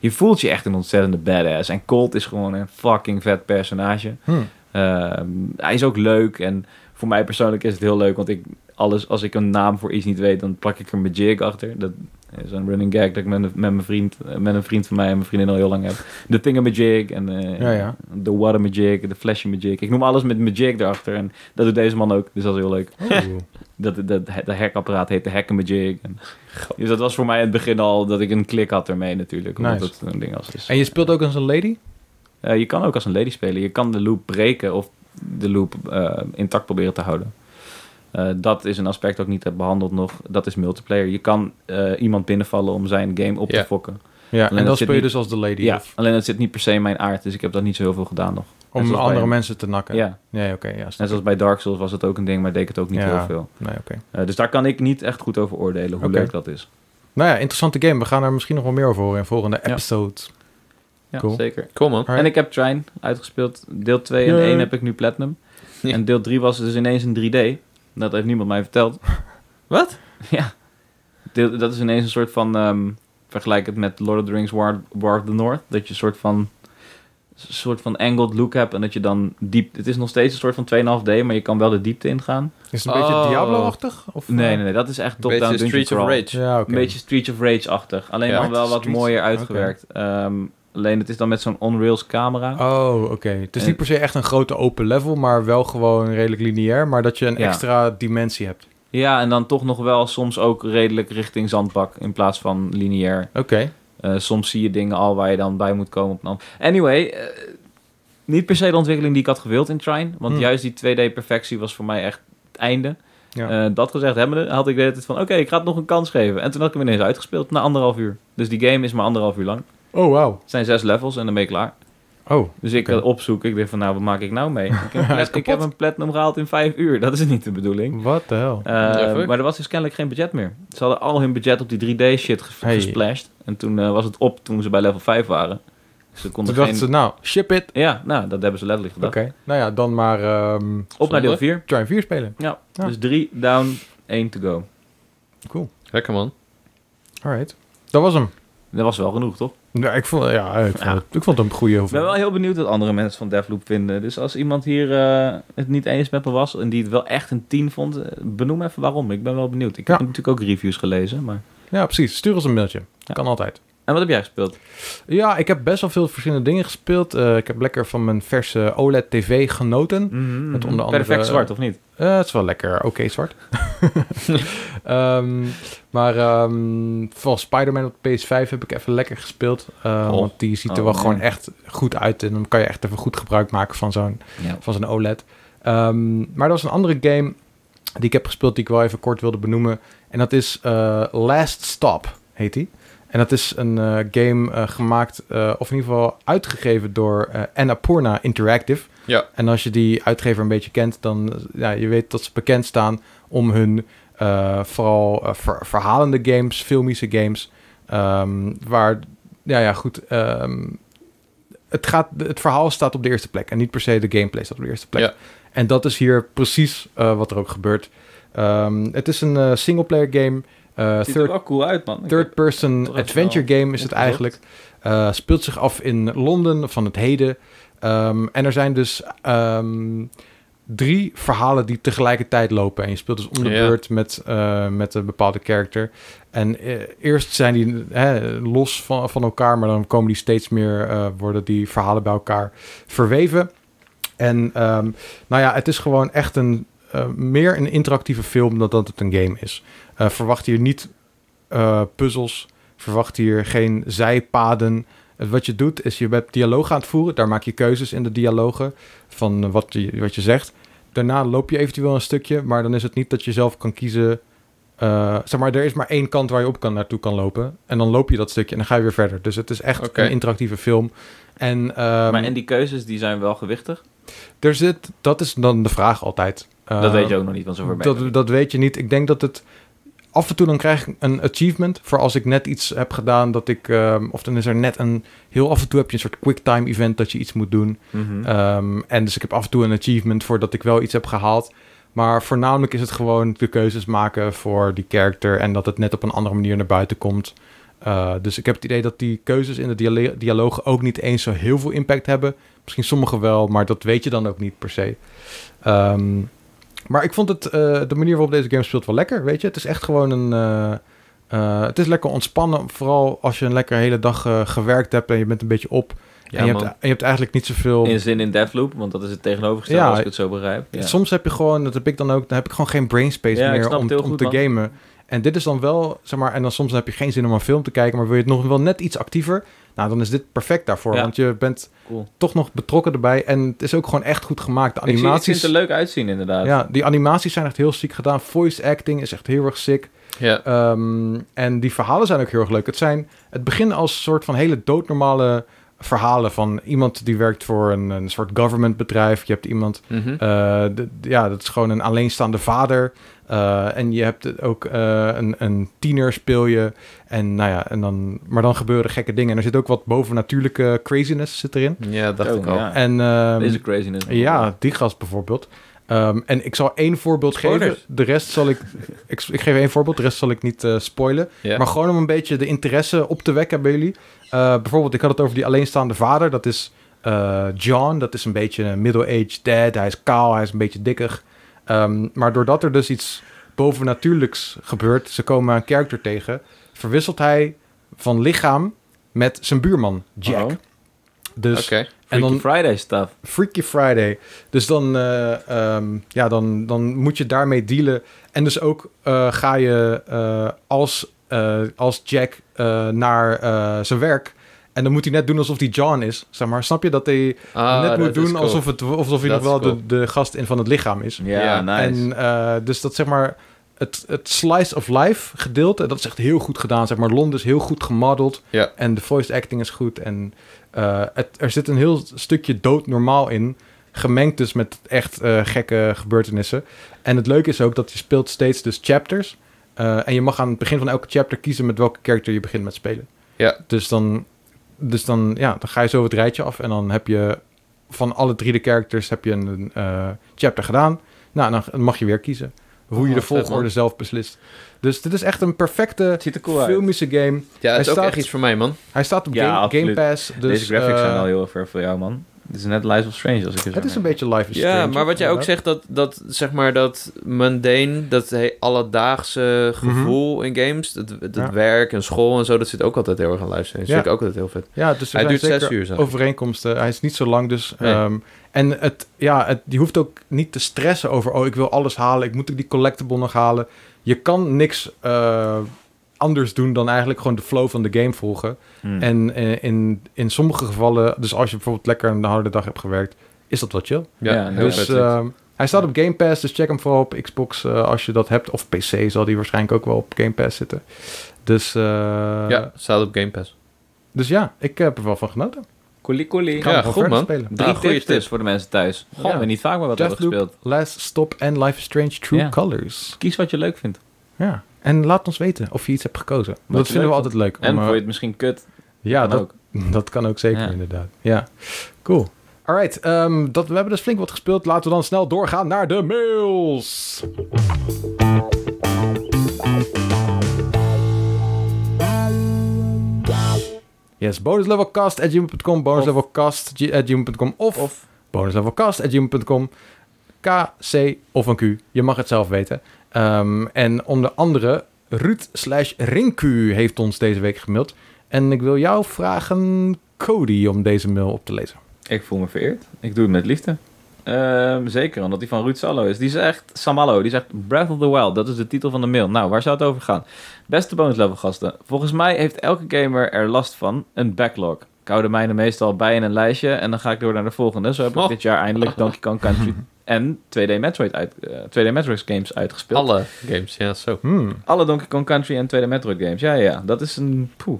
Je voelt je echt een ontzettende badass. En Colt is gewoon een fucking vet personage.
Hm.
Ehm, hij is ook leuk en voor mij persoonlijk is het heel leuk, want ik alles als ik een naam voor iets niet weet, dan plak ik er mijn jig achter. Dat is een running gag dat ik met, een- met mijn vriend, eh, met een vriend van mij en mijn vriendin al heel lang heb. De thing mijn jig en eh,
Ja, ja.
de water mijn jig, de flash mijn jig. Ik noem alles met mijn jig erachter en dat doet deze man ook, dus dat is heel leuk.
Oeh.
Dat dat de hekapparaat heet de hacken mijn jig. En, dus dat was voor mij in het begin al dat ik een klik had ermee natuurlijk, omdat
Nice.
het een ding Dus- als is.
en je speelt ook als een lady?
Eh, je kan ook als een lady spelen. Je kan de loop breken of de loop eh, intact proberen te houden. Eh, dat is een aspect dat ik niet heb behandeld nog. Dat is multiplayer. Je kan eh, iemand binnenvallen om zijn game op
Ja.
te fokken.
Ja,
Alleen
en dan
dat zit
speel je
niet-
dus als de lady.
Ja,
of-
alleen dat zit niet per se in mijn aard. Dus ik heb dat niet zo heel veel gedaan nog.
om
zoals
andere
bij-
mensen te nakken.
Ja,
Nee, oké. ja, snap
net zoals bij Dark Souls was het ook een ding, maar deed ik het ook niet
Ja.
heel veel.
ik. Nee, oké.
Eh, dus daar kan ik niet echt goed over oordelen hoe
Oké.
leuk dat is.
Nou ja, interessante game. We gaan er misschien nog wel meer over horen in volgende
Ja.
episodes.
Ja,
Cool.
zeker.
Cool man.
En ik heb Trine uitgespeeld. Deel 2 en
Yay.
1 heb ik nu Platinum.
Ja.
En deel 3 was dus ineens in 3D. Dat heeft niemand mij verteld.
Wat?
ja. Deel- dat is ineens een soort van... ehm, vergelijk het met Lord of the Rings War, War of the North. Dat je een soort van... soort van angled look hebt. En dat je dan diep... Het is nog steeds een soort van 2,5D. Maar je kan wel de diepte ingaan.
Is het een beetje
Oh.
Diablo-achtig? Of, eh?
Nee, nee, nee. Dat is echt top-down
Beetje
dungeon
Streets of
crawl.
Rage.
Ja, oké.
Een beetje Street of Rage-achtig. Alleen
Ja.
dan wel wat
Streets-
mooier uitgewerkt. Ehm, alleen het is dan met zo'n on-rails camera.
Oh, oké. Het is
En-
niet per se echt een grote open level, maar wel gewoon redelijk lineair. Maar dat je een
Ja.
extra dimensie hebt.
Ja, en dan toch nog wel soms ook redelijk richting zandbak in plaats van lineair.
Oké.
Eh, soms zie je dingen al waar je dan bij moet komen. Op een ander- anyway, eh, niet per se de ontwikkeling die ik had gewild in Trine. Want
Hmm.
juist die 2D-perfectie was voor mij echt het einde.
Ja.
Eh, dat gezegd hebbende had ik de hele tijd van... Oké, ik ga het nog een kans geven. En toen had ik hem ineens uitgespeeld na anderhalf uur. Dus die game is maar anderhalf uur lang.
Oh, wauw.
Het zijn zes levels en dan ben je klaar.
Oh,
Dus ik
Oké.
eh, opzoek. Ik dacht van, nou, wat maak ik nou mee? Ik heb,
Hij is
plat- ik heb
kapot.
een platinum gehaald in vijf uur. Dat is niet de bedoeling.
wat de hel.
Eh,
Ja, fuck.
maar er was dus kennelijk geen budget meer. Ze hadden al hun budget op die 3D shit ges-
Hey.
gesplashed. En toen eh, was het op toen ze bij level 5 waren. Dus ze konden
Toen dachten
geen...
ze, nou, ship it.
Ja, nou, dat hebben ze letterlijk
Oké.
gedaan.
Nou ja, dan maar ehm
Op naar deel
Zonde.
4.
Trine 4 spelen.
Ja,
Ja.
dus 3 down, 1 to go.
Cool.
Lekker man.
Alright. Dat was hem.
Dat was wel genoeg, toch?
Ja, ik vond, ja, ik vond, Het, ik vond hem een goede
Ik ben wel
hoeveelheid.
heel benieuwd wat andere mensen van Devloop vinden. Dus als iemand hier eh, het niet eens met me was en die het wel echt een 10 vond, eh, benoem even waarom. Ik ben wel benieuwd. Ik
Ja.
heb natuurlijk ook reviews gelezen. Maar...
Ja, precies. Stuur ons een mailtje.
Ja.
Kan altijd.
En wat heb jij gespeeld?
Ja, ik heb best wel veel verschillende dingen gespeeld. Eh, ik heb lekker van mijn verse OLED-tv genoten. Met onder andere-
Perfect zwart, of niet?
Eh, het is wel lekker oké zwart. Ehm, maar ehm vooral Spider-Man op PS5 heb ik even lekker gespeeld. Eh,
Oh.
Want die ziet er
Oh,
wel
man.
gewoon echt goed uit. En dan kan je echt even goed gebruik maken van zo'n
Ja.
van zo'n OLED. E Ehm, maar er was een andere game die ik heb gespeeld die ik wel even kort wilde benoemen. En dat is eh, Last Stop, heet die. En dat is een eh, game eh, gemaakt, eh, of in ieder geval uitgegeven door eh Annapurna Interactive.
Ja.
En als je die uitgever een beetje kent, dan eh, ja, je weet dat ze bekend staan om hun eh, vooral eh, ver- verhalende games, filmische games, ehm, waar, ja, ja, goed, ehm, het, gaat, het verhaal staat op de eerste plek en niet per se de gameplay staat op de eerste plek.
Ja.
En dat is hier precies eh, wat er ook gebeurt. Ehm, het is een eh, singleplayer game eh,
ziet er
third,
wel cool uit, man. Ik heb-
third-person
Terug
adventure game is het
opgezocht.
eigenlijk. Eh, speelt zich af in Londen van het heden. Ehm, en er zijn dus ehm, drie verhalen die tegelijkertijd lopen. En je speelt dus om de
Ja.
beurt met, eh, met een bepaalde character. En eh, eerst zijn die hè, los van, van elkaar, maar dan komen die steeds meer, eh, worden die verhalen bij elkaar verweven. En ehm, nou ja, het is gewoon echt een, eh, meer een interactieve film dan dat het een game is. Eh, verwacht hier niet eh, puzzels, verwacht hier geen zijpaden. Eh, Wat je doet is je bent dialoog aan het voeren, daar maak je keuzes in de dialogen van eh, wat je, wat je zegt. Daarna loop je eventueel een stukje, maar dan is het niet dat je zelf kan kiezen. eh, zeg maar, er is maar één kant waar je op kan, naartoe kan lopen. En dan loop je dat stukje en dan ga je weer verder. Dus het is echt
Oké.
een interactieve film. En, ehm,
maar en die keuzes die zijn wel gewichtig.
er zit, dat is dan de vraag altijd.
dat weet je ook nog niet, want zover ben je.
Ehm, Dat, dat weet je niet. Ik denk dat het... Af en toe dan krijg ik een achievement voor als ik net iets heb gedaan dat ik... ehm, of dan is er net een... Heel af en toe heb je een soort quicktime event dat je iets moet doen.
Mhm.
Hm.
Ehm, en dus ik heb af en toe een achievement voor dat ik wel iets heb gehaald. Maar voornamelijk is het gewoon de keuzes maken voor die character... en dat het net op een andere manier naar buiten komt. Eh, dus ik heb het idee dat die keuzes in de dialo- dialogen ook niet eens zo heel veel impact hebben. Misschien sommige wel, maar dat weet je dan ook niet per se. Ehm, maar ik vond het, eh, de manier waarop deze game speelt wel lekker, weet je. Het is echt gewoon een... eh, eh, het is lekker ontspannen, vooral als je een lekker hele dag eh, gewerkt hebt en je bent een beetje op.
Ja,
en, je hebt,
man.
en je hebt eigenlijk niet zoveel...
In zin in Deathloop, want dat is het tegenovergestelde
Ja,
als ik het zo begrijp. Ja.
Soms heb je gewoon, dat heb ik dan ook, dan heb ik gewoon geen brainspace
Ja, ik snap
meer om,
het heel
om
goed,
te
man.
gamen. En dit is dan wel, zeg maar, en dan soms heb je geen zin om een film te kijken, maar wil je het nog wel net iets actiever? Nou, dan is dit perfect daarvoor,
Ja.
want je bent
Cool.
toch nog betrokken erbij. En het is ook gewoon echt goed gemaakt. De
Ik zie, het
animaties,
ziet er leuk uitzien, inderdaad.
ja, die animaties zijn echt heel ziek gedaan. Voice acting is echt heel erg sick.
Ja.
Ehm, en die verhalen zijn ook heel erg leuk. Het zijn het begint als soort van hele doodnormale verhalen van iemand die werkt voor een, een soort government bedrijf. Je hebt iemand
Mhm.
eh, d- d- ja, dat is gewoon een alleenstaande vader. Eh, en je hebt het ook eh, een, een tiener speel je. En, nou ja, en dan, maar dan gebeuren gekke dingen. En er zit ook wat bovennatuurlijke craziness zit erin.
ja, dacht
Oh,
Zo,
ik al.
ja.
En, ehm,
Deze craziness.
ja, die gast bijvoorbeeld. Ehm, en ik zal één voorbeeld geven.
Spoilers.
De rest zal ik, ik... Ik geef één voorbeeld, de rest zal ik niet eh, spoilen.
Ja.
Maar gewoon om een beetje de interesse op te wekken bij jullie. Eh, bijvoorbeeld, ik had het over die alleenstaande vader. Dat is eh, John. Dat is een beetje een middle-aged dad. Hij is kaal, hij is een beetje dikkig. Ehm, maar doordat er dus iets bovennatuurlijks gebeurt... ze komen een character tegen... verwisselt hij van lichaam met zijn buurman, Jack.
Oh.
Dus,
Oké.
en dan,
Friday stuff.
Freaky Friday. Dus dan, eh, ehm, ja, dan, dan moet je daarmee dealen. En dus ook eh, ga je eh, als, eh, als Jack eh, naar eh, zijn werk. En dan moet hij net doen alsof hij John is. Zeg maar, snap je dat hij
Ah,
net moet
dat is
doen
cool.
alsof, het, alsof hij
Dat
nog wel
is cool.
de, de gast in van het lichaam is.
Ja,
Ja,
nice.
En eh, dus dat zeg maar het, het slice of life gedeelte, dat is echt heel goed gedaan. Zeg maar Londen is heel goed gemodeld
Ja.
en de voice acting is goed en eh, het, er zit een heel stukje doodnormaal in. Gemengd dus met echt eh, gekke gebeurtenissen. En het leuke is ook dat je speelt steeds dus chapters. eh, en je mag aan het begin van elke chapter kiezen met welke character je begint met spelen.
Ja.
Dus dan, dus dan, ja, dan ga je zo het rijtje af. En dan heb je van alle drie de characters heb je een eh, chapter gedaan. Nou, dan mag je weer kiezen. Hoe
Oh,
je de
vet, man.
volgorde zelf beslist. Dus dit is echt een perfecte
het ziet er cool uit.
filmische game.
Ja, het
Hij
is ook
staat-
echt iets voor mij, man.
Hij staat op
Ja,
Game,
absoluut.
Game Pass. Dus,
Deze graphics
eh,
zijn al heel erg voor jou, man. Het is net Lies of Strange, als ik het
Het is een beetje Life is
Ja,
Strange,
maar wat jij ook
inderdaad.
zegt, dat, dat zeg maar dat mundane, dat he- alledaagse gevoel in games, dat, dat
Mhm. Ja.
werk en school en zo, dat zit ook altijd heel erg aan live Dat
Ja.
vind ik ook altijd heel vet.
Ja, dus er
Hij
zijn
duurt
zeker
zes uur, zag ik.
overeenkomsten. Hij is niet zo lang, dus...
Nee.
ehm, en het, ja, het, je hoeft ook niet te stressen over... oh, ik wil alles halen, ik moet ook die collectible nog halen. Je kan niks eh, anders doen dan eigenlijk gewoon de flow van de game volgen.
Hmm.
Hm.
En eh, in, in sommige gevallen... dus als je bijvoorbeeld lekker een harde dag hebt gewerkt... is dat wel chill.
Ja,
Ja,
heel
Dus
vet. vind ik.
ehm, hij staat op Game Pass, dus check hem vooral op Xbox eh, als je dat hebt. Of PC zal die waarschijnlijk ook wel op Game Pass zitten. Dus, eh,
ja, staat op Game Pass.
dus ja, ik heb er wel van genoten.
Colie, colie.
Ik ga
Ja,
hem gewoon
goed,
verder
man.
spelen.
Drie
Ah,
goede
goeie
tips,
tip.
voor de mensen thuis. Goh,
Ja.
we niet vaak maar wat hebben
Deathloop.
gespeeld.
Last Stop en Life is Strange True
Ja.
Colors.
Kies wat je leuk vindt.
Ja. En laat ons weten of je iets hebt gekozen. Want dat
je
vinden we
leuk
altijd leuk. om,
En
eh,
vond je het misschien kut?
ja,
Kan
dat,
ook.
dat kan ook zeker
Ja.
inderdaad. Ja, cool. Alright, ehm, dat, we hebben dus flink wat gespeeld. Laten we dan snel doorgaan naar de mails. Yes, bonuslevelcast.gmail.com, bonuslevelcast.gmail.com of, of bonuslevelcast.gmail.com. K, C of een Q. Je mag het zelf weten. Ehm, en onder andere Ruud slash Rinku heeft ons deze week gemaild. En ik wil jou vragen, Cody, om deze mail op te lezen.
Ik voel me vereerd. Ik doe het met liefde. Ehm, zeker, omdat die van Ruud Sallo is. Die zegt, Samalo, die zegt Breath of the Wild. Dat is de titel van de mail. Nou, waar zou het over gaan? Beste bonus level gasten. Volgens mij heeft elke gamer er last van. Een backlog. Ik hou de mijne meestal bij in een lijstje. En dan ga ik door naar de volgende. Zo heb ik
Oh.
dit jaar eindelijk Donkey Kong Country en 2D Metroid, uit, eh, 2D Metroid games uitgespeeld.
Alle games, ja, zo.
Hmm.
Alle Donkey Kong Country en 2D Metroid games. Ja, ja, ja, dat is een... Poeh.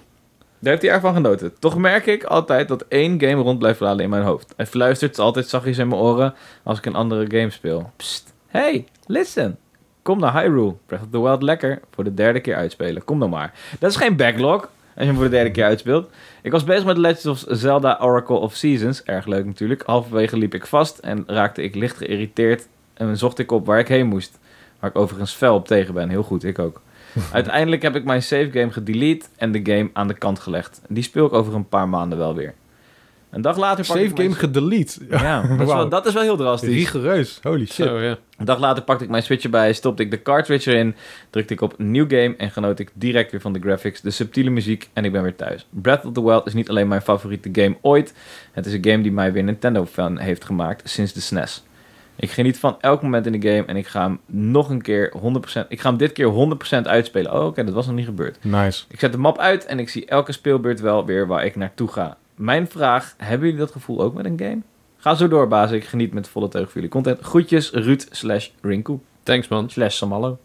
Daar heeft hij erg van genoten. Toch merk ik altijd dat één game rond blijft vladen in mijn hoofd. Hij fluistert altijd zachtjes in mijn oren als ik een andere game speel. Psst. Hey, listen. Kom naar Hyrule. Breath of the Wild lekker. Voor de derde keer uitspelen. Kom dan maar. Dat is geen backlog. Als je hem voor de derde keer uitspeelt. Ik was bezig met Legends of Zelda Oracle of Seasons. Erg leuk natuurlijk. Halverwege liep ik vast en raakte ik licht geïrriteerd. En zocht ik op waar ik heen moest. Waar ik overigens fel op tegen ben. Heel goed, ik ook. Uiteindelijk heb ik mijn save game gedelete en de game aan de kant gelegd. Die speel ik over een paar maanden wel weer. Een dag later pak
Save
ik mijn...
game gedelete. Ja,
Ja, dat is,
Wauw.
wel, dat is wel heel drastisch.
Rigoureus. Holy shit.
Zo, ja.
Een dag later pakte ik mijn Switch erbij, stopte ik de cartridge erin, drukte ik op New Game en genoot ik direct weer van de graphics, de subtiele muziek en ik ben weer thuis. Breath of the Wild is niet alleen mijn favoriete game ooit, het is een game die mij weer Nintendo-fan heeft gemaakt sinds de SNES. Ik geniet van elk moment in de game en ik ga hem nog een keer 100%, ik ga hem dit keer 100% uitspelen. Oh, oké, dat was nog niet gebeurd.
Nice.
Ik zet de map uit en ik zie elke speelbeurt wel weer waar ik naartoe ga. Mijn vraag, hebben jullie dat gevoel ook met een game? Ga zo door, baas. Ik geniet met volle teug van jullie content. Groetjes, Ruud slash Rinku
Thanks, man.
slash Samallo.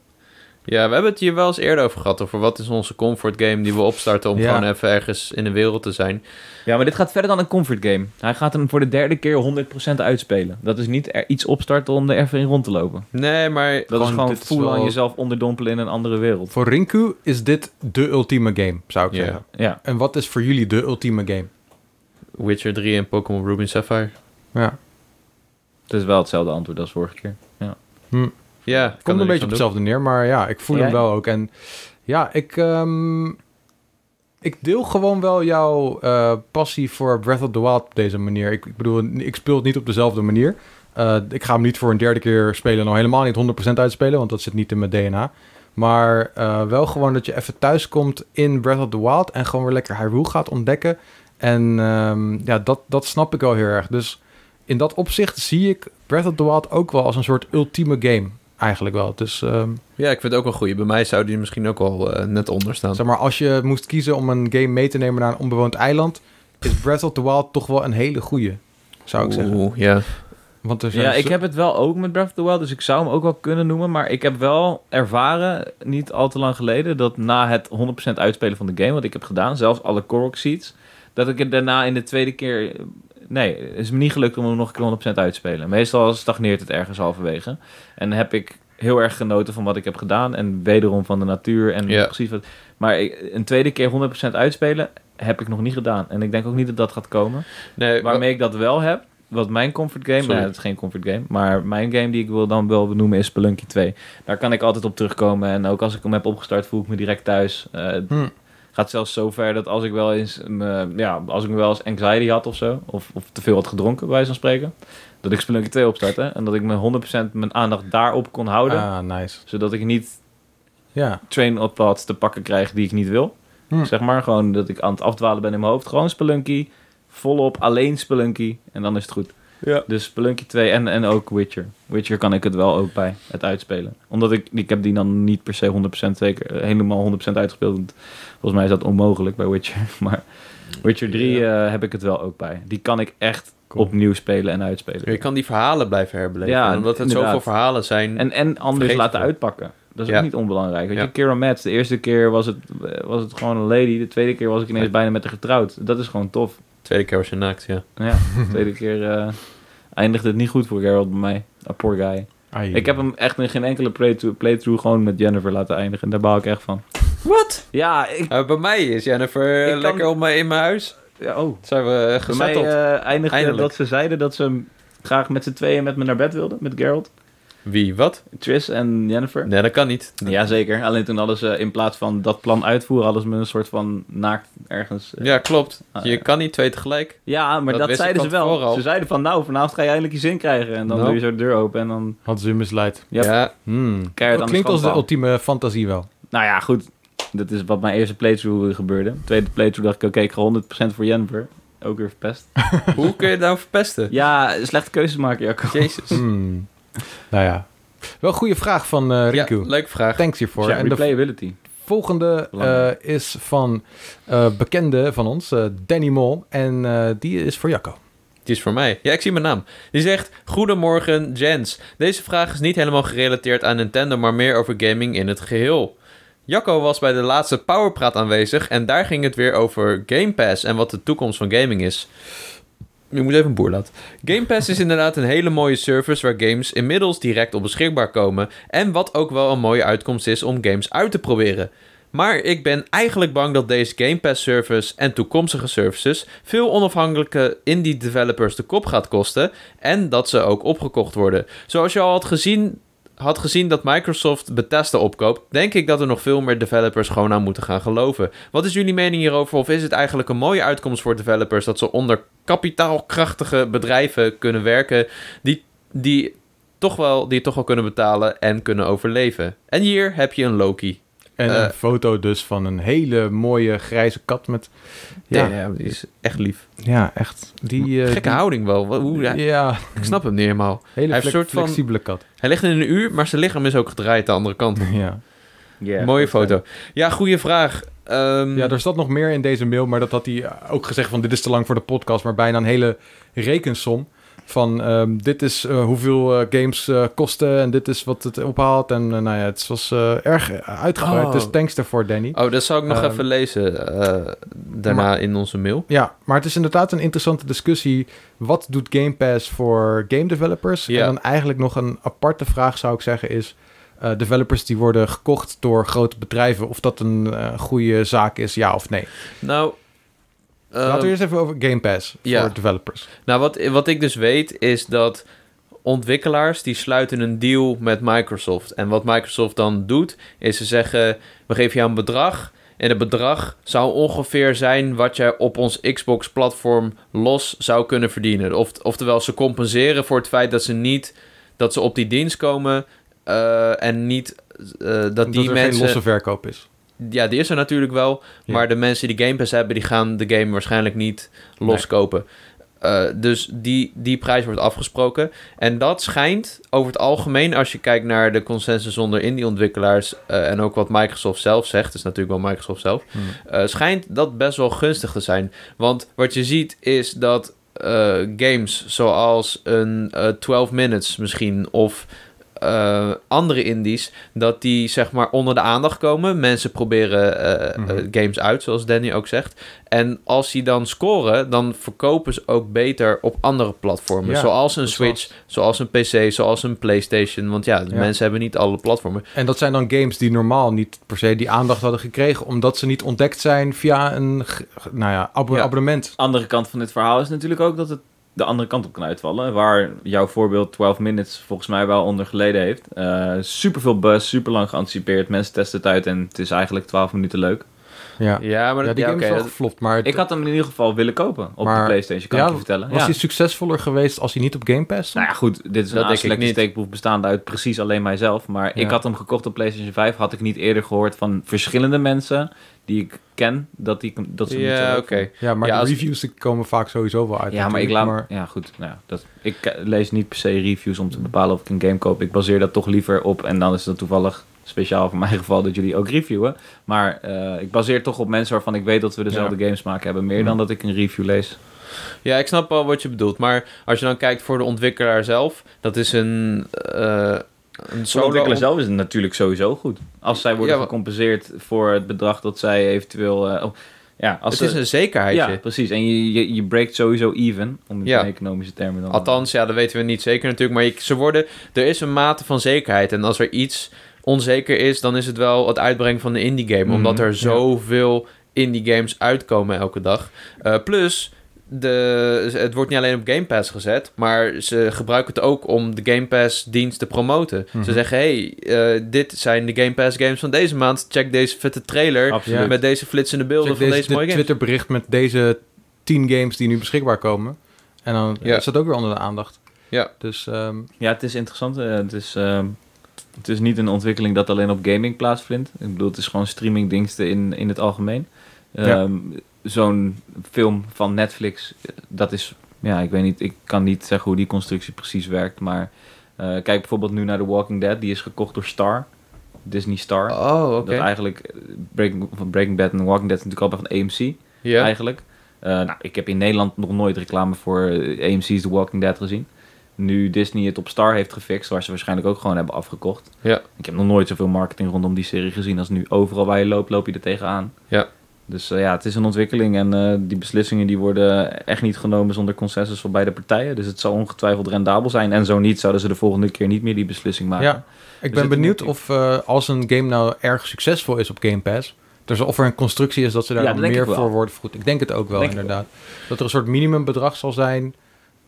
Ja, we hebben het hier wel eens eerder over gehad. Over wat is onze comfort game die we opstarten om
Ja.
gewoon even ergens in de wereld te zijn.
Ja, maar dit gaat verder dan een comfort game. Hij gaat hem voor de derde keer 100% uitspelen. Dat is niet er iets opstarten om er even in rond te lopen.
Nee, maar
Dat is gewoon
dit is
full aan
wel-
jezelf onderdompelen in een andere wereld.
Voor Rinku is dit de ultieme game, zou ik
Ja.
zeggen.
Ja,
En wat is voor jullie de ultieme game?
Witcher 3 en Pokémon Ruby en Sapphire.
Ja.
het is wel hetzelfde antwoord als vorige keer.
Ja, ik kan
Komt
er
een
niks
beetje
aan
op
doen.
hetzelfde neer, maar ja, ik voel
Jij?
hem wel ook. En ja, ik, ehm, ik deel gewoon wel jouw eh, passie voor Breath of the Wild op deze manier. Ik, ik bedoel, ik speel het niet op dezelfde manier. Eh, ik ga hem niet voor een derde keer spelen, nou helemaal niet 100% uitspelen, want dat zit niet in mijn DNA. Maar eh, wel gewoon dat je even thuis komt in Breath of the Wild en gewoon weer lekker Hyrule gaat ontdekken. En ehm, ja, dat, dat snap ik wel heel erg. Dus in dat opzicht zie ik Breath of the Wild ook wel als een soort ultieme game. Eigenlijk wel. Dus ehm,
Ja, ik vind het ook wel goed. Bij mij zou die misschien ook wel eh, net onder staan.
zeg maar, als je moest kiezen om een game mee te nemen naar een onbewoond eiland, is Breath of the Wild toch wel een hele goeie, zou ik zeggen.
Oeh, ja.
Want er zijn
Ja, ik
zo-
heb het wel ook met Breath of the Wild, dus ik zou hem ook wel kunnen noemen. Maar ik heb wel ervaren, niet al te lang geleden, dat na het 100% uitspelen van de game, wat ik heb gedaan, zelfs alle Korok seeds, dat ik het daarna in de tweede keer... Nee, het is me niet gelukt om hem nog een keer 100% uit te spelen. Meestal stagneert het ergens halverwege. En heb ik heel erg genoten van wat ik heb gedaan en wederom van de natuur en
Ja.
precies wat... Maar ik- een tweede keer 100% uitspelen heb ik nog niet gedaan. En ik denk ook niet dat dat gaat komen.
Eh,
Nee,
Waarmee ik dat wel heb, wat mijn comfort game...
Sorry.
Nee, dat is geen comfort game. Maar mijn game die ik wil dan wel benoemen is Spelunky 2. Daar kan ik altijd op terugkomen. En ook als ik hem heb opgestart, voel ik me direct thuis. Eh, het
Hm.
gaat zelfs zo ver dat als ik wel eens... me- ja, als ik me wel eens anxiety had of zo... of, of te veel had gedronken, bij wijze van spreken... dat ik Spelunky 2 opstartte. En dat ik me 100% mijn aandacht daarop kon houden.
Ah, nice.
Zodat ik niet
Ja.
train op pads te pakken krijg die ik niet wil.
Hm.
Zeg maar gewoon dat ik aan het afdwalen ben in mijn hoofd. Gewoon Spelunky, volop, alleen Spelunky en dan is het goed.
Ja.
Dus Spelunky 2 en, en ook Witcher. Witcher kan ik het wel ook bij, het uitspelen. Omdat ik, ik heb die dan niet per se 100% zeker, eh, helemaal 100% uitgespeeld. Want volgens mij is dat onmogelijk bij Witcher. Maar Witcher 3 eh, heb ik het wel ook bij. Die kan ik echt
Cool.
opnieuw spelen en uitspelen.
je kan die verhalen blijven herbeleven.
Ja,
omdat het
inderdaad.
zoveel verhalen zijn.
En, en anders
Hm. Vergeet
laten
het.
uitpakken. Dat is
Ja.
ook niet onbelangrijk. Weet
Ja.
je, Kira Mats, de eerste keer was het, eh, was het gewoon een lady. De tweede keer was ik ineens
Ja.
bijna met haar getrouwd. Dat is gewoon tof.
Tweede keer was je naakt, ja.
Ja, de tweede keer eh, eindigde het niet goed voor Geralt bij mij. A poor guy.
Ai.
Ik heb hem echt in geen enkele playthrough, playthrough gewoon met Jennifer laten eindigen. Daar baal ik echt van. Wat? Ja, ik...
Eh, bij mij is Jennifer
Ik
eh,
kan-
lekker op mijn, in mijn huis.
ja, oh.
Zijn we eh,
Bij mij
gezetteld.
eh, eindigde
Eindelijk.
dat ze zeiden dat ze hem graag met z'n tweeën met me naar bed wilden, met Geralt.
Wie, wat?
Tris en Jennifer.
Nee, dat kan niet.
Jazeker. Alleen toen hadden ze in plaats van dat plan uitvoeren, hadden ze me een soort van naakt ergens. eh,
Ja, klopt.
Ah,
Je
ja.
kan niet twee tegelijk.
Ja, maar
Dat
dat,
wist ik
zeiden ze
van tevoren
wel.
al.
Ze zeiden van nou, vanavond ga je eindelijk je zin krijgen. En dan
Nou.
doe je zo de deur open en dan
Had ze u misleid.
Yep.
Ja,
Hmm.
keihard
Dat
aan
klinkt
de
als de
strandpaal.
ultieme fantasie wel.
Nou ja, goed. Dat is wat mijn eerste playthrough gebeurde. Tweede playthrough dacht ik, oké, ik ga 100% voor Jennifer. Ook weer verpest.
hoe kun je het nou verpesten?
Ja, slechte keuzes maken, Jacco.
Jezus.
Hmm. nou ja. Wel een goede vraag van eh
Ja,
Riku.
leuke vraag.
Thanks hiervoor.
Ja,
en de
replayability.
volgende
Belangrijk.
eh, is van eh, bekende van ons, eh, Danny Mol. En eh, die is voor Jacco.
Die is voor mij. Ja, ik zie mijn naam. Die zegt: Goedemorgen, Jens. Deze vraag is niet helemaal gerelateerd aan Nintendo, maar meer over gaming in het geheel. Jacco was bij de laatste Powerpraat aanwezig en daar ging het weer over Game Pass en wat de toekomst van gaming is. Ik moet even een boer laten. Game Pass is inderdaad een hele mooie service waar games inmiddels direct op beschikbaar komen. En wat ook wel een mooie uitkomst is om games uit te proberen. Maar ik ben eigenlijk bang dat deze Game Pass service en toekomstige services veel onafhankelijke indie developers de kop gaat kosten en dat ze ook opgekocht worden. Zoals je al had gezien, had gezien dat Microsoft Bethesda opkoopt, denk ik dat er nog veel meer developers gewoon aan moeten gaan geloven. Wat is jullie mening hierover of is het eigenlijk een mooie uitkomst voor developers dat ze onder kapitaalkrachtige bedrijven kunnen werken die, die toch wel die toch wel kunnen betalen en kunnen overleven? En hier heb je een Loki.
En
Eh.
een foto dus van een hele mooie grijze kat met... Ja, ja,
die is echt lief.
echt. Die, eh,
Gekke
die-
houding wel. Wat- Hoe, ja,
Ja,
ik snap hem niet helemaal.
hele
heeft
fle-
soort van-
flexibele kat.
Hij ligt in een uur, maar zijn lichaam is ook gedraaid de andere kant.
Ja.
Ja,
Mooie
dat is
foto. Ja, goede vraag. Ehm,
Ja, er zat nog meer in deze mail, maar dat had hij ook gezegd van dit is te lang voor de podcast, maar bijna een hele rekensom van ehm, dit is eh, hoeveel eh, games eh, kosten en dit is wat het ophaalt. En eh, nou ja, het was eh, erg uitgebreid,
Oh.
dus thanks daarvoor Danny.
Oh, dat zal ik nog
Ehm,
even lezen eh, daarna in onze mail.
Ja, maar het is inderdaad een interessante discussie. Wat doet Game Pass voor game developers?
Ja.
En dan eigenlijk nog een aparte vraag zou ik zeggen is... eh, developers die worden gekocht door grote bedrijven... of dat een eh, goede zaak is, ja of nee.
Nou, ehm,
Laten we eerst even over Game Pass
ja.
voor developers.
nou wat, wat ik dus weet is dat ontwikkelaars die sluiten een deal met Microsoft. En wat Microsoft dan doet, is ze zeggen... we geven jou een bedrag. En het bedrag zou ongeveer zijn wat jij op ons Xbox-platform los zou kunnen verdienen. Of, oftewel, ze compenseren voor het feit dat ze niet dat ze op die dienst komen eh, en niet eh, dat
Dat
die
er
mensen.
geen losse verkoop is.
Ja, die is er natuurlijk wel.
Ja.
Maar de mensen die Game Pass hebben, die gaan de game waarschijnlijk niet loskopen. Eh, dus die, die prijs wordt afgesproken. En dat schijnt over het algemeen, als je kijkt naar de consensus onder indie-ontwikkelaars... eh, en ook wat Microsoft zelf zegt, dus natuurlijk wel Microsoft zelf... eh, schijnt dat best wel gunstig te zijn. Want wat je ziet is dat eh, games zoals een eh, 12 Minutes misschien... of eh, andere indies, dat die zeg maar onder de aandacht komen. Mensen proberen eh,
Mhm.
eh, games uit, zoals Danny ook zegt. En als die dan scoren, dan verkopen ze ook beter op andere platformen.
Ja,
zoals een
dat
Switch, zoals een PC, zoals een PlayStation. Want ja, de
Ja.
mensen hebben niet alle platformen.
En dat zijn dan games die normaal niet per se die aandacht hadden gekregen... omdat ze niet ontdekt zijn via een g- g- nou ja, abo-
Ja.
abonnement.
andere kant van dit verhaal is natuurlijk ook dat het de andere kant op kan uitvallen. Waar jouw voorbeeld 12 Minutes volgens mij wel onder geleden heeft. Eh super veel buzz, super lang geanticipeerd. Mensen testen het uit en het is eigenlijk 12 minuten leuk.
Ja,
Ja, maar
ja
dat,
die
ja,
game is
oké,
wel
dat-
geflopt, maar... het-
Ik had hem in ieder geval willen kopen op
Maar-
de PlayStation, kan
ja,
ik je vertellen.
Was
ja.
hij succesvoller geweest als hij niet op Game Pass stond?
Nou ja, goed, dit is
Dat
een
denk ik
aanstekelijke
niet.
steekproef bestaande uit precies alleen mijzelf. Maar
Ja.
ik had hem gekocht op PlayStation 5. Had ik niet eerder gehoord van verschillende mensen die ik ken, dat, die, dat ze hem niet zo
ja,
leuk
oké.
vonden.
Ja, maar
Ja,
de
als-
reviews die komen vaak sowieso wel uit.
Ja, maar ik laat.
natuurlijk,
Ja, goed. Nou, ja, dat, ik eh, lees niet per se reviews om te bepalen of ik een game koop. Ik baseer dat toch liever op. En dan is dat toevallig speciaal voor mijn geval dat jullie ook reviewen. Maar eh, ik baseer toch op mensen waarvan ik weet dat we dezelfde games maken hebben. Meer dan dat ik een review lees.
Ja, ik snap wel wat je bedoelt. Maar als je dan kijkt voor de ontwikkelaar zelf, dat is een, eh een
Zo
solo...
ontwikkelen zelf is het natuurlijk sowieso goed. Als zij worden
Ja, maar-
gecompenseerd voor het bedrag dat zij eventueel. eh, op- ja, als
Het is
ze-
een zekerheidje.
ja, precies. En je, je, je breekt sowieso even, om het
Ja.
in economische termen dan.
Oh. Althans, ja, dat weten we niet zeker natuurlijk. Maar je- ze worden, er is een mate van zekerheid. En als er iets onzeker is, dan is het wel het uitbrengen van de indie game.
Mhm,
Omdat er
ja.
zoveel indie games uitkomen elke dag. Eh, plus, de, het wordt niet alleen op Game Pass gezet, maar ze gebruiken het ook om de Game Pass dienst te promoten.
Mhm.
Ze zeggen, hey, eh, dit zijn de Game Pass games van deze maand. Check deze vette trailer
Absoluut.
met deze flitsende beelden
Check
van deze,
dit
mooie games.
Twitterbericht met deze 10 games die nu beschikbaar komen. En dan
Ja.
is dat ook weer onder de aandacht.
Ja.
Dus ehm,
Ja, het is interessant. eh, het, is, ehm, het is niet een ontwikkeling dat alleen op gaming plaatsvindt. Ik bedoel, het is gewoon streamingdiensten in, in het algemeen.
Ja.
Ehm, Zo'n film van Netflix, eh, dat is... Ja, ik weet niet, ik kan niet zeggen hoe die constructie precies werkt, maar... eh, kijk bijvoorbeeld nu naar The Walking Dead. Die is gekocht door Star, Disney Star.
Oh, oké.
Dat eigenlijk eh, Breaking, van Breaking Bad en Walking Dead is natuurlijk allemaal van AMC
Ja.
eigenlijk. Eh, nou, ik heb in Nederland nog nooit reclame voor eh, AMC's The Walking Dead gezien. Nu Disney het op Star heeft gefixt, waar ze waarschijnlijk ook gewoon hebben afgekocht.
Ja.
Ik heb nog nooit zoveel marketing rondom die serie gezien als nu. Overal waar je loopt, loop je er tegenaan.
Ja.
Dus eh, ja, het is een ontwikkeling en eh, die beslissingen die worden echt niet genomen zonder consensus van beide partijen. Dus het zal ongetwijfeld rendabel zijn. En zo niet, zouden ze de volgende keer niet meer die beslissing maken.
ja, ik ben
zitten
benieuwd
nu-
of eh, als een game nou erg succesvol is op Game Pass... Dus of er een constructie is dat ze daar
Ja,
dan
dat denk
meer
ik wel.
voor worden vergoed. Ik denk het ook wel,
Denk ik
inderdaad. Dat er een soort minimumbedrag zal zijn.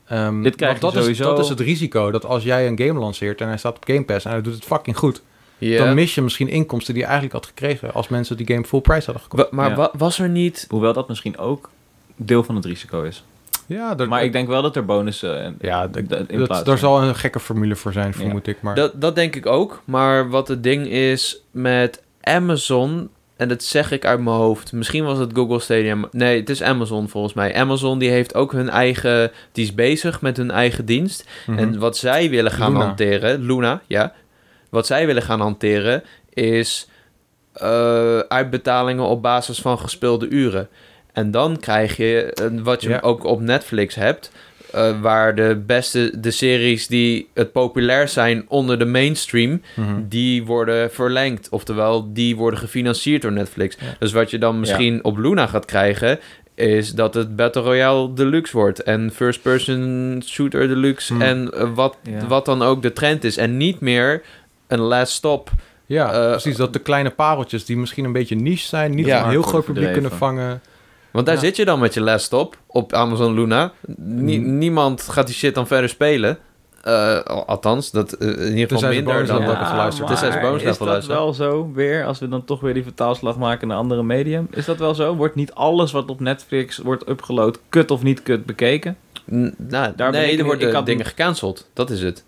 Ehm,
Dit krijg
want dat
je
Is,
sowieso.
dat is het risico, dat als jij een game lanceert en hij staat op Game Pass... en hij doet het fucking goed...
Ja.
dan mis je misschien inkomsten die je eigenlijk had gekregen... als mensen die game full price hadden gekocht.
Wa- maar
Ja.
wa- was er niet...
Hoewel dat misschien ook deel van het risico is.
Ja, dat-
Maar ik denk wel dat er bonussen en
Ja, d-
in
dat-
plaats
daar
zijn.
zal een gekke formule voor zijn, vermoed ik. Maar
Dat, dat denk ik ook. Maar wat het ding is met Amazon... En dat zeg ik uit mijn hoofd. Misschien was het Google Stadium. Nee, het is Amazon volgens mij. Amazon die heeft ook hun eigen... Die is bezig met hun eigen dienst.
Mhm.
En wat zij willen gaan
Luna.
hanteren, Luna, ja. Wat zij willen gaan hanteren is eh, uitbetalingen op basis van gespeelde uren. En dan krijg je eh, wat je
Ja.
ook op Netflix hebt, eh, waar de beste, de series die het populair zijn onder de mainstream,
Mhm.
die worden verlengd. Oftewel, die worden gefinancierd door Netflix.
Ja.
Dus wat je dan misschien op Luna gaat krijgen, is dat het Battle Royale Deluxe wordt. En First Person Shooter Deluxe.
Hmm.
En eh, wat,
Ja.
wat dan ook de trend is. En niet meer een last stop.
ja,
eh,
precies. Dat de kleine pareltjes die misschien een beetje niche zijn, niet
Ja.
een heel groot publiek
Verdreven.
kunnen vangen.
Want daar
Ja.
zit je dan met je last stop op Amazon Luna. Nie-
Hmm.
Niemand gaat die shit dan verder spelen. Eh, al- althans, dat eh, in ieder geval
Tenzij ze
minder
bonus
dan
level
dat.
hebben geluisterd.
maar
Het is als bonus
is
level
dat
luisteren.
wel zo weer, als we dan toch weer die vertaalslag maken naar andere medium? Is dat wel zo? Wordt niet alles wat op Netflix wordt upgeload, kut of niet kut, bekeken?
N- Nou,
Daar ben ik
nee, er
in- ik
worden
had-
dingen gecanceld. Dat is het.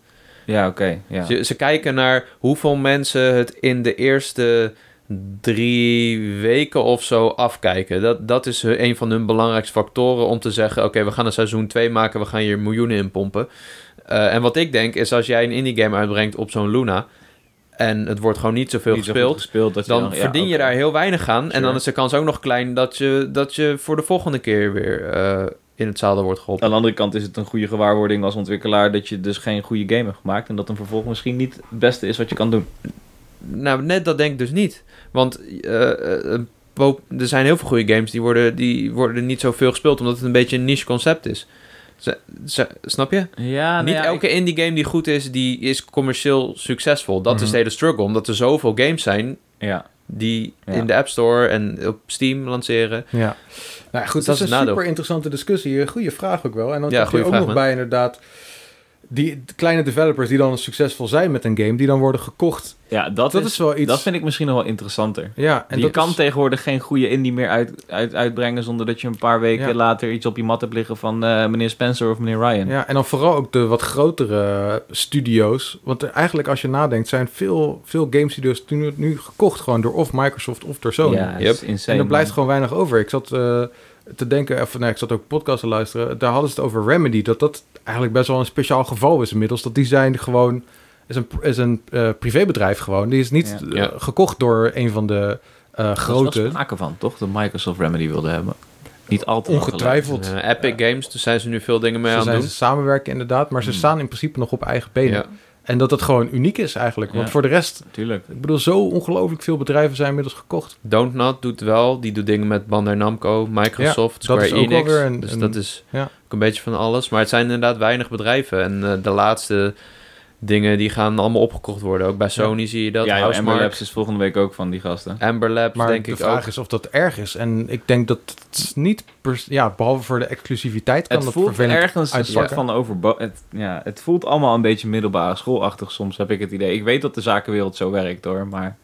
Ja, oké. ja.
Ze, ze kijken naar hoeveel mensen het in de eerste drie weken of zo afkijken. Dat, dat is hun- een van hun belangrijkste factoren om te zeggen... oké, we gaan een seizoen 2 maken, we gaan hier miljoenen in pompen. Eh, en wat ik denk is als jij een indie game uitbrengt op zo'n Luna... en het wordt gewoon niet zoveel
Niet zo goed
gespeeld...
gespeeld dat je
dan
ja,
verdien je
oké.
daar heel weinig aan. En
Sure.
dan is de kans ook nog klein dat je, dat je voor de volgende keer weer eh, in het zadel wordt geholpen.
Aan de andere kant is het een goede gewaarwording als ontwikkelaar dat je dus geen goede game hebt gemaakt en dat een vervolg misschien niet het beste is wat je kan doen.
Nou, net dat denk ik dus niet. Want eh, eh, po- er zijn heel veel goede games die worden, die worden niet zoveel gespeeld, omdat het een beetje een niche concept is. Ze- ze- snap je?
nou Ja,
niet elke indie game die goed is, die is commercieel succesvol. Dat is
Mhm.
de hele struggle, omdat er zoveel games zijn
Ja.
die
Ja.
in de App Store en op Steam lanceren.
Ja. Nou ja, goed, dat
Dat
is
is het
een
nadeel.
super interessante discussie. Een Goede vraag ook wel. En dan
Ja,
heb je
goede
ook
vraag,
nog
man.
bij inderdaad die kleine developers die dan succesvol zijn met een game, die dan worden gekocht.
ja, dat,
Dat,
is,
is wel iets.
dat vind ik misschien nog wel interessanter.
ja,
En je kan
is-
tegenwoordig geen goede indie meer uit, uit, uitbrengen zonder dat je een paar weken
Ja.
later iets op je mat hebt liggen van eh, meneer Spencer of meneer Ryan.
Ja, en dan vooral ook de wat grotere studio's. Want er- eigenlijk als je nadenkt, zijn veel, veel game studios nu, nu gekocht gewoon door of Microsoft of door Sony.
Ja, dat
Yep.
is insane.
en er blijft
man.
gewoon weinig over. Ik zat eh, te denken, of nee, ik zat ook podcasts te luisteren. Daar hadden ze het over Remedy. Dat dat eigenlijk best wel een speciaal geval is inmiddels. Dat die zijn gewoon, is een, is een eh, privébedrijf gewoon. Die is niet
Ja.
eh,
Ja.
gekocht door een van de eh,
Er
grote.
was wel sprake van, toch? Dat Microsoft Remedy wilde hebben. Niet altijd.
Ongetwijfeld.
Eh, Epic Games, dus zijn ze nu veel dingen mee
Ze
aan het
zijn
doen.
samenwerken inderdaad, maar ze
Hmm.
staan in principe nog op eigen benen.
Ja.
En dat dat gewoon uniek is eigenlijk. Want
Ja.
voor de rest
Natuurlijk.
Ik bedoel, zo ongelooflijk veel bedrijven zijn inmiddels gekocht.
Dontnod doet wel, die doet dingen met Bandai Namco, Microsoft,
Ja, dat
Square
is ook wel
Enix.
weer een-
dus
een-
dat is
ja.
ook een beetje van alles. Maar het zijn inderdaad weinig bedrijven. En eh, de laatste dingen die gaan allemaal opgekocht worden. Ook bij Sony zie je dat.
ja, joh, Amber
Housemarque,
Labs is volgende week ook van die gasten.
Amber Labs
Maar
denk
de
ik
vraag
ook.
is of dat erg is. En ik denk dat het niet... pers- ja, behalve voor de exclusiviteit kan
het
dat
voelt
vervelend
ergens een soort
uitpakken.
van overbo... Het, ja, het voelt allemaal een beetje middelbare schoolachtig soms, heb ik het idee. Ik weet dat de zakenwereld zo werkt hoor, maar...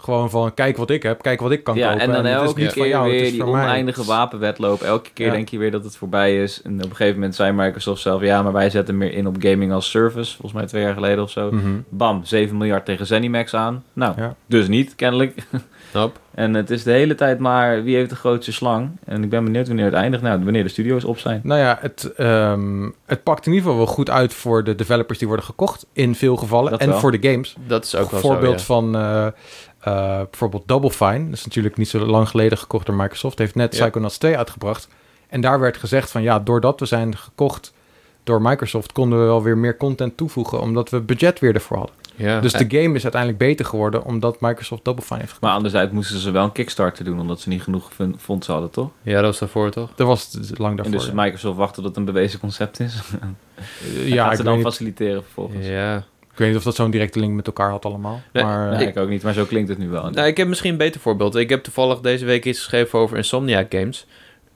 Gewoon van, kijk wat ik heb, kijk wat ik kan
ja,
kopen.
en dan
het is
elke
niet
keer
van jou, het
weer
is
die
voor mij.
oneindige wapenwedloop. Elke keer
Ja.
denk je weer dat het voorbij is. En op een gegeven moment zei Microsoft zelf... Ja, maar wij zetten meer in op gaming als service. Volgens mij twee jaar geleden of zo.
Mhm.
Bam, 7 miljard tegen ZeniMax aan. Nou,
Ja.
dus niet, kennelijk.
Hop.
En het is de hele tijd maar wie heeft de grootste slang. En ik ben benieuwd wanneer het eindigt. Nou, wanneer de studio's op zijn.
Nou ja, het, ehm, het pakt in ieder geval wel goed uit voor de developers die worden gekocht in veel gevallen.
Dat
en
wel.
voor de games.
Dat is ook wel
voorbeeld
zo,
van eh, eh, bijvoorbeeld Double Fine. Dat is natuurlijk niet zo lang geleden gekocht door Microsoft. Heeft net
Ja.
Psychonauts 2 uitgebracht. En daar werd gezegd van ja, doordat we zijn gekocht door Microsoft... konden we wel weer meer content toevoegen... omdat we budget weer ervoor hadden.
ja. Ja.
Dus de game is uiteindelijk beter geworden... omdat Microsoft Double Fine heeft gekocht.
Maar anderzijds moesten ze wel een Kickstarter doen, omdat ze niet genoeg fun- fondsen hadden, toch?
ja, dat was daarvoor toch?
Dat was het lang
En
daarvoor.
dus
ja.
Microsoft wacht tot het een bewezen concept is.
Eh,
Ja,
ja,
gaat
ik
ze dan
weet, niet,
faciliteren vervolgens.
Ja.
ik weet niet of dat zo'n directe link met elkaar had allemaal.
Nee,
maar, eh,
Nou,
Ik-
ik ook niet, maar zo klinkt het nu wel.
Nou, ik heb misschien een beter voorbeeld. Ik heb toevallig deze week iets geschreven over Insomniac Games.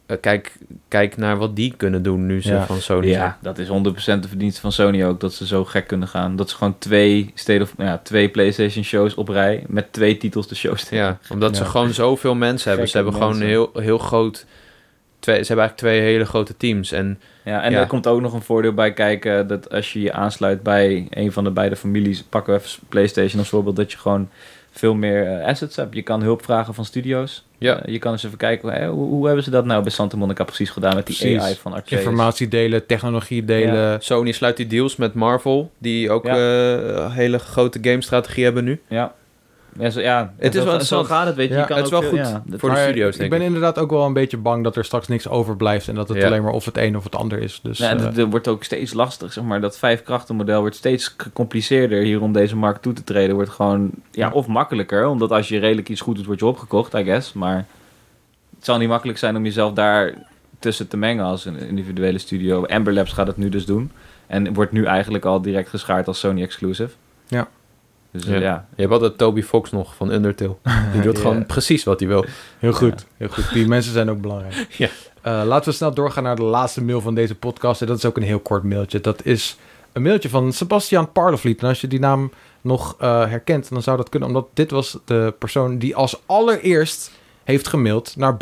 Eh, kijk, kijk naar wat die kunnen doen nu ze
Ja.
van Sony zijn.
ja, dat is 100% de verdienste van Sony ook, dat ze zo gek kunnen gaan. Dat ze gewoon twee, state of, nou ja, twee PlayStation shows op rij met twee titels de shows.
Ja, omdat ze
Ja.
gewoon zoveel mensen hebben. Ze
Gekke
hebben gewoon
mensen.
heel, heel groot... Twee, ze hebben eigenlijk twee hele grote teams. En
Ja, en
Ja.
daar komt ook nog een voordeel bij kijken dat als je je aansluit bij een van de beide families, pakken we even PlayStation als voorbeeld, dat je gewoon veel meer eh, assets hebt. Je kan hulp vragen van studio's.
ja,
Eh, je kan eens even kijken, hé, hoe, hoe hebben ze dat nou bij Santa Monica precies gedaan met die
Precies.
AI van Arceus?
Informatie delen, technologie delen.
Sony sluit die deals met Marvel. Die ook
Ja.
eh, hele grote game-strategie hebben nu.
Ja. Ja, zo, ja.
Het
zo,
is wel
zo
interessant.
gaat het, weet je.
Ja,
je kan
het is
ook
wel
veel-
goed
ja, dat-
voor de
Maar
studio's,
Ik
denk
ben
ik.
inderdaad ook wel een beetje bang dat er straks niks overblijft en dat het
Ja.
alleen maar of het een of het ander is. Dus,
Ja, en
eh,
het, het wordt ook steeds lastig, zeg maar. Dat vijfkrachtenmodel wordt steeds gecompliceerder hier om deze markt toe te treden. Wordt gewoon, ja,
Ja.
of makkelijker. Omdat als je redelijk iets goed doet, word je opgekocht, I guess. Maar het zal niet makkelijk zijn om jezelf daar tussen te mengen als een individuele studio. Amber Labs gaat het nu dus doen. En wordt nu eigenlijk al direct geschaard als Sony exclusive.
Ja.
Dus eh,
Ja.
ja.
Je hebt altijd Toby Fox nog van Undertale. Die doet
Ja.
gewoon precies wat hij wil.
heel goed, heel goed. Die mensen zijn ook belangrijk.
Ja.
Eh, laten we snel doorgaan naar de laatste mail van deze podcast. En dat is ook een heel kort mailtje. Dat is een mailtje van Sebastian Parlevliet. En als je die naam nog eh, herkent, dan zou dat kunnen. Omdat dit was de persoon die als allereerst heeft gemaild naar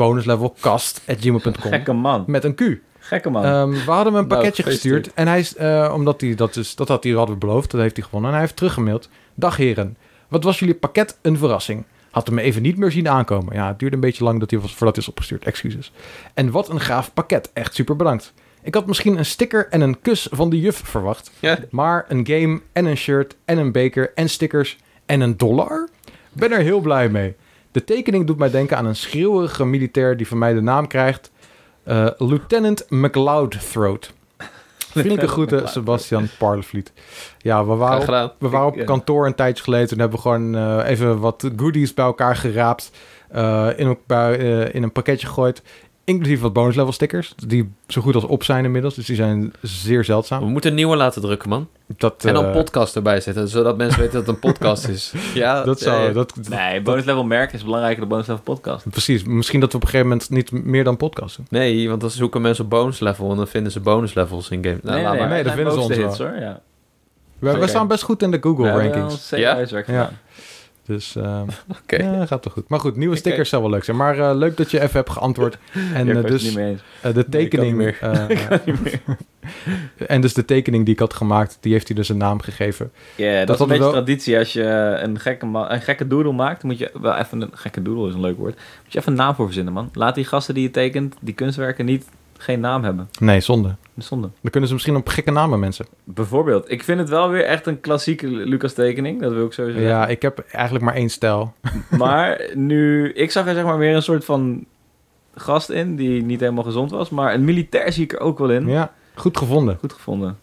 bonuslevelcast.gmail.com
Gekke man.
met een Q.
Gekke man.
Ehm, we hadden hem een
Nou,
pakketje gestuurd. En hij is, eh, omdat hij dat dus, dat had hij hadden we beloofd, dat heeft hij gewonnen. En hij heeft teruggemaild. Dag heren, wat was jullie pakket een verrassing? Had hem even niet meer zien aankomen. Ja, het duurde een beetje lang dat hij was, voordat hij is opgestuurd. Excuses. En wat een gaaf pakket. Echt super bedankt. Ik had misschien een sticker en een kus van de juf verwacht.
Ja.
Maar een game en een shirt en een beker en stickers en een dollar? Ben er heel blij mee. De tekening doet mij denken aan een schreeuwerige militair die van mij de naam krijgt. eh, Lieutenant McLeod Throat. Vriendelijke groeten, Sebastian Parlevliet. Ja, we
Graag
waren op,
gedaan.
we waren op
Ik, eh,
kantoor een tijdje geleden. Toen hebben we gewoon eh, even wat goodies bij elkaar geraapt. eh, in, een- bij, eh, in een pakketje gegooid. Inclusief wat bonus level stickers. Die zo goed als op zijn inmiddels. Dus die zijn zeer
We
zeldzaam.
moeten een nieuwe laten drukken, man.
Dat,
En dan
eh,
podcast erbij zetten, zodat mensen weten dat het een podcast is. Ja,
dat zou,
eh,
dat,
nee, bonus level merk is belangrijker dan bonus level podcast.
Precies, misschien dat we op een gegeven moment niet meer dan podcast doen.
Nee, want dan zoeken mensen bonus level en dan vinden ze bonus levels in game. Nou, laat maar.
nee, dat
zijn
vinden ze
bovenste
ons
hits, hoor. Ja.
We, we
Oké.
staan best goed in de Google rankings.
Ja?
Ja?
Ja.
ja.
Dus ehm
Oké.
ja, gaat toch goed. Maar goed, nieuwe
Oké.
stickers zou wel leuk zijn. Maar eh, leuk dat je even hebt geantwoord. En
Ja, ik
eh,
was het
dus
niet mee eens.
eh, de
Nee, ik kan
tekening.
niet meer.
eh, en dus de tekening die ik had gemaakt, die heeft hij dus een naam gegeven.
Ja, dat,
Dat
is
hadden
een beetje
we wel-
traditie. Als je een gekke, ma- een gekke doodle maakt, moet je wel even een gekke doodle is een leuk woord. Moet je even een naam voor verzinnen, man. Laat die gasten die je tekent, die kunstwerken niet geen naam hebben.
Nee, zonde.
Dat is Zonde.
Dan kunnen ze misschien op gekke namen mensen.
Bijvoorbeeld, ik vind het wel weer echt een klassieke Lucas tekening. Dat wil ik sowieso zeggen.
Ja, ik heb eigenlijk maar één stijl.
Maar nu, ik zag er zeg maar weer een soort van gast in die niet helemaal gezond was, maar een militair zie ik er ook wel in.
Ja, goed gevonden.
Goed gevonden.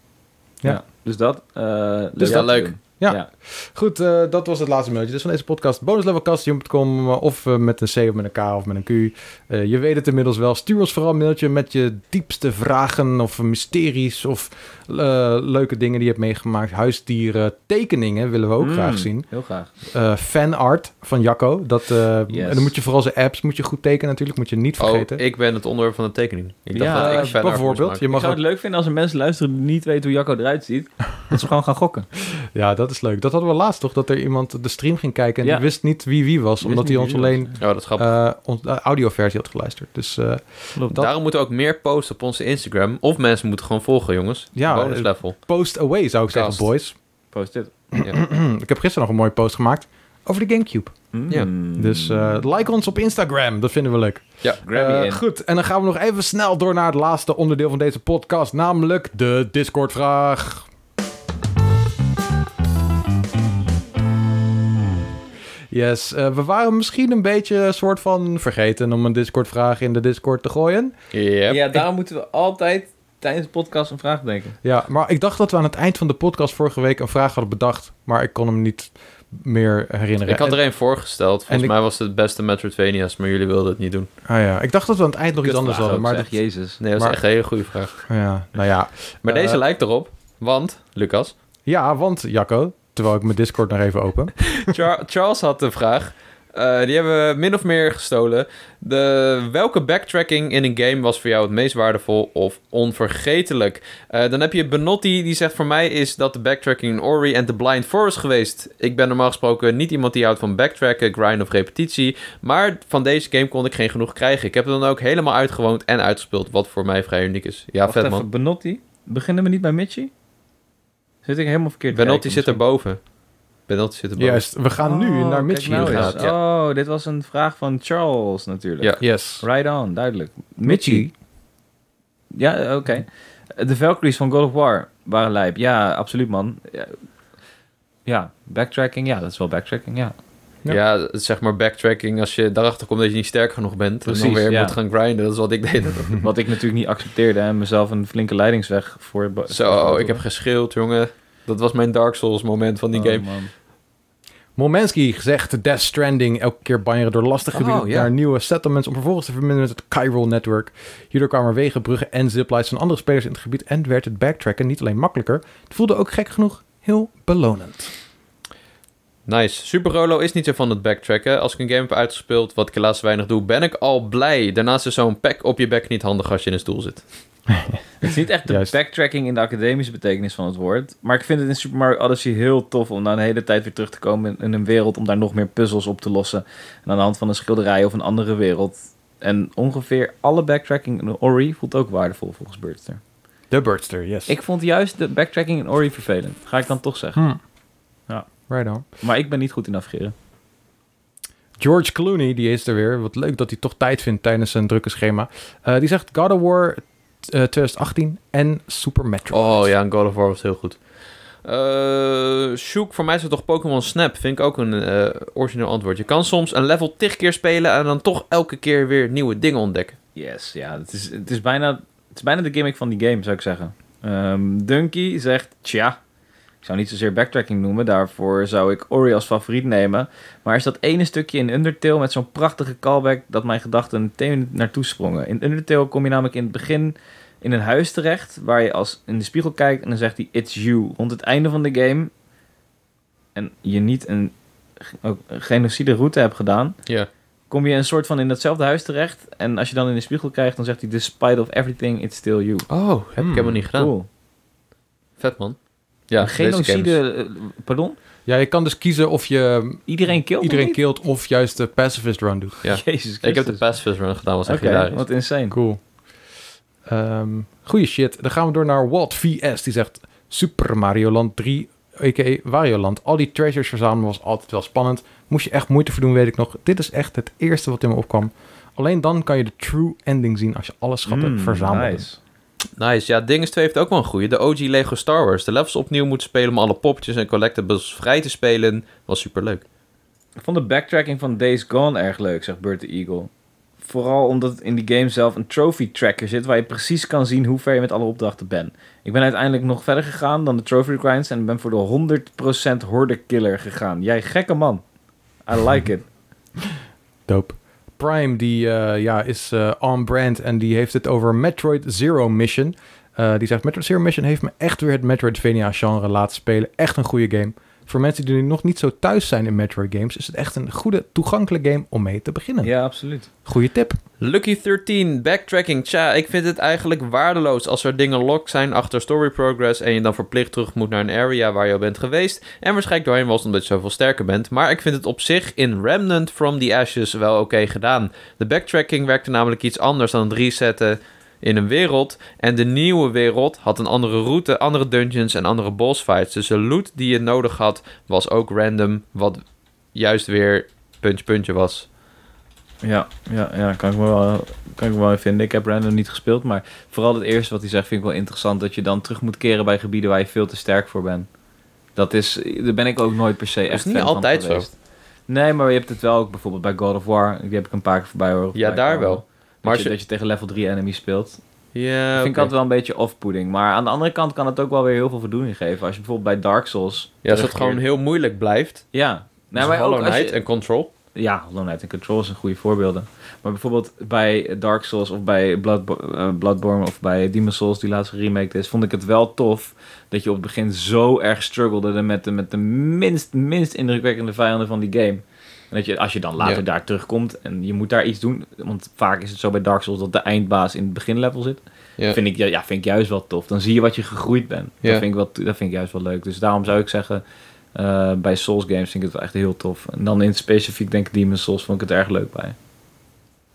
Ja.
Dus dat. eh,
Dus
leuk.
dat leuk.
Ja. Goed, eh, dat was het laatste mailtje. Dus van deze podcast, bonuslevelcast.com eh, of eh, met een C of met een K of met een Q. Eh, je weet het inmiddels wel. Stuur ons vooral een mailtje met je diepste vragen of mysteries of eh, leuke dingen die je hebt meegemaakt. Huisdieren, tekeningen willen we ook
Mm,
graag zien.
Heel graag.
Eh, fanart van Jacco. Dat, eh,
Yes.
En dan moet je vooral zijn apps moet je goed tekenen natuurlijk, moet je niet
Oh,
vergeten.
ik ben het onderwerp van de tekening. Ik dacht
Ja,
dat
Eh,
ik fanart moest
bijvoorbeeld,
maken.
je
Ik
mag
zou
ook,
het leuk vinden als er mensen luisteren die niet weten hoe Jacco eruit ziet. dat ze gewoon gaan gokken.
ja, dat is leuk. Dat hadden we laatst toch, dat er iemand de stream ging kijken en
Ja.
die wist niet wie wie was,
Wist
omdat
niet
hij ons
wie wie was,
alleen
Oh, dat is grappig.
eh ons- de audioversie had geluisterd. Dus eh,
Klopt.
dat-
Daarom moeten we ook meer posten op onze Instagram. Of mensen moeten gewoon volgen, jongens.
Ja,
Bonus
eh,
level.
post away zou ik
Kast.
zeggen, boys. Hm,
Post dit.
ik heb gisteren nog een mooie post gemaakt over de Gamecube.
Ja.
Mm.
Dus eh, like ons op Instagram, dat vinden we leuk.
Grammy
Eh,
in.
goed, en dan gaan we nog even snel door naar het laatste onderdeel van deze podcast, namelijk de Discord-vraag. Yes, eh, we waren misschien een beetje soort van vergeten om een Discord-vraag in de Discord te gooien.
Yep.
Ja, daarom moeten we altijd tijdens de podcast een vraag denken.
Ja, maar ik dacht dat we aan het eind van de podcast vorige week een vraag hadden bedacht, maar ik kon hem niet meer herinneren.
Ik had er een voorgesteld. Volgens
ik-
mij was het het beste Metroidvania's, maar jullie wilden het niet doen. Dus
Ah ja, ik dacht dat we aan het eind nog iets anders hadden, maar
echt
dat-
Jezus.
Nee, dat is
Maar-
echt een hele goede vraag.
ja, nou ja.
Maar
Eh,
deze lijkt erop, want, Lucas,
Ja, want Jacco, terwijl ik mijn Discord nog even open.
Char- Charles had de vraag. eh, die hebben we min of meer gestolen. De, welke backtracking in een game was voor jou het meest waardevol of onvergetelijk? Eh, dan heb je Benotti, die zegt... Voor mij is dat de backtracking in Ori en The Blind Forest geweest. Ik ben normaal gesproken niet iemand die houdt van backtracken, grind of repetitie. Maar van deze game kon ik geen genoeg krijgen. Ik heb het dan ook helemaal uitgewoond en uitgespeeld, wat voor mij vrij uniek is. Ja,
Wacht
vet
even,
man.
Benotti. Beginnen we niet bij Mitchie? Zit ik helemaal verkeerd? te
Benotti
kijken
zit
misschien?
erboven. Benotti zit erboven.
Juist, we gaan nu
Oh,
naar
kijk
Mitchie
nou
inderdaad.
eens.
ja.
Oh, dit was een vraag van Charles natuurlijk.
Ja.
Yes.
Right on, duidelijk. Mitchie. Ja, eh, oké. De Valkyries van God of War waren lijp. Ja, absoluut, man. Ja. Ja, backtracking. Ja, dat is wel backtracking, ja.
Ja.
Ja. zeg maar backtracking. Als je daarachter komt dat je niet sterk genoeg bent. en
Precies,
dan weer
ja.
moet gaan grinden. Dat is wat ik deed.
Wat ik natuurlijk niet accepteerde en mezelf een flinke leidingsweg voor...
Zo, ik heb geschreeuwd, jongen. Dat was mijn Dark Souls moment van die
Oh.
game.
Momenski zegt Death Stranding. Elke keer banjeren door lastige gebieden
Oh, ja.
naar nieuwe settlements... om vervolgens te verbinden met het Chiral Network. Hierdoor kwamen er wegen, bruggen en ziplines van andere spelers in het gebied... en werd het backtracken niet alleen makkelijker... het voelde ook gek genoeg heel belonend.
Nice. Super Rolo is niet zo van het backtracken. Als ik een game heb uitgespeeld, wat ik helaas weinig doe, ben ik al blij. Daarnaast is zo'n pack op je bek niet handig als je in een stoel zit.
Het is niet echt de
Juist.
backtracking in de academische betekenis van het woord. Maar ik vind het in Super Mario Odyssey heel tof om dan de hele tijd weer terug te komen in, in een wereld. Om daar nog meer puzzels op te lossen. En aan de hand van een schilderij of een andere wereld. En ongeveer alle backtracking in Ori voelt ook waardevol volgens Birdster.
De Birdster, yes.
Ik vond juist de backtracking in Ori vervelend. Ga ik dan toch zeggen.
Hmm.
Ja.
Right on.
Maar ik ben niet goed in navigeren.
George Clooney, die is er weer. Wat leuk dat hij toch tijd vindt tijdens zijn drukke schema. Eh, die zegt God of War eh, 2018 en Super Metroid.
Oh ja, en God of War was heel goed. Eh Shook, voor mij is het toch Pokémon Snap. Vind ik ook een eh, origineel antwoord. Je kan soms een level tig keer spelen en dan toch elke keer weer nieuwe dingen ontdekken.
Yes, ja. Het is, het is, bijna, het is bijna de gimmick van die game, zou ik zeggen. Ehm Dunky zegt, tja, ik zou niet zozeer backtracking noemen. Daarvoor zou ik Ori als favoriet nemen. Maar is dat ene stukje in Undertale met zo'n prachtige callback... dat mijn gedachten meteen naartoe sprongen. In Undertale kom je namelijk in het begin in een huis terecht... waar je als in de spiegel kijkt en dan zegt hij, it's you. Rond het einde van de game... en je niet een, ook een genocide route hebt gedaan
Ja.
kom je een soort van in datzelfde huis terecht. En als je dan in de spiegel kijkt, dan zegt hij... Despite of everything, it's still you.
Oh, heb
Hmm.
ik helemaal niet gedaan.
Cool.
Vet man. Ja,
Een
deze games.
genocide... eh, Pardon?
Ja, je kan dus kiezen of je
Iedereen kilt
iedereen
of niet?
keelt of juist de pacifist run doet.
Ja.
Jezus Christus.
Ik heb de pacifist run gedaan, was echt
Oké,
hilarisch.
wat insane.
Cool. Ehm goeie shit. Dan gaan we door naar Walt VS. Die zegt Super Mario Land 3, a.k.a. Wario Land. Al die treasures verzamelen was altijd wel spannend. Moest je echt moeite voor doen, weet ik nog. Dit is echt het eerste wat in me opkwam. Alleen dan kan je de true ending zien als je alle schatten
Mm,
verzamelt.
nice.
Nice. Ja, Dinges 2 heeft ook wel een goeie. De OG Lego Star Wars. De levels opnieuw moeten spelen om alle poppetjes en collectibles vrij te spelen. Was superleuk.
Ik vond de backtracking van Days Gone erg leuk, zegt Bert the Eagle. vooral omdat het in die game zelf een trophy tracker zit... waar je precies kan zien hoe ver je met alle opdrachten bent. Ik ben uiteindelijk nog verder gegaan dan de trophy grinds... en ben voor de 100% horde killer gegaan. Jij gekke man. I like it.
Dope. Prime die, eh, ja, is eh, on brand en die heeft het over Metroid Zero Mission. Eh, die zegt, Metroid Zero Mission heeft me echt weer het Metroidvania-genre laten spelen. Echt een goede game. Voor mensen die nu nog niet zo thuis zijn in Metroid games... is het echt een goede, toegankelijke game om mee te beginnen.
Ja, absoluut.
Goeie tip.
Lucky 13, backtracking. Tja, ik vind het eigenlijk waardeloos als er dingen locked zijn achter story progress en je dan verplicht terug moet naar een area waar je al bent geweest en waarschijnlijk doorheen was omdat je zoveel sterker bent. Maar ik vind het op zich in Remnant from the Ashes wel oké gedaan. De backtracking werkte namelijk iets anders dan het resetten in een wereld en de nieuwe wereld had een andere route, andere dungeons en andere boss fights. Dus de loot die je nodig had was ook random, wat juist weer puntje puntje was.
Ja, ja, ja kan, ik me wel, kan ik me wel in vinden. Ik heb Random niet gespeeld, maar vooral het eerste wat hij zegt vind ik wel interessant. Dat je dan terug moet keren bij gebieden waar je veel te sterk voor bent. Dat is, daar ben ik ook nooit per se echt
is niet
fan van
altijd zo.
geweest. Nee, maar je hebt het wel ook bijvoorbeeld bij God of War. Die heb ik een paar keer voorbij horen.
Ja,
voorbij
daar
komen.
wel.
Dat,
Maar
je,
als je-
dat je tegen level 3 enemies speelt. Dat
Ja,
vind ik
oké.
altijd wel een beetje off-putting. Maar aan de andere kant kan het ook wel weer heel veel verdoening geven. Als je bijvoorbeeld bij Dark Souls...
Ja, als het
terugkeert-
gewoon heel moeilijk blijft.
Ja.
Nou,
Nou, maar ook
Hollow
als je-
Knight en Control.
Ja, Hollow Knight en Control zijn goede voorbeelden. Maar bijvoorbeeld bij Dark Souls of bij Bloodbo- eh, Bloodborne of bij Demon Souls, die laatst geremaked is, vond ik het wel tof dat je op het begin zo erg struggelde met de, met de minst, minst indrukwekkende vijanden van die game. En dat je, als je dan later
Ja.
daar terugkomt en je moet daar iets doen, want vaak is het zo bij Dark Souls dat de eindbaas in het beginlevel zit.
Ja.
Vind, ik, ja, ja, vind ik juist wel tof. Dan zie je wat je gegroeid bent.
Ja.
Dat, vind ik wel, dat vind ik juist wel leuk. Dus daarom zou ik zeggen, eh, bij Souls games vind ik het wel echt heel tof. En dan in het specifiek denk ik Demon's Souls vond ik het erg leuk bij.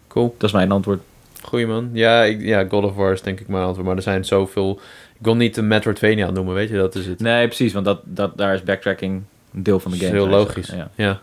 Cool.
Dat is mijn antwoord.
Goeie man. Ja, ik, ja, God of War is denk ik mijn antwoord. Maar er zijn zoveel... Ik wil niet de Metroidvania noemen, weet je? Dat is het.
Nee, precies, want dat, dat, daar is backtracking een deel van de
Dat
game.
is heel
zou ik
logisch.
zeggen.
Ja.
Ja.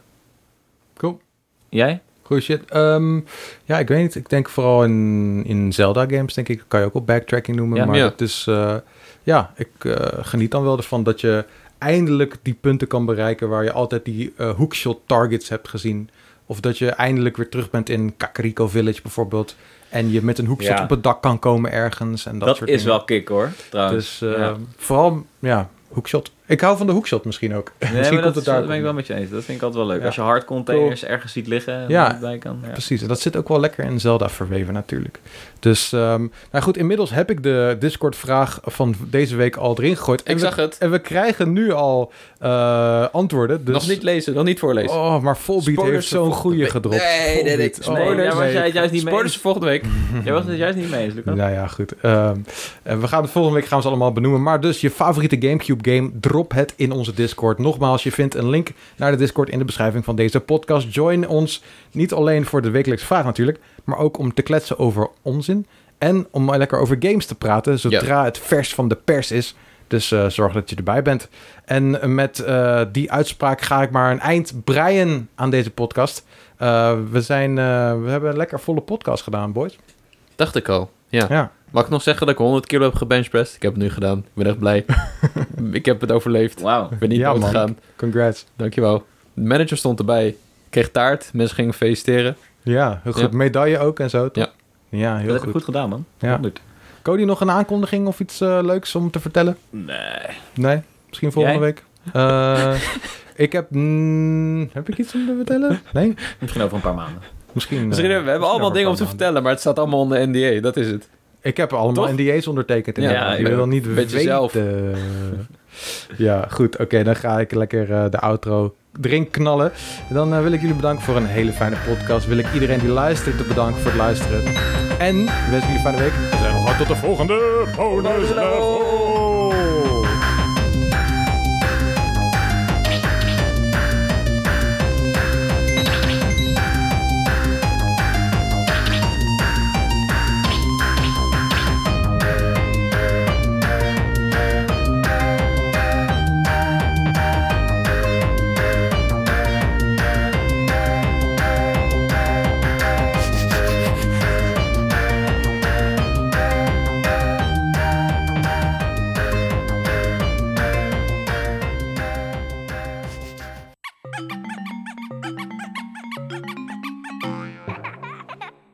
Cool.
Jij?
Goeie shit. Ehm, ja, ik weet niet. Ik denk vooral in, in Zelda games, denk ik. Kan je ook op backtracking noemen.
Ja.
maar
Ja.
het is... eh, ja, ik eh, geniet dan wel ervan dat je eindelijk die punten kan bereiken... waar je altijd die eh, hookshot targets hebt gezien. Of dat je eindelijk weer terug bent in Kakariko Village bijvoorbeeld. En je met een hoekshot
Ja.
op het dak kan komen ergens. En dat,
Dat,
soort
is
dingen.
wel kick hoor, trouwens.
Dus eh,
Ja.
vooral, ja, hoekshot. Ik hou van de hoekshot misschien ook.
Nee,
misschien
maar
komt
dat,
het
is-
daar.
dat ben ik wel met je eens. Dat vind ik altijd wel leuk.
Ja.
Als je hardcontainers ergens ziet liggen en
Ja.
er niet bij kan. Ja.
Precies, en dat zit ook wel lekker in Zelda verweven natuurlijk. Dus, ehm, nou goed, inmiddels heb ik de Discord-vraag van deze week al erin gegooid. En
Ik
we-
zag het.
En we krijgen nu al eh, antwoorden. Dus...
Nog niet lezen, nog niet voorlezen.
Oh, maar Volbeat
Spoilers
heeft zo'n
voor
goede
volgende
gedropt.
week. Nee, nee, nee,
Volbeat. Oh,
nee,
Nee,
Spoilers.
daar was jij het juist niet mee
Spoilers
eens.
voor volgende week.
Jij was het juist niet mee eens, Lucas.
Nou ja, goed. Ehm, en we gaan de volgende week gaan we ze allemaal benoemen. Maar dus je favoriete GameCube game, drop het in onze Discord. Nogmaals, je vindt een link naar de Discord in de beschrijving van deze podcast. Join ons niet alleen voor de wekelijkse vraag natuurlijk, maar ook om te kletsen over onzin en om maar lekker over games te praten zodra het vers van de pers is. Dus eh, zorg dat je erbij bent. En met eh, die uitspraak ga ik maar een eind breien aan deze podcast. Eh, we, zijn, eh, we hebben een lekker volle podcast gedaan, boys.
Dacht ik al. Ja.
Ja.
Mag ik nog zeggen dat ik 100 kilo heb gebenchpressed? Ik heb het nu gedaan. Ik ben echt blij. ik heb het overleefd.
Wauw.
Ik ben niet
Ja, man.
doodgegaan.
Congrats.
Dankjewel. De manager stond erbij. Ik kreeg taart. Mensen gingen feliciteren.
Ja, heel goed.
Ja.
Medaille ook en zo, toch?
Ja.
Ja,
Dat
heel
heb ik
goed.
goed gedaan, man.
Ja.
100.
Cody, nog een aankondiging of iets eh, leuks om te vertellen?
Nee.
Nee? Misschien volgende
Jij?
week? Eh, ik heb... mm, heb ik iets om te vertellen? Nee?
Misschien over een paar maanden.
Misschien... eh,
Misschien, hebben we hebben allemaal dingen om te vertellen, maar het staat allemaal onder NDA. Dat is het.
Ik heb allemaal
Toch?
NDA's ondertekend.
Ja,
Ja, ik
ik
wil niet
weet je
weten.
zelf.
ja, goed. Oké, dan ga ik lekker eh, de outro erin knallen. Dan eh, wil ik jullie bedanken voor een hele fijne podcast. Wil ik iedereen die luistert te bedanken voor het luisteren. En wens jullie een fijne week. We zijn nog tot de volgende bonus level.